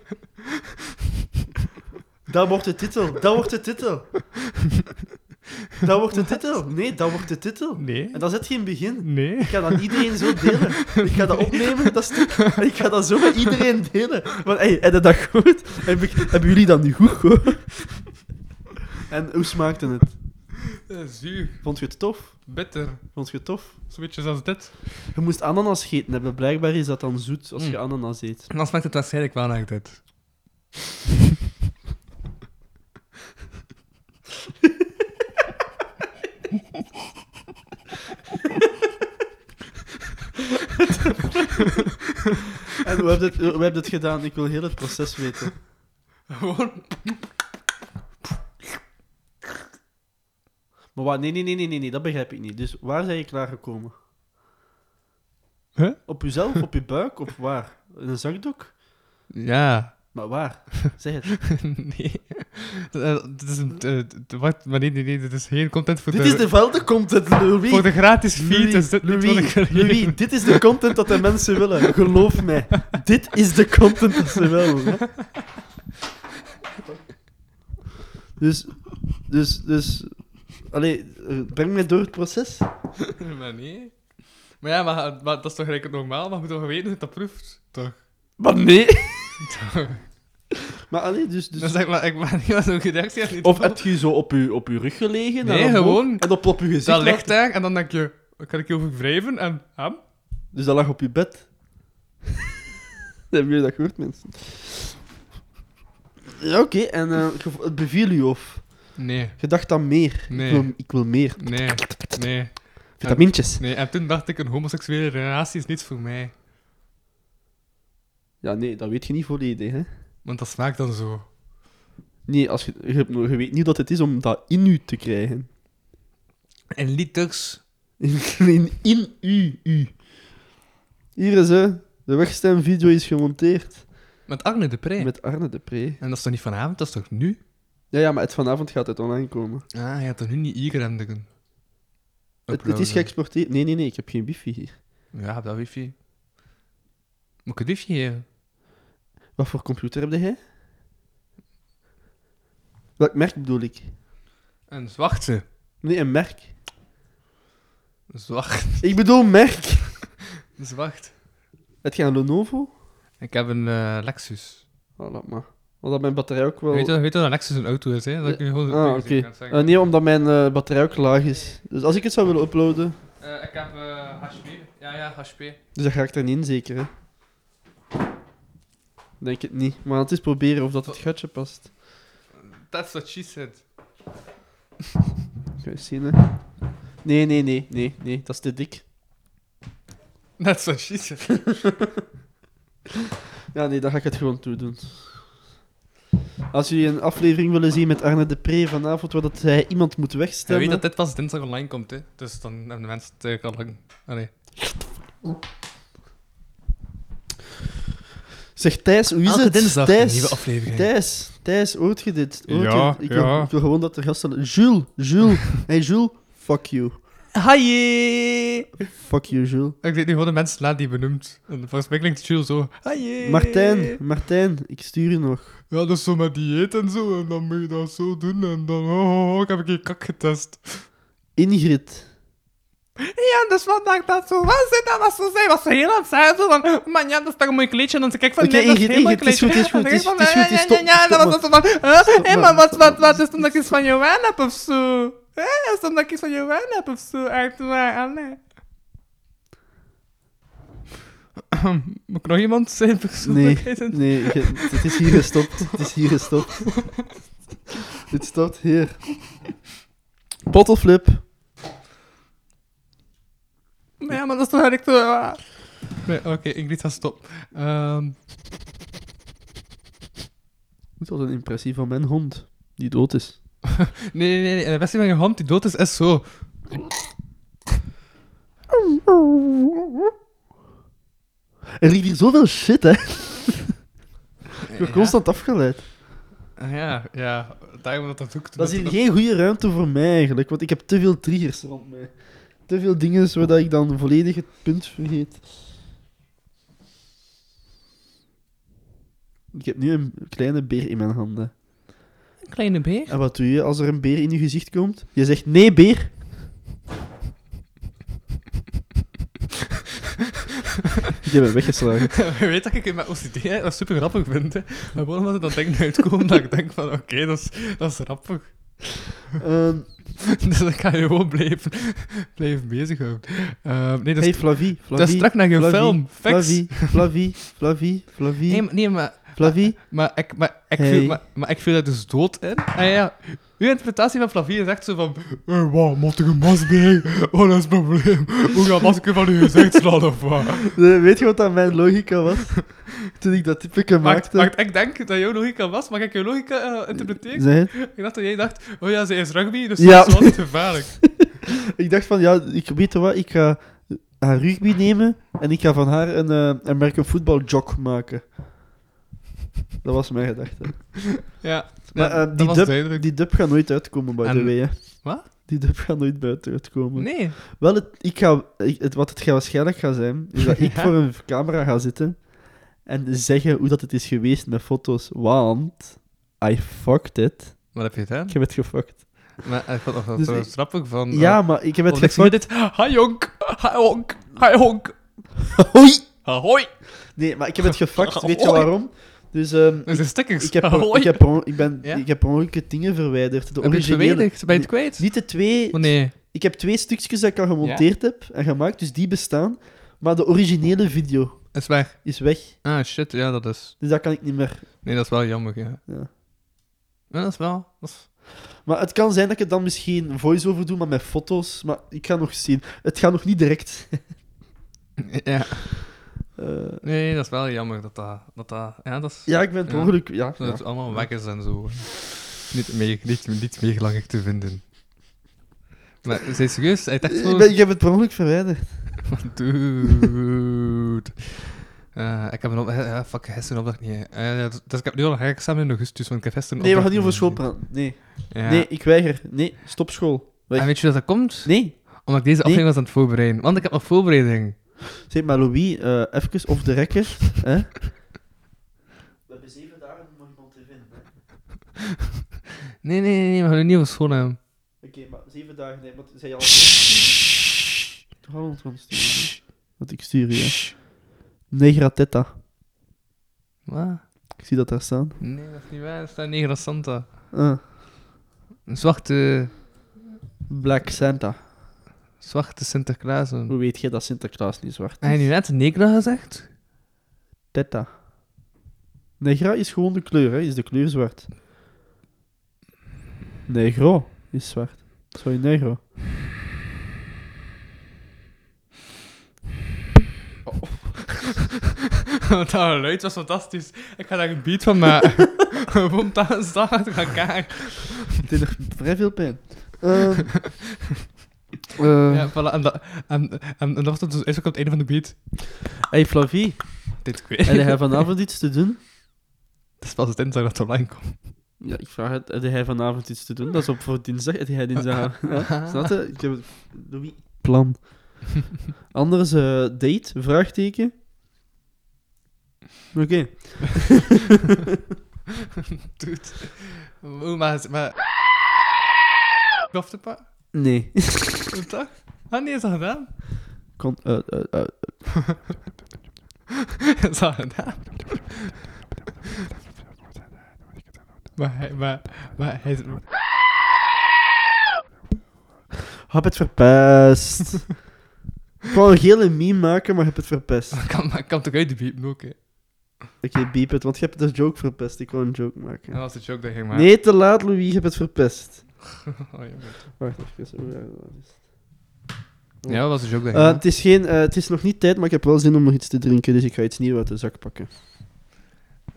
[SPEAKER 4] Dat wordt de titel. Dat wordt de titel. Dat wordt de titel. Nee, dat wordt de titel.
[SPEAKER 3] Nee.
[SPEAKER 4] En dat is het geen begin.
[SPEAKER 3] Nee.
[SPEAKER 4] Ik ga dat iedereen zo delen. Ik ga dat opnemen, dat stuk. En ik ga dat zo met iedereen delen. Want hey, heb je dat goed? Heb ik, hebben jullie dat nu goed gehoord? En hoe smaakte het?
[SPEAKER 3] Eh, Zuur.
[SPEAKER 4] Vond je het tof?
[SPEAKER 3] Bitter.
[SPEAKER 4] Vond je het tof?
[SPEAKER 3] Zoiets als dit.
[SPEAKER 4] Je moest ananas gegeten hebben. Blijkbaar is dat dan zoet als je
[SPEAKER 3] Mm.
[SPEAKER 4] ananas eet.
[SPEAKER 3] Dan smaakt het waarschijnlijk wel naar dit.
[SPEAKER 4] En hoe heb je het, hoe heb je het gedaan? Ik wil heel het proces weten.
[SPEAKER 3] Gewoon...
[SPEAKER 4] Maar waar, nee, nee, nee, nee, nee, nee, dat begrijp ik niet. Dus waar zijn je klaargekomen?
[SPEAKER 3] Huh?
[SPEAKER 4] Op jezelf, op je buik, of waar? In een zakdoek?
[SPEAKER 3] Ja.
[SPEAKER 4] Maar waar? Zeg het.
[SPEAKER 3] nee. Eh, Dit is een... eh, d- Wat? Maar nee, nee, nee. Dit is geen content voor
[SPEAKER 4] dit
[SPEAKER 3] de...
[SPEAKER 4] is de velde content, Louis.
[SPEAKER 3] Voor de gratis feed
[SPEAKER 4] Louis,
[SPEAKER 3] is dit niet wat ik
[SPEAKER 4] Louis,
[SPEAKER 3] wil geven.
[SPEAKER 4] Louis, dit is de content dat de mensen willen. Geloof mij. Dit is de content dat ze willen. hè. Dus, dus, dus... Allee, eh, breng mij door het proces.
[SPEAKER 3] Maar nee. Maar ja, maar, maar dat is toch eigenlijk normaal? Maar je moet toch weten dat dat proeft? Toch?
[SPEAKER 4] Maar nee.
[SPEAKER 3] Toch.
[SPEAKER 4] Maar allee, dus... dus
[SPEAKER 3] Dan zeg maar, ik ben niet wat zo'n reactie had niet
[SPEAKER 4] Of
[SPEAKER 3] door.
[SPEAKER 4] heb je zo op je, op je rug gelegen?
[SPEAKER 3] Nee,
[SPEAKER 4] en dan
[SPEAKER 3] gewoon.
[SPEAKER 4] boven- En op, op je gezicht.
[SPEAKER 3] Dat
[SPEAKER 4] laten-
[SPEAKER 3] ligt daar en dan denk je, wat kan ik je over wrijven? En hem?
[SPEAKER 4] Dus dat lag op je bed. Hebben jullie dat gehoord, mensen? Ja, oké. En eh, ge- het beviel u of?
[SPEAKER 3] Nee,
[SPEAKER 4] Je dacht aan meer.
[SPEAKER 3] Nee.
[SPEAKER 4] Ik, wil, ik wil meer.
[SPEAKER 3] nee, nee,
[SPEAKER 4] Vitamintjes.
[SPEAKER 3] nee. En toen dacht ik, een homoseksuele relatie is niets voor mij.
[SPEAKER 4] Ja, nee, dat weet je niet volledig, hè.
[SPEAKER 3] Want dat smaakt dan zo.
[SPEAKER 4] Nee, als je, je, hebt nog- je weet niet dat het is om dat in u te krijgen.
[SPEAKER 3] En liters.
[SPEAKER 4] In, in, in u, u. Hier is, hè. De wegstemvideo is gemonteerd.
[SPEAKER 3] Met Arne de Pre.
[SPEAKER 4] Met Arne de Pre.
[SPEAKER 3] En dat is toch niet vanavond, dat is toch nu?
[SPEAKER 4] Ja, ja, maar het vanavond gaat het online komen.
[SPEAKER 3] Ah, je had toch nu niet hier rendigen?
[SPEAKER 4] Het, het is geëxporteerd. Nee, nee, nee, ik heb geen wifi hier.
[SPEAKER 3] Ja, heb dat wifi. Moet ik het wifi geven?
[SPEAKER 4] Wat voor computer heb jij? Welk merk bedoel ik?
[SPEAKER 3] Een zwarte.
[SPEAKER 4] Nee, een merk.
[SPEAKER 3] Zwart.
[SPEAKER 4] Ik bedoel merk.
[SPEAKER 3] Zwart.
[SPEAKER 4] Het gaat een Lenovo?
[SPEAKER 3] Ik heb een eh, Lexus.
[SPEAKER 4] Oh, laat maar. Omdat mijn batterij ook wel...
[SPEAKER 3] Weet je, weet je dat een Lexus een auto is, hè? Dat kun je gewoon
[SPEAKER 4] ah, oké. Eh, nee, omdat mijn eh, batterij ook laag is. Dus als ik het zou willen uploaden...
[SPEAKER 3] Eh, ik heb HP. Ja, ja, HP.
[SPEAKER 4] Dus dat ga ik er niet in, zeker, hè? Denk het niet. Maar het is proberen of dat het gatje past.
[SPEAKER 3] That's what she said.
[SPEAKER 4] Ga je zien, hè? Nee, nee, nee, nee, nee. Dat is te dik.
[SPEAKER 3] That's what she said.
[SPEAKER 4] Ja, nee, dan ga ik het gewoon toedoen. Als jullie een aflevering willen zien met Arne de Pre vanavond, waar dat hij iemand moet
[SPEAKER 3] Je
[SPEAKER 4] wegstemmen...
[SPEAKER 3] weet dat dit pas dinsdag online komt, hè? Dus dan hebben de mensen het eigenlijk al lang. Ah, nee.
[SPEAKER 4] Zeg, Thijs, hoe is
[SPEAKER 3] Elke
[SPEAKER 4] het?
[SPEAKER 3] dinsdag een
[SPEAKER 4] Thijs,
[SPEAKER 3] nieuwe aflevering.
[SPEAKER 4] Thijs, Thijs, hoort je dit? Hoort
[SPEAKER 3] Ja,
[SPEAKER 4] je? Ik, wil,
[SPEAKER 3] ja.
[SPEAKER 4] ik wil gewoon dat de gasten... Jules, Jules. hey, Jules, fuck you.
[SPEAKER 3] Haie!
[SPEAKER 4] Fuck you, Jules.
[SPEAKER 3] Ik weet nu gewoon de mensen na die je benoemt. En volgens mij klinkt Jules zo. Haie!
[SPEAKER 4] Martijn, Martijn, ik stuur je nog.
[SPEAKER 3] Ja, dat is zo met dieet en zo. En dan moet je dat zo doen. En dan. Oh, oh, oh, ik heb een keer kak getest.
[SPEAKER 4] Ingrid.
[SPEAKER 3] Ja, dus vandaag dat zo was. En dat was zo. Zij was zo heel aan het zeggen. Zo van. "Oh Man, ja, dat is toch een mooi kleedje. En dan kijk ik van.
[SPEAKER 4] Oké,
[SPEAKER 3] nee, dat
[SPEAKER 4] Ingrid,
[SPEAKER 3] geen mooi
[SPEAKER 4] Ingrid, het is
[SPEAKER 3] kleedje.
[SPEAKER 4] goed, het is
[SPEAKER 3] En
[SPEAKER 4] goed,
[SPEAKER 3] dan
[SPEAKER 4] het is
[SPEAKER 3] denk ik
[SPEAKER 4] goed,
[SPEAKER 3] van,
[SPEAKER 4] het is
[SPEAKER 3] ja,
[SPEAKER 4] goed,
[SPEAKER 3] ja, ja,
[SPEAKER 4] het is
[SPEAKER 3] ja, ja, en dan was dat zo van. Hé, maar
[SPEAKER 4] maar.
[SPEAKER 3] wat, wat, wat is het omdat ik iets van jou aan heb of zo? Hé, is het omdat ik iets van jou aan heb of zo? Echt waar, Anne. Moet ik nog iemand zijn
[SPEAKER 4] Nee,
[SPEAKER 3] persoonlijkheid? in-
[SPEAKER 4] nee, je- het is hier gestopt. Het is hier gestopt. Het stopt hier. Bottleflip.
[SPEAKER 3] Maar ja, maar dat is toch eigenlijk ah. te waar. Nee, oké, Ingrid, ga stop. Ehm,
[SPEAKER 4] Het was een impressie van mijn hond, die dood is.
[SPEAKER 3] nee, nee, nee, nee. De beste van je hand die dood is, is zo.
[SPEAKER 4] Er ligt hier zoveel shit, hè. Ik word constant afgeleid.
[SPEAKER 3] Ah, Ja, ja. Daarom dat dat ook...
[SPEAKER 4] Dat is hier geen goede ruimte voor mij eigenlijk, want ik heb te veel triggers rond mij. Te veel dingen zodat ik dan volledig het punt vergeet. Ik heb nu een kleine beer in mijn handen.
[SPEAKER 3] kleine beer.
[SPEAKER 4] En wat doe je als er een beer in je gezicht komt? Je zegt nee, beer. ik heb hem weggeslagen.
[SPEAKER 3] Je weet dat ik in mijn OCD hè, dat super grappig vind. Hè. Maar gewoon omdat ik dat ding uitkomt, dat ik denk van oké, dat, is, dat is grappig.
[SPEAKER 4] Ehm
[SPEAKER 3] Dus dan kan je gewoon blijven, blijven bezighouden. Ehm, nee, dat is,
[SPEAKER 4] hey, Flavie.
[SPEAKER 3] dat is
[SPEAKER 4] Flavie.
[SPEAKER 3] strak naar je
[SPEAKER 4] Flavie,
[SPEAKER 3] film. Fix.
[SPEAKER 4] Flavie, Flavie,
[SPEAKER 3] Nee,
[SPEAKER 4] Flavie, Flavie,
[SPEAKER 3] maar- nee, maar
[SPEAKER 4] Flavie.
[SPEAKER 3] Maar ik, maar, ik
[SPEAKER 4] Hey.
[SPEAKER 3] viel, maar, maar ik viel daar dus dood in. En ja, uw interpretatie van Flavie is echt zo van... eh wat, moet ik een mas bij? Oh, dat is mijn probleem. Hoe ga masker van uw gezicht slaan of wat?
[SPEAKER 4] Eh, Weet je wat dat mijn logica was? Toen ik dat typeke
[SPEAKER 3] Wacht,
[SPEAKER 4] maakte.
[SPEAKER 3] wacht, ik denk dat jouw logica was. Mag ik jouw logica eh, interpreteren?
[SPEAKER 4] Zeg het.
[SPEAKER 3] Ik dacht dat jij dacht... Oh ja, zij is rugby, dus
[SPEAKER 4] Ja.
[SPEAKER 3] dat is wel niet gevaarlijk.
[SPEAKER 4] Ik dacht van, ja, ik weet je wat, ik ga haar rugby nemen en ik ga van haar een eh American football jog maken. Dat was mijn gedachte.
[SPEAKER 3] Ja,
[SPEAKER 4] Maar
[SPEAKER 3] ja,
[SPEAKER 4] eh,
[SPEAKER 3] dat
[SPEAKER 4] die,
[SPEAKER 3] was
[SPEAKER 4] dub,
[SPEAKER 3] duidelijk.
[SPEAKER 4] die dub gaat nooit uitkomen, by the
[SPEAKER 3] En-
[SPEAKER 4] way. hè.
[SPEAKER 3] Wat?
[SPEAKER 4] Die dub gaat nooit buiten uitkomen.
[SPEAKER 3] Nee.
[SPEAKER 4] Wel, het, ik ga, ik- het, wat het ga waarschijnlijk gaat zijn, is dat ik
[SPEAKER 3] Ja.
[SPEAKER 4] voor een camera ga zitten en zeggen hoe dat het is geweest met foto's, want I fucked it.
[SPEAKER 3] Wat heb je gedaan?
[SPEAKER 4] Ik heb het gefucked.
[SPEAKER 3] Maar ik vond nog wel
[SPEAKER 4] Dus
[SPEAKER 3] zo
[SPEAKER 4] ik-
[SPEAKER 3] grappig van...
[SPEAKER 4] Ja, maar ik heb het
[SPEAKER 3] het ik
[SPEAKER 4] gefucked.
[SPEAKER 3] zie dit... Hi, jonk. Hi, honk. Hi, honk.
[SPEAKER 4] Hoi!
[SPEAKER 3] Ahoy.
[SPEAKER 4] Nee, maar ik heb het gefucked, weet je waarom? Dus ehm,
[SPEAKER 3] Dat is een stikkers.
[SPEAKER 4] ik, heb,
[SPEAKER 3] Ahoy.
[SPEAKER 4] per- ik, heb per on- ik, ben,
[SPEAKER 3] Ja?
[SPEAKER 4] ik heb per ongeluk dingen verwijderd. De
[SPEAKER 3] Heb je het
[SPEAKER 4] originele.
[SPEAKER 3] verwijderd? Ben je het kwijt?
[SPEAKER 4] Niet de twee.
[SPEAKER 3] Oh, nee.
[SPEAKER 4] Ik heb twee stukjes dat ik al gemonteerd heb en gemaakt, dus die bestaan. Maar de originele video
[SPEAKER 3] Is weg.
[SPEAKER 4] is weg,
[SPEAKER 3] Ah, shit. Ja, dat is...
[SPEAKER 4] dus dat kan ik niet meer.
[SPEAKER 3] Nee, dat is wel jammer, ja.
[SPEAKER 4] Ja.
[SPEAKER 3] Ja, dat is wel... Dat is...
[SPEAKER 4] Maar het kan zijn dat ik het dan misschien voice-over doe, maar met foto's. Maar ik ga nog zien. Het gaat nog niet direct.
[SPEAKER 3] Ja.
[SPEAKER 4] Eh,
[SPEAKER 3] Nee, dat is wel jammer dat dat... dat, dat ja, dat is...
[SPEAKER 4] ja, ik ben per
[SPEAKER 3] Ja.
[SPEAKER 4] ongeluk... Ja,
[SPEAKER 3] Dat
[SPEAKER 4] ja. Eh,
[SPEAKER 3] het allemaal weg is en zo. Niet, mee, niet, niet meegelangig te vinden. Maar, zijn serieus? Hij dacht
[SPEAKER 4] Ik,
[SPEAKER 3] gewoon...
[SPEAKER 4] ben, ik heb het per ongeluk verwijderd.
[SPEAKER 3] Dude. Eh, ik heb een op... Ja, fuck, gisteren opdracht niet. Eh, ja, dus ik heb nu al een herexamen in augustus, want ik heb gisteren
[SPEAKER 4] Nee, we gaan niet
[SPEAKER 3] opdracht
[SPEAKER 4] over school
[SPEAKER 3] niet.
[SPEAKER 4] praten. Nee.
[SPEAKER 3] Ja.
[SPEAKER 4] nee, ik weiger. Nee, stop school. Weg.
[SPEAKER 3] En weet je dat dat komt?
[SPEAKER 4] Nee.
[SPEAKER 3] Omdat ik deze
[SPEAKER 4] Nee.
[SPEAKER 3] aflevering was aan het voorbereiden. Want ik heb nog voorbereiding.
[SPEAKER 4] Zeg maar, Louis, eh even off de rekker. hè? We hebben zeven dagen om nog iemand te vinden. hè.
[SPEAKER 3] Nee, nee, nee, nee, we gaan nu niet over school hebben.
[SPEAKER 4] Oké, maar zeven dagen... Nee, wat zei je al... Toch al van Wat ik stuur je. Negra Teta.
[SPEAKER 3] Wat?
[SPEAKER 4] Ik zie dat daar staan.
[SPEAKER 3] Nee, dat is niet waar. Er staat Negra Santa.
[SPEAKER 4] Ah,
[SPEAKER 3] Een zwarte,
[SPEAKER 4] Black Santa.
[SPEAKER 3] zwarte Sinterklaas. Heb
[SPEAKER 4] Hoe weet jij dat Sinterklaas niet zwart is?
[SPEAKER 3] je nu net Negra gezegd?
[SPEAKER 4] Teta. Negra is gewoon de kleur, hè? Is de kleur zwart? Negro is zwart. Sorry, negro.
[SPEAKER 3] Want Oh, dat geluid was fantastisch. Ik ga daar een beat van maken. Boom, dat is dat uit elkaar.
[SPEAKER 4] Het deed nog vrij veel pijn. Ehm, eh,
[SPEAKER 3] Ja, voilà. En, dat, en, en, en dat was het dus is ook op het einde van de beat.
[SPEAKER 4] Hey Flavie,
[SPEAKER 3] Dit
[SPEAKER 4] heb
[SPEAKER 3] kwijt.
[SPEAKER 4] jij vanavond iets te doen?
[SPEAKER 3] Het is pas het dinsdag dat het online komt.
[SPEAKER 4] Ja, ik vraag het, heb jij vanavond iets te doen? Dat is op voor dinsdag, heb jij dinsdag... Ja, snap je? Ik heb het- Louis... Plan. Anders, eh, date? Vraagteken? Oké.
[SPEAKER 3] Doet. Hoe maar... maar... Koftepa?
[SPEAKER 4] Nee.
[SPEAKER 3] Wat dat? Ah, nee, is dat gedaan?
[SPEAKER 4] Kon, eh, eh, eh,
[SPEAKER 3] Is dat gedaan? Maar hij... Maar, maar hij...
[SPEAKER 4] heb het verpest. ik wou een gele meme maken, maar heb het verpest.
[SPEAKER 3] Dat kan, dat kan toch uit de beep ook, hè?
[SPEAKER 4] Oké, beep het, want je hebt de joke verpest. Ik wou een joke maken.
[SPEAKER 3] Dat was de joke dat je gemaakt
[SPEAKER 4] Nee, te laat, Louis. Je hebt het verpest.
[SPEAKER 3] Oh, jammer.
[SPEAKER 4] Wacht even. hoe raar dat is.
[SPEAKER 3] ja, dat was de joke dat je
[SPEAKER 4] Eh,
[SPEAKER 3] gemaakt
[SPEAKER 4] het, is geen, eh, het is nog niet tijd, maar ik heb wel zin om nog iets te drinken, dus ik ga iets nieuws uit de zak pakken.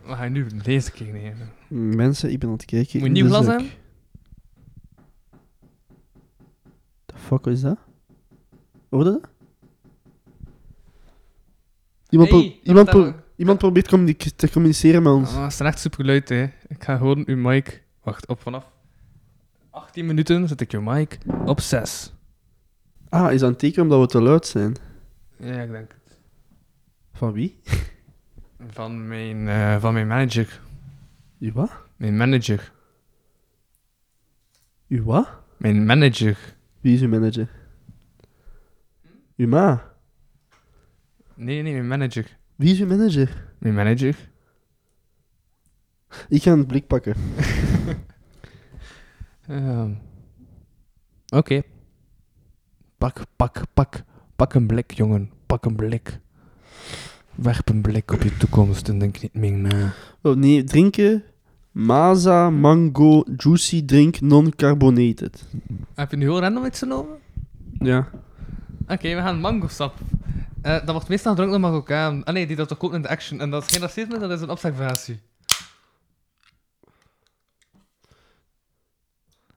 [SPEAKER 3] We gaan nu deze keer nemen.
[SPEAKER 4] Mm, Mensen, ik ben aan het kijken.
[SPEAKER 3] Moet je
[SPEAKER 4] in
[SPEAKER 3] nieuw
[SPEAKER 4] de
[SPEAKER 3] glas
[SPEAKER 4] zak.
[SPEAKER 3] hebben?
[SPEAKER 4] The fuck is dat? Hoorde dat? Iemand,
[SPEAKER 3] Hey,
[SPEAKER 4] pro-
[SPEAKER 3] dat
[SPEAKER 4] iemand,
[SPEAKER 3] daar-
[SPEAKER 4] pro- iemand probeert communi- te communiceren met ons.
[SPEAKER 3] Ah, het is echt super geluid, hè. Ik ga gewoon uw mic... Wacht, op vanaf 18 minuten zet ik je mic op 6.
[SPEAKER 4] Ah, is dat een teken omdat we te luid zijn?
[SPEAKER 3] Ja, ik denk het.
[SPEAKER 4] Van wie?
[SPEAKER 3] Van mijn, eh, van mijn manager.
[SPEAKER 4] Uwa?
[SPEAKER 3] Mijn manager.
[SPEAKER 4] Uwa?
[SPEAKER 3] Mijn manager.
[SPEAKER 4] Wie is uw manager? Uw ma?
[SPEAKER 3] Nee, nee, mijn manager.
[SPEAKER 4] Wie is uw manager?
[SPEAKER 3] Mijn manager?
[SPEAKER 4] Ik ga een blik pakken.
[SPEAKER 3] Ehm, Oké. Pak, pak, pak. Pak een blik, jongen. Pak een blik. Werp een blik op je toekomst en denk niet meer na.
[SPEAKER 4] Oh nee, drinken. Maza, mango, juicy drink, non-carbonated.
[SPEAKER 3] Heb je nu heel random iets genomen?
[SPEAKER 4] Ja.
[SPEAKER 3] Oké, we gaan mangosap. Eh dat wordt meestal gedronken door Marokkaan. Ah nee, die dat toch koopt in de action. En dat is geen racisme, dat is een observatie.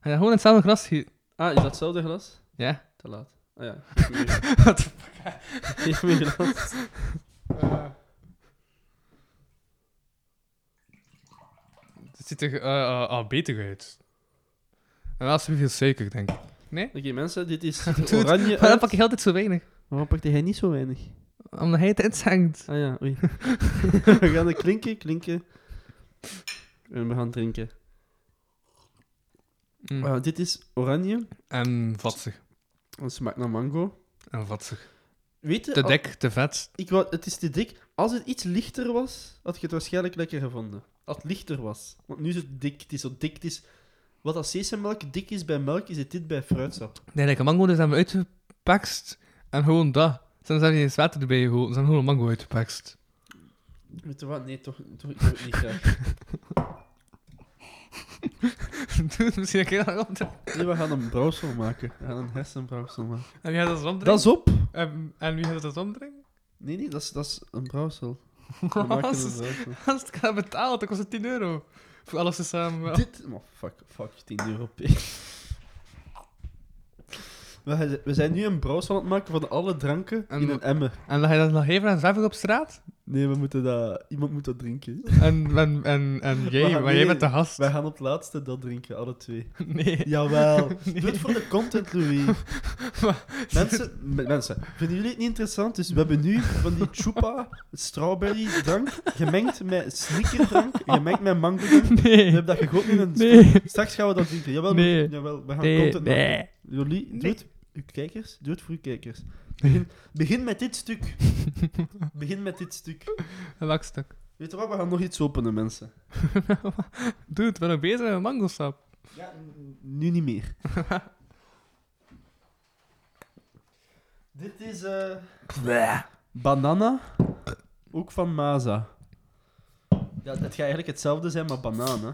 [SPEAKER 3] Ga je gewoon in hetzelfde glas hier?
[SPEAKER 4] Ah, is dat hetzelfde glas?
[SPEAKER 3] Ja.
[SPEAKER 4] Te laat. Ah ja.
[SPEAKER 3] What the fuck?
[SPEAKER 4] Geef me glas.
[SPEAKER 3] Het ziet er eh, eh, al beter uit. En wel veel suiker, denk ik. Nee?
[SPEAKER 4] Oké, mensen, dit is
[SPEAKER 3] Doet.
[SPEAKER 4] oranje.
[SPEAKER 3] Maar dan
[SPEAKER 4] uit.
[SPEAKER 3] pak je altijd zo weinig.
[SPEAKER 4] Waarom pakte hij niet zo weinig?
[SPEAKER 3] Omdat hij het inzengt.
[SPEAKER 4] Ah ja, oei. we gaan er klinken, klinken. En we gaan drinken.
[SPEAKER 3] Mm.
[SPEAKER 4] Ah, dit is oranje.
[SPEAKER 3] En vatsig.
[SPEAKER 4] Het smaakt naar mango.
[SPEAKER 3] En vatsig.
[SPEAKER 4] Weet je,
[SPEAKER 3] Te
[SPEAKER 4] al-
[SPEAKER 3] dik, te vet.
[SPEAKER 4] ik wou, het is te dik. Als het iets lichter was, had ik het waarschijnlijk lekker gevonden. Als het lichter was. Want nu is het dik. Het is zo dik. Het is... Wat als sesammelk dik is bij melk, is het dit bij fruitsap.
[SPEAKER 3] Nee, lekker mango, dus hebben we uitgepakst. En gewoon dat. Soms hebben ze geen water erbij gehouden. Ze hebben gewoon een mango uitgepakst.
[SPEAKER 4] Weet je wat? Nee, toch, toch ik doe het niet graag.
[SPEAKER 3] Doe, Misschien een keer dat op. te-
[SPEAKER 4] Nee, we gaan een brouwsel maken. We gaan een hersenbrouwsel maken.
[SPEAKER 3] En wie gaat dat eens omdrinken?
[SPEAKER 4] Dat is op.
[SPEAKER 3] En, en wie gaat dat omdringen?
[SPEAKER 4] Nee, nee, dat is, dat is een brouwsel. We maken een brouwsel.
[SPEAKER 3] Als ik dat betaal, dan kost het 10 euro. Voor alles tezamen wel.
[SPEAKER 4] Dit... Oh, fuck, fuck, 10 euro p. We, we zijn nu een brouwsel aan het maken van alle dranken
[SPEAKER 3] En
[SPEAKER 4] in
[SPEAKER 3] we-
[SPEAKER 4] een emmer.
[SPEAKER 3] En lag je dat nog even aan zwavel op straat?
[SPEAKER 4] Nee, we moeten dat... Iemand moet dat drinken.
[SPEAKER 3] En, en, en, en jij,
[SPEAKER 4] gaan-
[SPEAKER 3] maar jij
[SPEAKER 4] nee,
[SPEAKER 3] bent de gast.
[SPEAKER 4] Wij gaan op het laatste dat drinken, alle twee.
[SPEAKER 3] Nee.
[SPEAKER 4] Jawel. Doe het voor de content, Louis. mensen, me- mensen, vinden jullie het niet interessant? Dus we hebben nu van die chupa strawberry drank gemengd met sneakerdrank, gemengd met mango drank. We
[SPEAKER 3] Ah. Nee.
[SPEAKER 4] hebben dat gegooid in een...
[SPEAKER 3] Nee.
[SPEAKER 4] Straks gaan we dat drinken. Jawel,
[SPEAKER 3] Nee.
[SPEAKER 4] we- jawel we gaan
[SPEAKER 3] Nee.
[SPEAKER 4] content maken.
[SPEAKER 3] Nee.
[SPEAKER 4] Jullie, doe
[SPEAKER 3] Nee.
[SPEAKER 4] het. Uw kijkers, doe het voor uw kijkers. Begin, begin met dit stuk. begin met dit stuk.
[SPEAKER 3] Een lakstuk.
[SPEAKER 4] Weet je wat, we gaan nog iets openen, mensen.
[SPEAKER 3] Dude, we zijn nog bezig met mangosap.
[SPEAKER 4] Ja, n- nu niet meer. dit is... eh Banana. Ook van Maza. Ja, het gaat eigenlijk hetzelfde zijn, maar banaan, hè.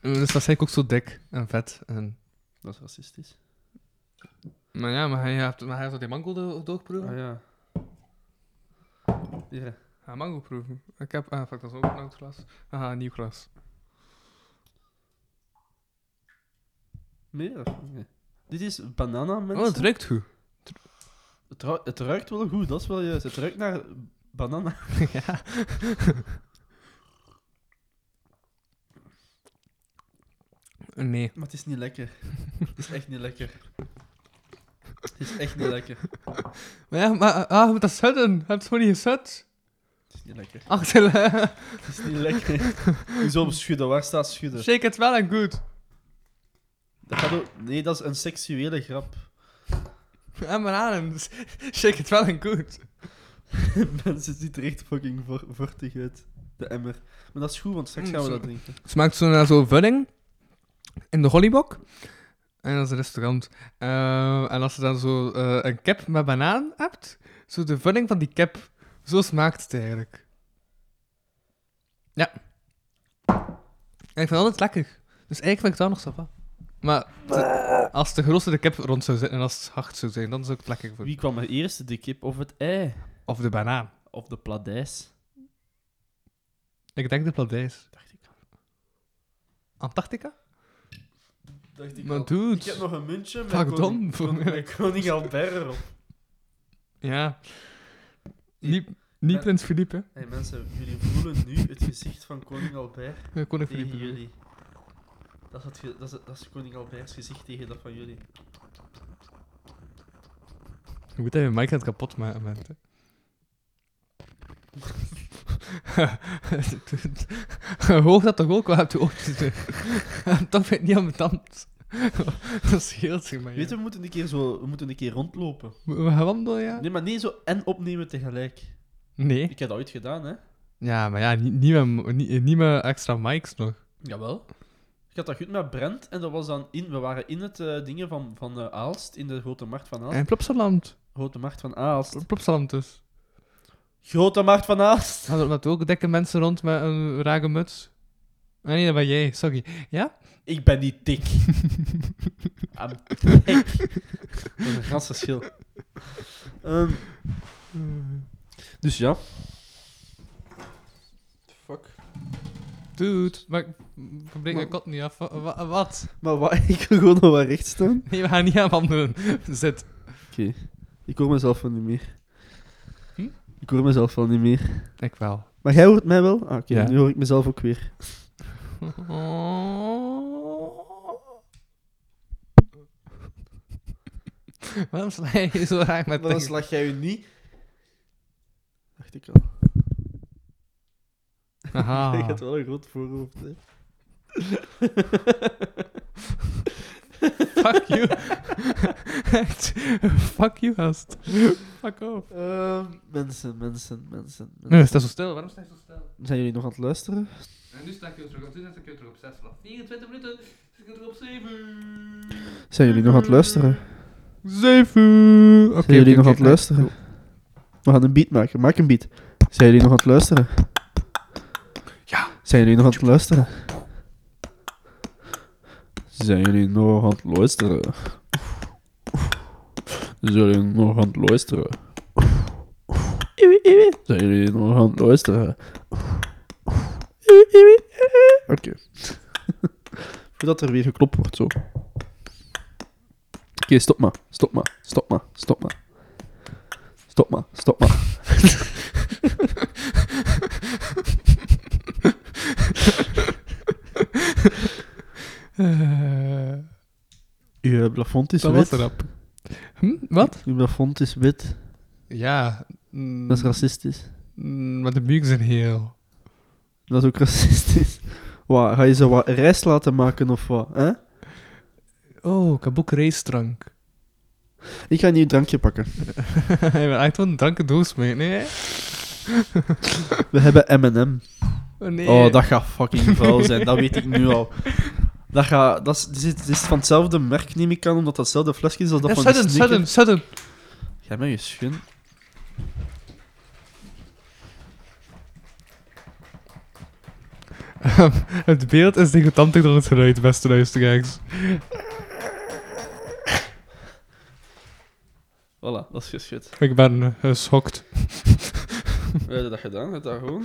[SPEAKER 3] Dus dat is eigenlijk ook zo dik en vet. En...
[SPEAKER 4] Dat is racistisch.
[SPEAKER 3] Maar ja, maar hij heeft, maar hij heeft al die mango do- doorgeproefd.
[SPEAKER 4] Ah ja. Ja.
[SPEAKER 3] Ga Ah, mango proeven. Ik heb... Ah, fuck, dat is ook een oud glas. Aha, een nieuw glas.
[SPEAKER 4] Meer? of- nee. Dit is banana, mensen.
[SPEAKER 3] Oh, het ruikt goed.
[SPEAKER 4] Het, ru- het ruikt wel goed, dat is wel juist. Het ruikt naar banana.
[SPEAKER 3] ja. Nee.
[SPEAKER 4] Maar het is niet lekker. het is echt niet lekker. Het is echt niet lekker.
[SPEAKER 3] Maar ja, maar ah, je moet dat zetten. Je hebt het gewoon niet gezet.
[SPEAKER 4] Het is niet lekker.
[SPEAKER 3] Achterlijn.
[SPEAKER 4] Het is niet lekker. Hoezo op schudden? Waar staat schudden?
[SPEAKER 3] Shake it well and good.
[SPEAKER 4] Dat gaat ook- Nee, dat is een seksuele grap.
[SPEAKER 3] En mijn adem. Shake it well and good.
[SPEAKER 4] Mensen ziet er echt fucking vor- vortig uit. De emmer. Maar dat is goed, want straks gaan we dat drinken.
[SPEAKER 3] Het smaakt zo naar zo'n vulling in de hollybok. En dat is een restaurant. Eh, en als je dan zo eh, een cap met banaan hebt, zo de vulling van die cap, zo smaakt het eigenlijk. Ja. En ik vind het altijd lekker. Dus eigenlijk vind ik het wel nog zo Maar de- als de grootste de cap rond zou zitten en als het hard zou zijn, dan zou ik het lekker vinden.
[SPEAKER 4] Wie kwam er eerst? De kip of het ei?
[SPEAKER 3] Of de banaan.
[SPEAKER 4] Of de pladijs?
[SPEAKER 3] Ik denk de pladijs.
[SPEAKER 4] Dacht ik al.
[SPEAKER 3] Antarctica?
[SPEAKER 4] Dacht ik
[SPEAKER 3] Maar
[SPEAKER 4] al.
[SPEAKER 3] dude.
[SPEAKER 4] Ik heb nog een muntje met
[SPEAKER 3] Fuck dom.
[SPEAKER 4] koning, kon- met koning Albert erop.
[SPEAKER 3] Ja. Niet, niet
[SPEAKER 4] Ben-
[SPEAKER 3] Prins Philippe, hè.
[SPEAKER 4] Hey mensen, jullie voelen nu het gezicht van koning Albert
[SPEAKER 3] Nee, Koning
[SPEAKER 4] tegen
[SPEAKER 3] Philippe.
[SPEAKER 4] jullie. Dat is, het ge- dat, is het- dat is koning Albert's gezicht tegen dat van jullie.
[SPEAKER 3] Je moet even Mike aan het kapot maken, man. Hoog dat toch ook wel uit de oortjes. hè? Toch vind ik het niet aan mijn tand. Dat scheelt zich maar. ja.
[SPEAKER 4] Weet je, we moeten een keer zo, we moeten een keer rondlopen.
[SPEAKER 3] We we gaan wandelen, ja?
[SPEAKER 4] Nee, maar niet zo en opnemen tegelijk.
[SPEAKER 3] Nee.
[SPEAKER 4] Ik heb dat ooit gedaan, hè?
[SPEAKER 3] Ja, maar ja, niet, niet, met, niet, niet met extra mics nog.
[SPEAKER 4] Jawel. Ik had dat goed met Brent en dat was dan in, we waren in het eh dingen van, van eh, Aalst, in de Grote Markt van Aalst.
[SPEAKER 3] En Plopsaland.
[SPEAKER 4] Grote Markt van Aalst.
[SPEAKER 3] Plopsaland dus.
[SPEAKER 4] Grote Markt van Aalst!
[SPEAKER 3] Hadden er ook dikke mensen rond met een rage muts? Ah, nee, dat ben jij, sorry. Ja?
[SPEAKER 4] Ik ben niet dik. I'm dik. Dat is een gans verschil. Ehm, dus ja. Fuck.
[SPEAKER 3] Dude, maar ik breek mijn kot niet af. Wa- wa- Wat?
[SPEAKER 4] Maar wat, ik wil gewoon nog wat recht staan.
[SPEAKER 3] Nee, we gaan niet aan wandelen. Zit.
[SPEAKER 4] Oké. Ik hoor mezelf wel niet meer.
[SPEAKER 3] Hm?
[SPEAKER 4] Ik hoor mezelf wel niet meer.
[SPEAKER 3] Ik wel.
[SPEAKER 4] Maar jij hoort mij wel? Ah, Oké,
[SPEAKER 3] Ja.
[SPEAKER 4] nu hoor ik mezelf ook weer.
[SPEAKER 3] Waarom sla je zo raar met dingen?
[SPEAKER 4] slag jij je niet. Dacht ik al.
[SPEAKER 3] Aha.
[SPEAKER 4] Ik had wel een groot voorhoofd, hè.
[SPEAKER 3] Fuck you. Echt, Fuck you, gast. Fuck off.
[SPEAKER 4] Ehm, mensen, mensen, mensen.
[SPEAKER 3] Nee,
[SPEAKER 4] mensen.
[SPEAKER 3] sta zo stil. Waarom sta je zo stil?
[SPEAKER 4] Zijn jullie nog aan het luisteren?
[SPEAKER 3] En nu sta ik je terug op 10, sta ik je terug op 6 vanaf 24 minuten. sta ik je terug op 7.
[SPEAKER 4] Zijn jullie nog aan het luisteren?
[SPEAKER 3] 7. Oké,
[SPEAKER 4] Zijn jullie nog aan het luisteren? We gaan een beat maken. Maak een beat. Zijn jullie nog aan het luisteren? Ja. Zijn jullie nog aan het luisteren? Zijn jullie nog aan het luisteren? Zijn jullie nog aan het luisteren? Zijn jullie nog aan het luisteren? Oké. Voordat er weer geklopt wordt, zo. Oké, stop maar. Stop maar. Stop maar. Stop maar. Stop maar. Stop maar. Uw plafond is
[SPEAKER 3] Eh. Dat
[SPEAKER 4] wit.
[SPEAKER 3] was erop. Hm? Wat?
[SPEAKER 4] Uw plafond is wit.
[SPEAKER 3] Ja.
[SPEAKER 4] Dat is racistisch.
[SPEAKER 3] Mm, Maar de buiken zijn heel.
[SPEAKER 4] Dat is ook racistisch. Wat, ga je zo wat rijst laten maken of wat? Hè?
[SPEAKER 3] Oh, ik heb ook racedrank.
[SPEAKER 4] Ik ga een nieuw drankje pakken.
[SPEAKER 3] Je bent echt wel een drankendoos mee, nee?
[SPEAKER 4] We hebben M&M.
[SPEAKER 3] Oh, nee.
[SPEAKER 4] Oh, dat gaat fucking vuil zijn. dat weet ik nu al. Dat, gaat, dat, is, dit is, dit is van hetzelfde merk, neem ik aan, omdat dat hetzelfde flesje is als dat
[SPEAKER 3] Ja,
[SPEAKER 4] van
[SPEAKER 3] sudden,
[SPEAKER 4] de Snickers.
[SPEAKER 3] sudden, sudden.
[SPEAKER 4] Jij met je schun.
[SPEAKER 3] het beeld is degotanter dan het geluid, beste luisteraars.
[SPEAKER 4] Voilà, dat is geschud.
[SPEAKER 3] Ik ben eh, geschokt.
[SPEAKER 4] We hebben dat gedaan, het daar gewoon.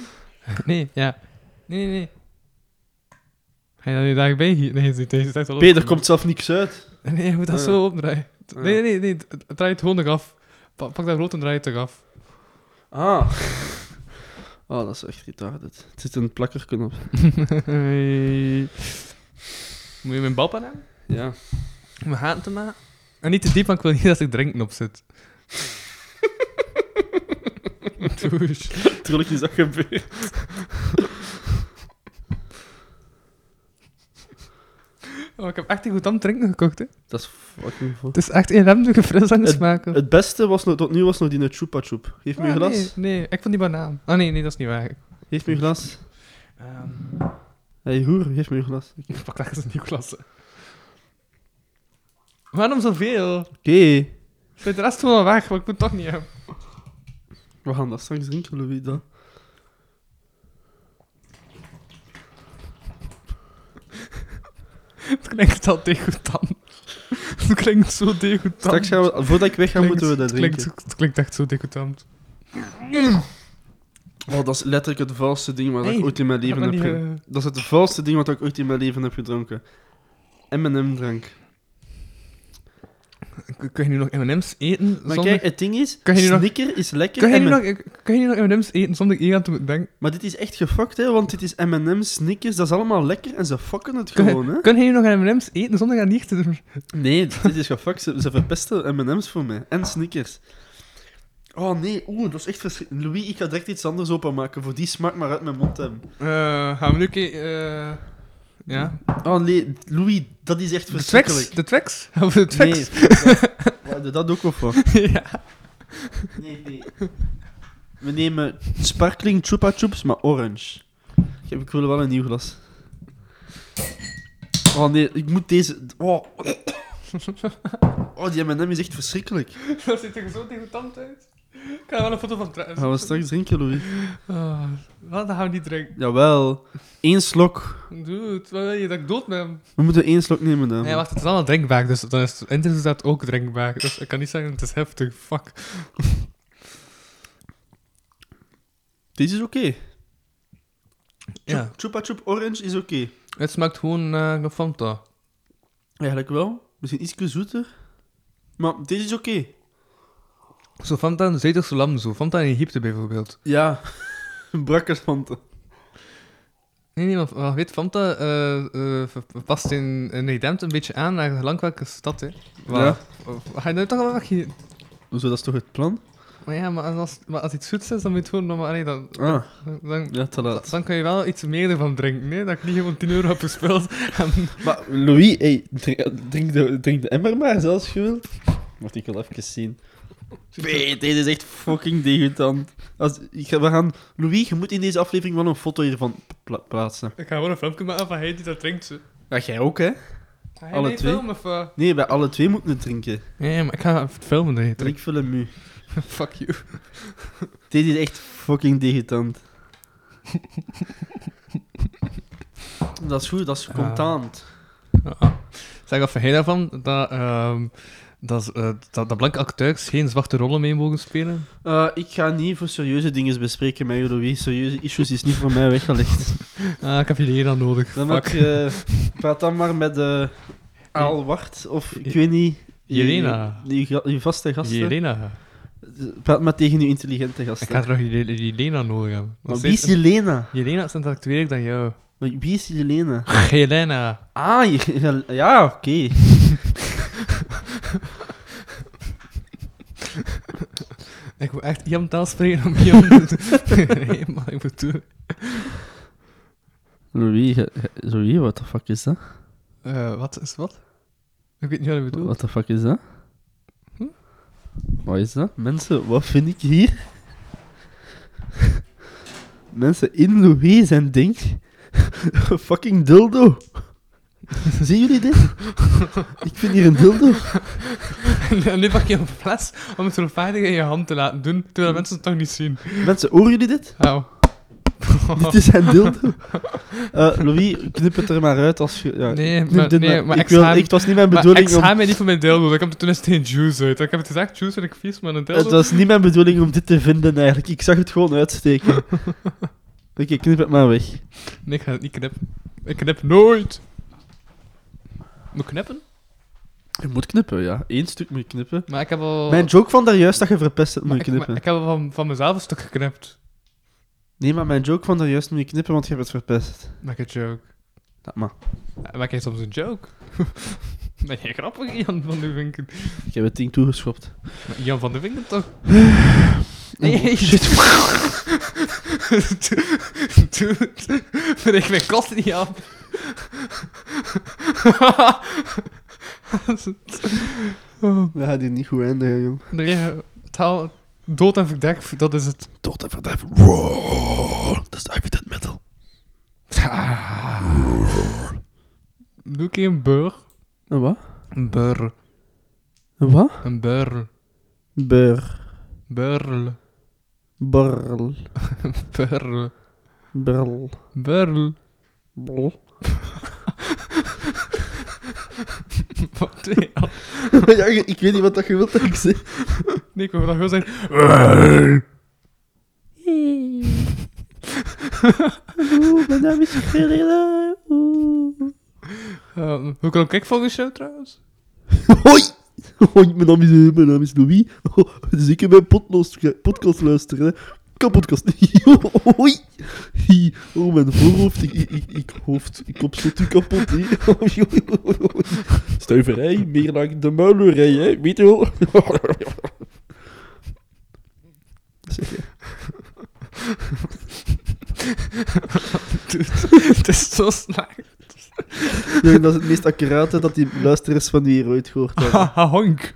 [SPEAKER 3] Nee, ja. Nee, nee, nee. Ga je dat nu daarbij hier? Nee, deze is echt wel op-
[SPEAKER 4] Peter komt zelf niks uit.
[SPEAKER 3] Nee, je moet dat
[SPEAKER 4] Ah, ja.
[SPEAKER 3] zo opdraaien.
[SPEAKER 4] Ah.
[SPEAKER 3] Nee, nee, nee. d- d- Draai het gewoon nog af. Pa- Pak dat rood en draai het nog af.
[SPEAKER 4] Ah. Oh, dat is echt retarded. Het zit een plakkerken op.
[SPEAKER 3] Hey. Moet je mijn balpen hebben?
[SPEAKER 4] Ja.
[SPEAKER 3] Om mijn haat te maken? En niet te diep, want ik wil niet dat ik drinken op zit. Douche.
[SPEAKER 4] Tuurlijk is dat gebeurd.
[SPEAKER 3] Oh, ik heb echt een goed aan het drinken gekocht, hè.
[SPEAKER 4] Dat is fucking vol.
[SPEAKER 3] Het is echt inwendige fris aan het smaken.
[SPEAKER 4] Het beste was nog, tot nu was nog die Chupa Chup. Geef me
[SPEAKER 3] Ah,
[SPEAKER 4] een glas.
[SPEAKER 3] Nee, nee, ik vond die banaan. Ah, nee, nee, dat is niet waar. Ehm.
[SPEAKER 4] Geef me een glas. Hé, hey, hoer, geef me een glas. Oké.
[SPEAKER 3] Ik pak daar eens een nieuw klasse. Waarom zoveel? Zet de rest gewoon weg, want ik moet het toch niet hebben.
[SPEAKER 4] We gaan dat straks drinken, Louis, dan.
[SPEAKER 3] Het klinkt al degoutant. Het klinkt zo degoutant.
[SPEAKER 4] Straks gaan we, voordat ik wegga,
[SPEAKER 3] Klinkt-
[SPEAKER 4] moeten we dat
[SPEAKER 3] het klinkt,
[SPEAKER 4] drinken.
[SPEAKER 3] Het klinkt echt zo degoutant.
[SPEAKER 4] Oh, dat is letterlijk het vuilste ding wat
[SPEAKER 3] Hey,
[SPEAKER 4] ik ooit in mijn
[SPEAKER 3] dat
[SPEAKER 4] leven
[SPEAKER 3] mag
[SPEAKER 4] heb
[SPEAKER 3] niet,
[SPEAKER 4] gedronken.
[SPEAKER 3] eh.
[SPEAKER 4] Dat is het vuilste ding wat ik ooit in mijn leven heb gedronken. M&M-drank.
[SPEAKER 3] K- Kun je nu nog M&M's eten
[SPEAKER 4] Maar
[SPEAKER 3] zonder...
[SPEAKER 4] kijk, het ding is,
[SPEAKER 3] Kan je nu nog-
[SPEAKER 4] Snicker is lekker,
[SPEAKER 3] kun, je nu
[SPEAKER 4] M&M.
[SPEAKER 3] nog, kun je nu nog M&M's eten zonder eer aan te moeten denken?
[SPEAKER 4] maar dit is echt gefokt, hè, want dit is M&M, Snickers, dat is allemaal lekker en ze fokken het
[SPEAKER 3] Kun,
[SPEAKER 4] gewoon, hè.
[SPEAKER 3] kun je nu nog M&M's eten zonder aan niet te doen?
[SPEAKER 4] Nee, dit is gefokt, ze, ze verpesten M&M's voor mij. En Snickers. Oh nee, oeh, dat is echt verschrikkelijk. Louis, ik ga direct iets anders openmaken voor die smaak maar uit mijn mond te hebben.
[SPEAKER 3] Eh, gaan we nu een keer... eh, ja.
[SPEAKER 4] Oh nee, Louis, dat is echt
[SPEAKER 3] De Twix?
[SPEAKER 4] verschrikkelijk.
[SPEAKER 3] De Twix? Of de
[SPEAKER 4] Nee,
[SPEAKER 3] Twix?
[SPEAKER 4] Waar doe dat ook wel voor?
[SPEAKER 3] ja.
[SPEAKER 4] Nee, nee. We nemen sparkling chupa chups, maar orange. Ik, heb, ik wil wel een nieuw glas. Oh nee, ik moet deze... Oh, oh die M&M is echt verschrikkelijk.
[SPEAKER 3] Dat ziet er zo degoutant uit. Ik ga er wel een foto van trekken.
[SPEAKER 4] Gaan we straks drinken, Louis?
[SPEAKER 3] Ah, wat dan gaan we niet drinken?
[SPEAKER 4] Jawel. Eén slok.
[SPEAKER 3] Dude, wat wil je dat ik dood ben?
[SPEAKER 4] We moeten één slok nemen dan.
[SPEAKER 3] Nee, wacht, het is allemaal drinkbaar, dus dan is het inderdaad ook drinkbaar. Dus ik kan niet zeggen, het is heftig, fuck.
[SPEAKER 4] Deze is oké.
[SPEAKER 3] Ja.
[SPEAKER 4] Chupa chup orange is oké.
[SPEAKER 3] Het smaakt gewoon naar uh, Fanta.
[SPEAKER 4] Eigenlijk wel. Misschien iets zoeter. Maar deze is oké.
[SPEAKER 3] Zo Fanta in Zuiderse landen, zo. Fanta in Egypte bijvoorbeeld.
[SPEAKER 4] Ja. Brakkersfanten.
[SPEAKER 3] Nee, nee, maar maar weet, Fanta eh, eh, ver- past in, in Nederland een beetje aan naar gelang welke stad, hè. Waar,
[SPEAKER 4] Ja.
[SPEAKER 3] Ga je nou toch wel weg hier?
[SPEAKER 4] Hoezo, dat is toch het plan?
[SPEAKER 3] Maar ja, maar als, maar als iets zoets is, dan moet je het gewoon... Maar, allee, dan,
[SPEAKER 4] Ah,
[SPEAKER 3] dan,
[SPEAKER 4] ja, te laat.
[SPEAKER 3] dan kun je wel iets meer ervan drinken, nee? Dat ik niet gewoon 10 euro heb gespeeld en
[SPEAKER 4] Maar Louis, hey, drink, drink de, drink de emmer maar zelfs, je wilt. Moet ik wel even zien. Nee, deze is echt fucking degoutant. Als, ik ga- we gaan, Louis, je moet in deze aflevering wel een foto hiervan pla- plaatsen.
[SPEAKER 3] Ik ga gewoon een filmpje maken van hij die dat drinkt. Ze.
[SPEAKER 4] Ja, jij ook, hè?
[SPEAKER 3] Ga
[SPEAKER 4] Alle
[SPEAKER 3] mee
[SPEAKER 4] twee?
[SPEAKER 3] filmen of... eh?
[SPEAKER 4] Nee, wij alle twee moeten het drinken.
[SPEAKER 3] Nee, maar ik ga even filmen dat je drinkt.
[SPEAKER 4] Drink veel hem nu.
[SPEAKER 3] Fuck you.
[SPEAKER 4] Deze is echt fucking degoutant. dat is goed, dat is contant.
[SPEAKER 3] Ah, Zeg, wat vind jij daarvan? Dat, ehm, dat, eh, dat, dat blanke acteurs geen zwarte rollen mee mogen spelen?
[SPEAKER 4] Eh, ik ga niet voor serieuze dingen bespreken met je, Louis. Serieuze issues is niet voor mij weggelegd.
[SPEAKER 3] Ah, ik heb jullie hier dan nodig.
[SPEAKER 4] Dan
[SPEAKER 3] Fuck.
[SPEAKER 4] heb je... Praat dan maar met eh Aalwart, of ik weet niet...
[SPEAKER 3] Jelena.
[SPEAKER 4] Je, je, je vaste gasten.
[SPEAKER 3] Jelena.
[SPEAKER 4] Praat maar tegen je intelligente gasten.
[SPEAKER 3] Ik ga toch Jel- Jelena nodig hebben.
[SPEAKER 4] Maar
[SPEAKER 3] Want
[SPEAKER 4] wie is
[SPEAKER 3] zij-
[SPEAKER 4] Jelena?
[SPEAKER 3] Jelena is intellectueel dan jou.
[SPEAKER 4] Maar Wie is Jelena?
[SPEAKER 3] Ah. Jelena.
[SPEAKER 4] Ah, je- ja, oké.
[SPEAKER 3] Ik moet echt Jan taal spreken om Jan te Nee, maar ik moet doen.
[SPEAKER 4] Louis, je- je- Louis, what the fuck is dat?
[SPEAKER 3] Eh, wat is wat? Ik weet niet wat ik bedoel.
[SPEAKER 4] What the fuck is dat?
[SPEAKER 3] Hm?
[SPEAKER 4] Wat is dat? Mensen, wat vind ik hier? Mensen, in Louis zijn ding. fucking dildo. Zien jullie dit? ik vind hier een dildo.
[SPEAKER 3] En nu pak je een fles om het rechtvaardig in je hand te laten doen, terwijl mensen het toch niet zien.
[SPEAKER 4] Mensen, horen jullie dit?
[SPEAKER 3] Au.
[SPEAKER 4] Dit is een dildo. Eh, Louis, knip het er maar uit als je... Ja,
[SPEAKER 3] Nee,
[SPEAKER 4] knip
[SPEAKER 3] maar-
[SPEAKER 4] dit
[SPEAKER 3] nee, maar
[SPEAKER 4] ik
[SPEAKER 3] ik
[SPEAKER 4] wil,
[SPEAKER 3] schaam-
[SPEAKER 4] ik, Het was niet mijn
[SPEAKER 3] Maar
[SPEAKER 4] bedoeling
[SPEAKER 3] ik schaam
[SPEAKER 4] om...
[SPEAKER 3] mij niet voor mijn dildo, ik heb toen eens geen juice uit. Ik heb het gezegd, juice en ik vies, maar een
[SPEAKER 4] Het
[SPEAKER 3] dildo...
[SPEAKER 4] was niet mijn bedoeling om dit te vinden, eigenlijk. Ik zag het gewoon uitsteken. Oké, knip het maar weg.
[SPEAKER 3] Nee, ik ga het niet knippen. Ik knip nooit. Moet ik knippen?
[SPEAKER 4] Je moet knippen, ja. Eén stuk moet je knippen. Oh.
[SPEAKER 3] Maar ik heb al...
[SPEAKER 4] Mijn joke van daarjuist dat je verpest hebt, moet je
[SPEAKER 3] maar ik, maar ik
[SPEAKER 4] knippen.
[SPEAKER 3] heb al van, van mezelf een stuk geknipt.
[SPEAKER 4] Nee, maar mijn joke van daarjuist moet je knippen, want je hebt het verpest.
[SPEAKER 3] Make a joke.
[SPEAKER 4] Laat maar.
[SPEAKER 3] Ja, Eh, maak jij soms een joke? ben jij grappig, Jan van de Winken?
[SPEAKER 4] Ik heb het ding toegeschopt.
[SPEAKER 3] Maar Jan van de Winken toch?
[SPEAKER 4] Nee, oh, shit.
[SPEAKER 3] Dude, breek mijn kot niet af.
[SPEAKER 4] We gaan die niet goed eindigen, jong.
[SPEAKER 3] nee, taal, dood en verdek, dat is het.
[SPEAKER 4] Tot even, even. Roar. Dat is Ivy Dead Metal.
[SPEAKER 3] Doe ik een beur?
[SPEAKER 4] Een wat?
[SPEAKER 3] Een beur.
[SPEAKER 4] Een wat?
[SPEAKER 3] Een beur.
[SPEAKER 4] Bur.
[SPEAKER 3] Burl.
[SPEAKER 4] Burl.
[SPEAKER 3] Burl.
[SPEAKER 4] Burl.
[SPEAKER 3] Burl.
[SPEAKER 4] Bol.
[SPEAKER 3] Wat nee, ja.
[SPEAKER 4] ja, ik weet niet wat dat je wilt dat ik zeg.
[SPEAKER 3] Nee, ik wil dat gewoon zeggen.
[SPEAKER 4] Oeh, mijn naam is Gerilla. Oeh.
[SPEAKER 3] Ehm, hoe kan ik volgens jou trouwens?
[SPEAKER 4] Hoi! Hoi, mijn naam is, eh, mijn naam is Louis. Oh, dus ik heb mijn potloos- podcast luisteren. Hè. Kapodcast. Hoi! Hi. Oh, mijn voorhoofd. Ik, ik, ik, ik hoofd. Ik kop zit u kapot. hè. Oei, oei, oei, oei. Stuiverij, meer dan de muilerij, hè? Weet je wel? Zeg je.
[SPEAKER 3] Het is zo slecht.
[SPEAKER 4] Nee, dat is het meest accurate dat die luisteraars van die hier ooit gehoord hebben.
[SPEAKER 3] Ahonk.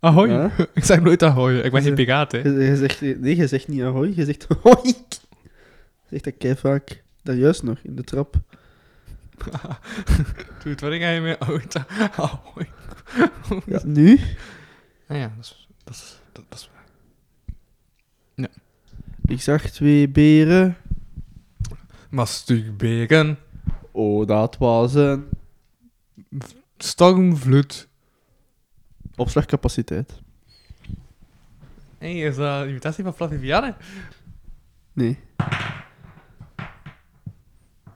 [SPEAKER 3] Ahoy.
[SPEAKER 4] Ja?
[SPEAKER 3] Ik zeg nooit ahoy. Ik ben geen piraat, hè.
[SPEAKER 4] Je, je zegt, nee, je zegt niet ahoy, je zegt hoi. Zegt dat kei vaak. Daar juist nog, in de trap.
[SPEAKER 3] Doet wat ik aan je mee. Ahoy.
[SPEAKER 4] Ja, nu?
[SPEAKER 3] Nou ja, dat is... Dat is, dat, dat is waar.
[SPEAKER 4] Ik zag twee beren.
[SPEAKER 3] Masturberen.
[SPEAKER 4] Oh, dat was een...
[SPEAKER 3] Stormvloed.
[SPEAKER 4] Opslagcapaciteit.
[SPEAKER 3] Hé, hey, is dat een imitatie van Flavie Vianne?
[SPEAKER 4] Nee.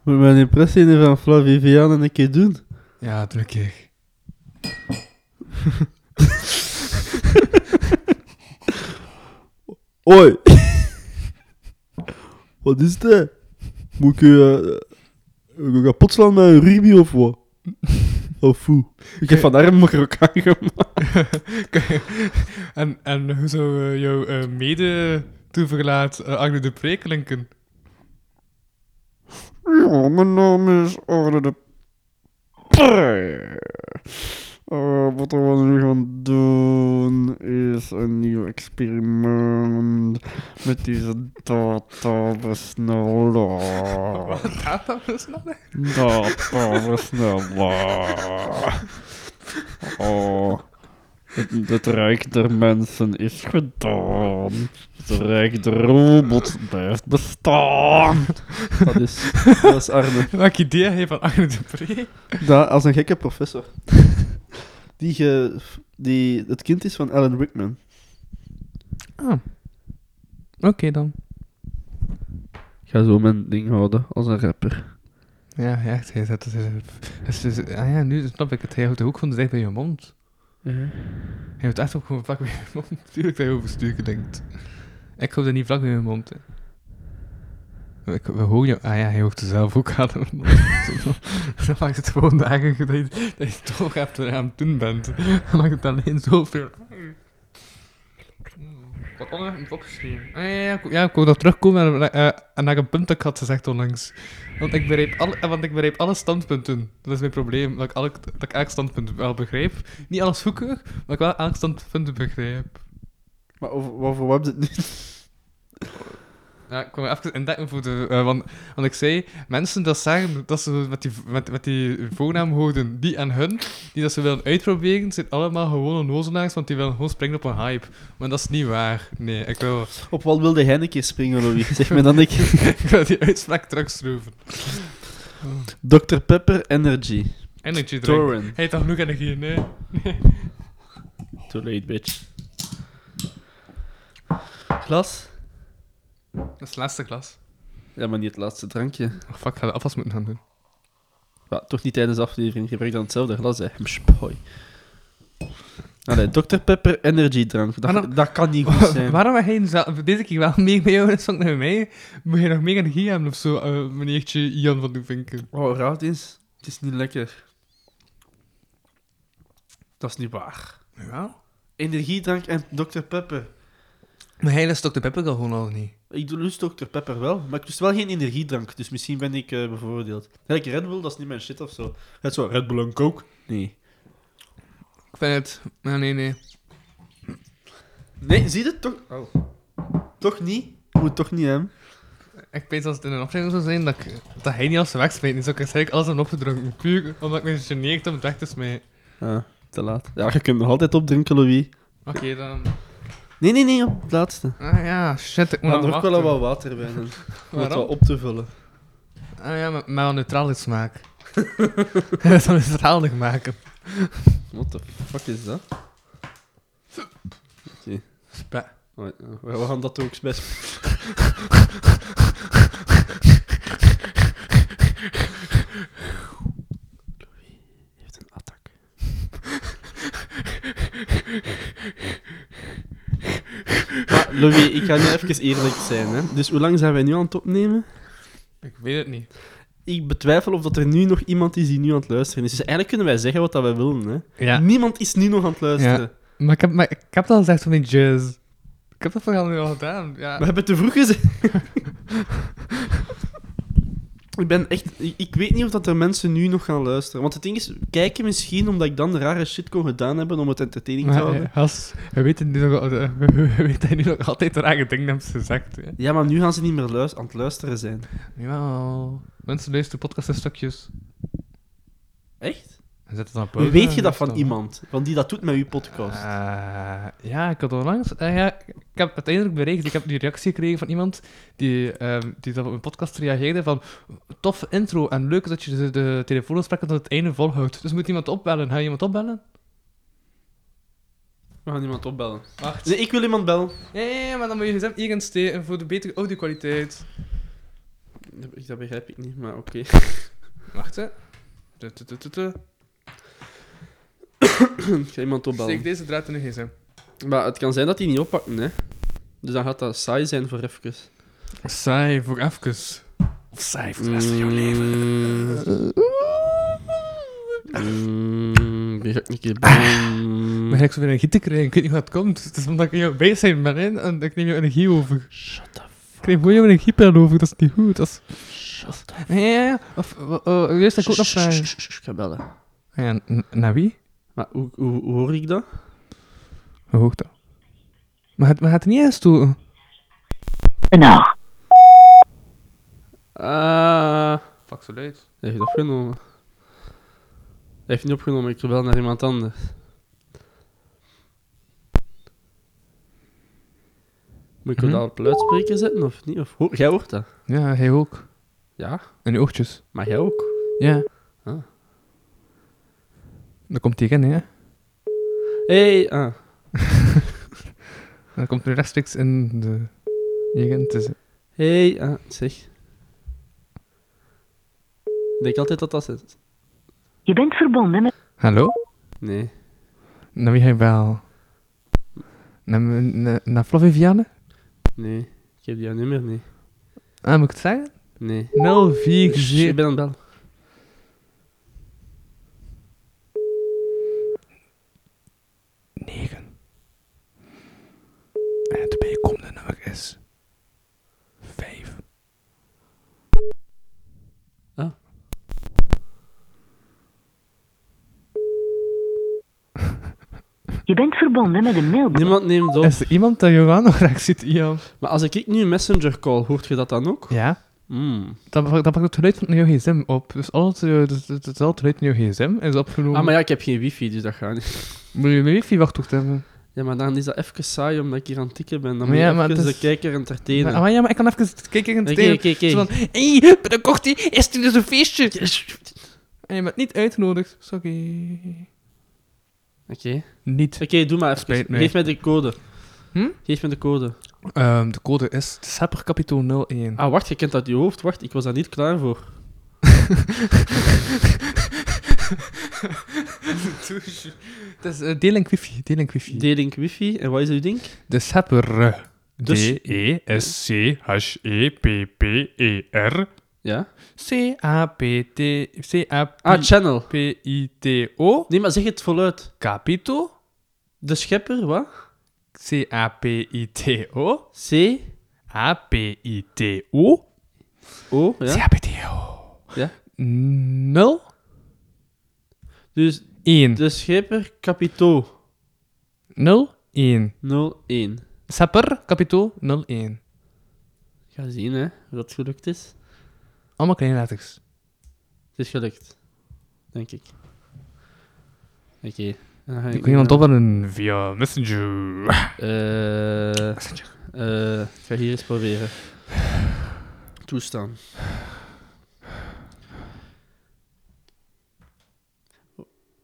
[SPEAKER 4] Moet mijn impressie nu van Flavie Vianne een keer doen?
[SPEAKER 3] Ja, druk keer.
[SPEAKER 4] Oi! wat is dat? Moet ik je... Uh, kapot slaan met een ruby of wat? Oh, Of hoe? Ik heb van arm ook aangemaakt.
[SPEAKER 3] En, en hoe zou eh, jouw eh, mede toeverlaat eh, Arno de Pre klinken?
[SPEAKER 4] Ja, mijn naam is Arne de Pre. Eh, wat we nu gaan doen is een nieuw experiment met deze dataversneller.
[SPEAKER 3] Gaat dat dus nog? hè?
[SPEAKER 4] Dataversneller. Oh. Het, het rijk der mensen is gedaan. Het rijk der robots blijft bestaan. Dat is, dat is Arne.
[SPEAKER 3] Welk idee heb je van Arno de Pre?
[SPEAKER 4] Da, als een gekke professor. Die, ge, die het kind is van Alan Rickman.
[SPEAKER 3] Oké dan.
[SPEAKER 4] Ik ga zo mijn ding houden als een rapper.
[SPEAKER 3] Ja, ja, het is, het is, het is, het is- ah ja, nu snap ik het. Hij houdt de hoek van de dicht bij je mond. Hij houdt echt ook gewoon vlak bij je mond. Natuurlijk dat je overstuur denkt. Ik hou dat niet vlak bij mijn mond. Hè. Ik, we horen je... Ah ja, hij hoogt er zelf ook aan. Mijn mond. Zo- dan maakt het gewoon dagen dat je, dat je toch hebt wat je aan het doen bent. Dan maakt het alleen zoveel... Wat onder hem opgeschreven. Ah, ja, ja, ik- ja, ik wil nog terugkomen naar, eh, naar een punt dat ik had gezegd onlangs. Want ik begrijp alle, eh, want ik begrijp alle standpunten. Dat is mijn probleem, dat ik, elk, dat ik elk standpunt wel begrijp. Niet alles goedkeur, maar ik wel elk standpunt begrijp.
[SPEAKER 4] Maar over, over wat hebben ze het nu?
[SPEAKER 3] Ja, ik kwam even indekken voor de... eh, want, want ik zei, mensen dat zeggen dat ze met die, met, met die voornaam houden, die en hun, die dat ze willen uitproberen, zijn allemaal gewoon onnozelaars, want die willen gewoon springen op een hype. Maar dat is niet waar. Nee, ik wil,
[SPEAKER 4] Op wat wilde jij een keer springen, Louis? Zeg me dan een keer.
[SPEAKER 3] ik wil die uitspraak terugschroeven.
[SPEAKER 4] Dr. Pepper Energy.
[SPEAKER 3] Energy drink.
[SPEAKER 4] Torrent.
[SPEAKER 3] Hij heeft al genoeg energie, nee.
[SPEAKER 4] Too late, bitch. Glas?
[SPEAKER 3] Dat is het laatste glas.
[SPEAKER 4] Ja, maar niet het laatste drankje.
[SPEAKER 3] Oh, fuck, ik ga de afwas moeten gaan doen.
[SPEAKER 4] Ja, toch niet tijdens de aflevering. Gebruik dan hetzelfde glas, hè. Msp, hoi. Hm, Allee, Dr. Pepper Energy Drank. Dat,
[SPEAKER 3] Maar dan-
[SPEAKER 4] dat kan niet goed zijn.
[SPEAKER 3] Waarom heb jij zelf, deze keer wel mee bij jou en zong naar mij? Moet je nog meer energie hebben of zo, eh, meneertje Jan van Doevinken?
[SPEAKER 4] Oh, raad eens. Het is niet lekker. Dat is niet waar.
[SPEAKER 3] Ja.
[SPEAKER 4] Energiedrank en Dr. Pepper.
[SPEAKER 3] Maar hij lust ook de pepper gewoon al niet.
[SPEAKER 4] Ik doe- lust Dr. Pepper wel, maar ik lust wel geen energiedrank. Dus misschien ben ik eh, bevoordeeld. Kijk, Red Bull, dat is niet mijn shit of zo. Het zo, Red Bull en Coke? Nee.
[SPEAKER 3] Ik vind het... Nee, nee, nee.
[SPEAKER 4] Nee, zie je het toch? Oh. Toch niet? Moet toch niet, hè?
[SPEAKER 3] Ik weet als het in een aflevering zou zijn, dat, ik, dat hij niet als wegsmijt is. Ik eigenlijk alles aan opgedronken. Puur omdat ik me geneerd om het weg te smijten.
[SPEAKER 4] Ah, te laat. Ja, je kunt nog altijd opdrinken, Louis.
[SPEAKER 3] Oké, dan...
[SPEAKER 4] Nee, nee, nee, op het laatste.
[SPEAKER 3] Ah ja, shit, ik moet
[SPEAKER 4] Maar
[SPEAKER 3] nog
[SPEAKER 4] nog
[SPEAKER 3] wachten.
[SPEAKER 4] wel wat water bij doen. Om het
[SPEAKER 3] Waarom?
[SPEAKER 4] wat op te vullen.
[SPEAKER 3] Ah ja, met, met een neutrale smaak. Dat zou neutralig maken.
[SPEAKER 4] What the fuck is dat?
[SPEAKER 3] Spa.
[SPEAKER 4] Oh, ja, we gaan dat ook best Maar Louis, ik ga nu even eerlijk zijn. Hè. Dus hoe lang zijn wij nu aan het opnemen?
[SPEAKER 3] Ik weet het niet.
[SPEAKER 4] Ik betwijfel of dat er nu nog iemand is die nu aan het luisteren is. Dus eigenlijk kunnen wij zeggen wat dat wij willen. Hè.
[SPEAKER 3] Ja.
[SPEAKER 4] Niemand is nu nog aan het luisteren.
[SPEAKER 3] Ja. Maar ik heb, maar ik heb dat al gezegd van die jazz. Ik heb dat vooral nu al gedaan, ja.
[SPEAKER 4] We hebben te vroeg gezegd. ik ben echt... Ik, ik weet niet of dat er mensen nu nog gaan luisteren. Want het ding is, kijken misschien omdat ik dan de rare shit kon gedaan hebben om het entertaining te
[SPEAKER 3] Maar
[SPEAKER 4] houden.
[SPEAKER 3] eh, gast, we weten nu nog, eh, we weten nu nog altijd de rare dingen hebben ze gezegd. Hè.
[SPEAKER 4] Ja, maar nu gaan ze niet meer luis- aan het luisteren zijn.
[SPEAKER 3] Jawel. Mensen luisteren podcasts in stukjes.
[SPEAKER 4] Echt?
[SPEAKER 3] En zetten dan op
[SPEAKER 4] Hoe
[SPEAKER 3] pauze
[SPEAKER 4] weet je
[SPEAKER 3] en
[SPEAKER 4] dat van
[SPEAKER 3] luisteren.
[SPEAKER 4] iemand? Want die dat doet met uw podcast.
[SPEAKER 3] Eh, ja, ik had onlangs... eh, ja, ik heb uiteindelijk bereikt, ik heb die reactie gekregen van iemand die, ehm, die dat op mijn podcast reageerde van tof intro en leuk dat je de, de telefoongesprekken tot het einde volhoudt. Dus moet iemand opbellen. Ga je iemand opbellen?
[SPEAKER 4] We gaan iemand opbellen.
[SPEAKER 3] Wacht.
[SPEAKER 4] Nee, ik wil iemand bellen.
[SPEAKER 3] Ja, ja, ja, maar dan moet je gezegd hier gaan steken voor de betere audio-kwaliteit.
[SPEAKER 4] Dat begrijp ik niet, maar oké.
[SPEAKER 3] Wacht, hè. Tu, tu, tu, tu, tu.
[SPEAKER 4] ik ga iemand
[SPEAKER 3] Steek
[SPEAKER 4] opbellen.
[SPEAKER 3] deze draad in de gsm.
[SPEAKER 4] Maar het kan zijn dat die niet oppakken, hè. Dus dan gaat dat saai zijn voor even.
[SPEAKER 3] Saai voor even. Of saai voor de rest van jouw leven.
[SPEAKER 4] Mm. Mm, die ga ik een keer bellen.
[SPEAKER 3] Maar ik zoveel energie te krijgen. Ik weet niet hoe dat komt. Het is omdat ik in jouw bijzijn ben hè, en ik neem jouw energie over. Shut the fuck. Ik neem gewoon jouw energiepijl over, dat is niet goed. Dat is... Shut the Ja, ja, ja. Of, eh, eh, juist, dat ik ook nog vragen.
[SPEAKER 4] Sst, sst, Ik ga bellen.
[SPEAKER 3] Ja, n- naar wie?
[SPEAKER 4] Maar hoe, hoe, hoe hoor ik dat?
[SPEAKER 3] Hoe hoog dat? Maar het, maar het niet eens toe.
[SPEAKER 4] Ah,
[SPEAKER 3] Fuck, zo leuk.
[SPEAKER 4] hij heeft opgenomen. Hij heeft niet opgenomen, ik wil wel naar iemand anders. Moet ik het
[SPEAKER 3] Mhm.
[SPEAKER 4] al op luidspreker zetten of niet? Of, hoor- jij hoort dat?
[SPEAKER 3] Ja, hij ook.
[SPEAKER 4] Ja,
[SPEAKER 3] En je oortjes.
[SPEAKER 4] maar jij ook.
[SPEAKER 3] Ja.
[SPEAKER 4] Ah.
[SPEAKER 3] Dan komt hij in, hè.
[SPEAKER 4] Hé, hey, ah.
[SPEAKER 3] Dan komt hij rechtstreeks in de... Jegen, het is...
[SPEAKER 4] Hey, ah, zeg. Ik denk altijd dat dat zit.
[SPEAKER 8] Je bent verbonden met.
[SPEAKER 3] Hallo?
[SPEAKER 4] Nee.
[SPEAKER 3] Naar wie ga je wel? Naar, mijn- naar, naar Flavie Vianne?
[SPEAKER 4] Nee, ik heb jouw nummer niet.
[SPEAKER 3] Ah, moet ik het zeggen?
[SPEAKER 4] Nee. Shh,
[SPEAKER 3] 047.
[SPEAKER 4] Ik ben aan het bellen.
[SPEAKER 3] En het bijkomende nummer is 5.
[SPEAKER 4] Ah.
[SPEAKER 8] Je bent verbonden met een mailbox.
[SPEAKER 4] Niemand neemt op.
[SPEAKER 3] Is er iemand eh, dat je wel nog graag ziet, Ian?
[SPEAKER 4] Maar als ik nu een messenger call, hoort je dat dan ook?
[SPEAKER 3] Ja.
[SPEAKER 4] Mm.
[SPEAKER 3] Dat, pak- dat pakt het geluid van jouw gsm op. Dus al het, eh, het, het, het, al het geluid van jouw gsm is opgenomen.
[SPEAKER 4] Ah, maar ja, ik heb geen wifi, dus dat gaat niet.
[SPEAKER 3] Moet je mijn wifi wachtwoord hebben?
[SPEAKER 4] Ja, maar dan is dat even saai omdat ik hier aan het tikken ben.
[SPEAKER 3] Maar
[SPEAKER 4] Dan moet
[SPEAKER 3] ja,
[SPEAKER 4] je
[SPEAKER 3] maar
[SPEAKER 4] even
[SPEAKER 3] het
[SPEAKER 4] de
[SPEAKER 3] is-
[SPEAKER 4] kijker entertainen.
[SPEAKER 3] Maar, ah, maar ja, maar ik kan even kijken in het
[SPEAKER 4] Oké, oké,
[SPEAKER 3] Zo
[SPEAKER 4] oké.
[SPEAKER 3] van, hé, hey, binnenkort hè, is er dus een feestje. En je bent niet uitgenodigd. Sorry.
[SPEAKER 4] Oké.
[SPEAKER 3] Niet.
[SPEAKER 4] Oké, doe maar
[SPEAKER 3] Spijt
[SPEAKER 4] even.
[SPEAKER 3] mij.
[SPEAKER 4] Geef mij de code.
[SPEAKER 3] Hm?
[SPEAKER 4] Geef mij de code.
[SPEAKER 3] Ehm, de code is Sapperkapitool 01.
[SPEAKER 4] Ah, wacht, je kent uit je hoofd. Wacht, ik was daar niet klaar voor.
[SPEAKER 3] Het is eh, deel en quiffie. Deel en quiffie.
[SPEAKER 4] D-Link wifi. En wat is uw link?
[SPEAKER 3] De schepper.
[SPEAKER 4] Dus-
[SPEAKER 3] D-E-S-C-H-E-P-P-E-R.
[SPEAKER 4] Ja.
[SPEAKER 3] C-A-P-T...
[SPEAKER 4] Ah, channel.
[SPEAKER 3] C-A-P-I-T-O.
[SPEAKER 4] Nee, maar zeg het voluit.
[SPEAKER 3] Capito.
[SPEAKER 4] De schepper, wat?
[SPEAKER 3] C-A-P-I-T-O.
[SPEAKER 4] C,
[SPEAKER 3] A-P-I-T-O.
[SPEAKER 4] O, ja.
[SPEAKER 3] C-A-P-T-O.
[SPEAKER 4] ja.
[SPEAKER 3] 0.
[SPEAKER 4] Dus
[SPEAKER 3] 1.
[SPEAKER 4] de schepper, capito
[SPEAKER 3] 0. 1.
[SPEAKER 4] 01.
[SPEAKER 3] Sapper, capito, 0, 1.
[SPEAKER 4] Ga zien, hè, hoe dat gelukt is.
[SPEAKER 3] Allemaal kleine letters.
[SPEAKER 4] Het is gelukt. Denk ik. Oké. Dan ga
[SPEAKER 3] Ik wil iemand opbellen via Messenger.
[SPEAKER 4] Eh, eh, ik ga hier eens proberen. Toestaan.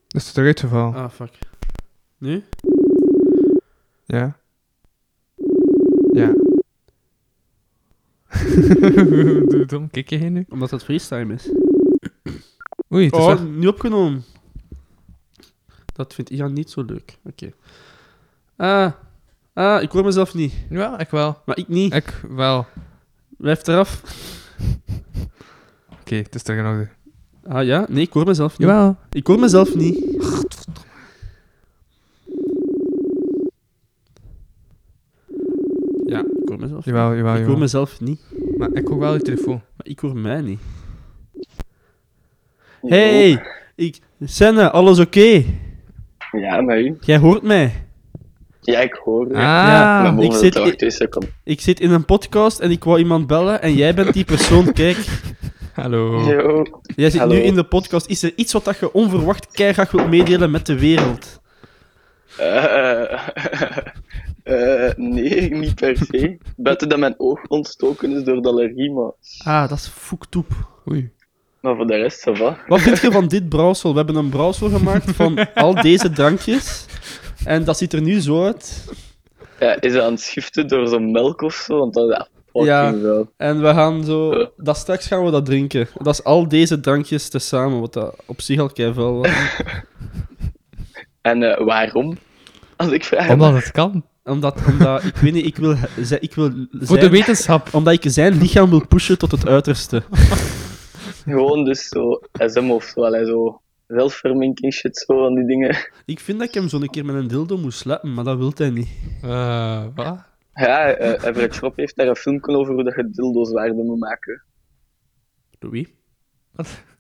[SPEAKER 3] Dat is eruit geval.
[SPEAKER 4] Ah, fuck. Nu?
[SPEAKER 3] Ja. Ja. Doe het om, kijk je heen nu?
[SPEAKER 4] Omdat dat freestyle is.
[SPEAKER 3] Oei, het is
[SPEAKER 4] Oh,
[SPEAKER 3] weg.
[SPEAKER 4] nu opgenomen. Dat vindt Ian niet zo leuk. Oké. Ah. Ah, ik hoor mezelf niet.
[SPEAKER 3] Ja, ik wel.
[SPEAKER 4] Maar ik niet.
[SPEAKER 3] Ik wel. Oké,
[SPEAKER 4] Blijf eraf.
[SPEAKER 3] het is terug in orde.
[SPEAKER 4] Ah ja? Nee, ik hoor mezelf niet.
[SPEAKER 3] Jawel.
[SPEAKER 4] Ik hoor mezelf niet. Ja, ik hoor mezelf.
[SPEAKER 3] Jawel, jawel,
[SPEAKER 4] ik hoor
[SPEAKER 3] jawel.
[SPEAKER 4] mezelf niet.
[SPEAKER 3] Maar ik hoor wel je telefoon.
[SPEAKER 4] Maar ik hoor mij niet.
[SPEAKER 9] Oh.
[SPEAKER 4] Hey, ik... Senne, alles oké?
[SPEAKER 9] Ja, maar u?
[SPEAKER 4] Jij hoort mij.
[SPEAKER 9] Ja, ik hoor
[SPEAKER 3] Ah.
[SPEAKER 9] u.
[SPEAKER 4] Ja.
[SPEAKER 9] Maar
[SPEAKER 4] Ah, ik
[SPEAKER 9] boven de
[SPEAKER 4] zit-
[SPEAKER 9] 80 seconden.
[SPEAKER 4] Ik zit in een podcast en ik wou iemand bellen en jij bent die persoon. Kijk,
[SPEAKER 3] Hallo.
[SPEAKER 9] Yo.
[SPEAKER 4] jij zit
[SPEAKER 9] Hallo.
[SPEAKER 4] nu in de podcast. Is er iets wat dat je onverwacht keihard wilt meedelen met de wereld?
[SPEAKER 9] Eh, eh, nee, niet per se. Buiten dat mijn oog ontstoken is door de allergie, maar,
[SPEAKER 4] Ah, dat is foektoep.
[SPEAKER 3] Oei.
[SPEAKER 9] maar voor de rest, ça va.
[SPEAKER 4] Wat vind je van dit brouwsel? We hebben een brouwsel gemaakt van al deze drankjes. En dat ziet er nu zo uit.
[SPEAKER 9] Ja, is dat aan het schiften door zo'n melk of zo? Want dat is echt fucking
[SPEAKER 4] Ja.
[SPEAKER 9] wel.
[SPEAKER 4] En we gaan zo... Dat straks gaan we dat drinken. Dat is al deze drankjes tezamen, wat dat op zich al keivel was.
[SPEAKER 9] En eh, waarom? Als ik vraag.
[SPEAKER 3] Omdat het kan.
[SPEAKER 4] Omdat, omdat ik weet niet, ik wil, ze- ik wil
[SPEAKER 3] Voor de
[SPEAKER 4] zijn-
[SPEAKER 3] wetenschap.
[SPEAKER 4] omdat ik zijn lichaam wil pushen tot het uiterste.
[SPEAKER 9] Gewoon dus zo SM of zo. allee, zo zelfverminking shit, zo van die dingen.
[SPEAKER 4] Ik vind dat ik hem zo een keer met een dildo moest slappen, maar dat wil hij niet.
[SPEAKER 3] Eh, wat?
[SPEAKER 9] Ja, eh Everett Schropp heeft daar een filmpje over hoe dat je dildo's waarde moet maken.
[SPEAKER 4] Louis?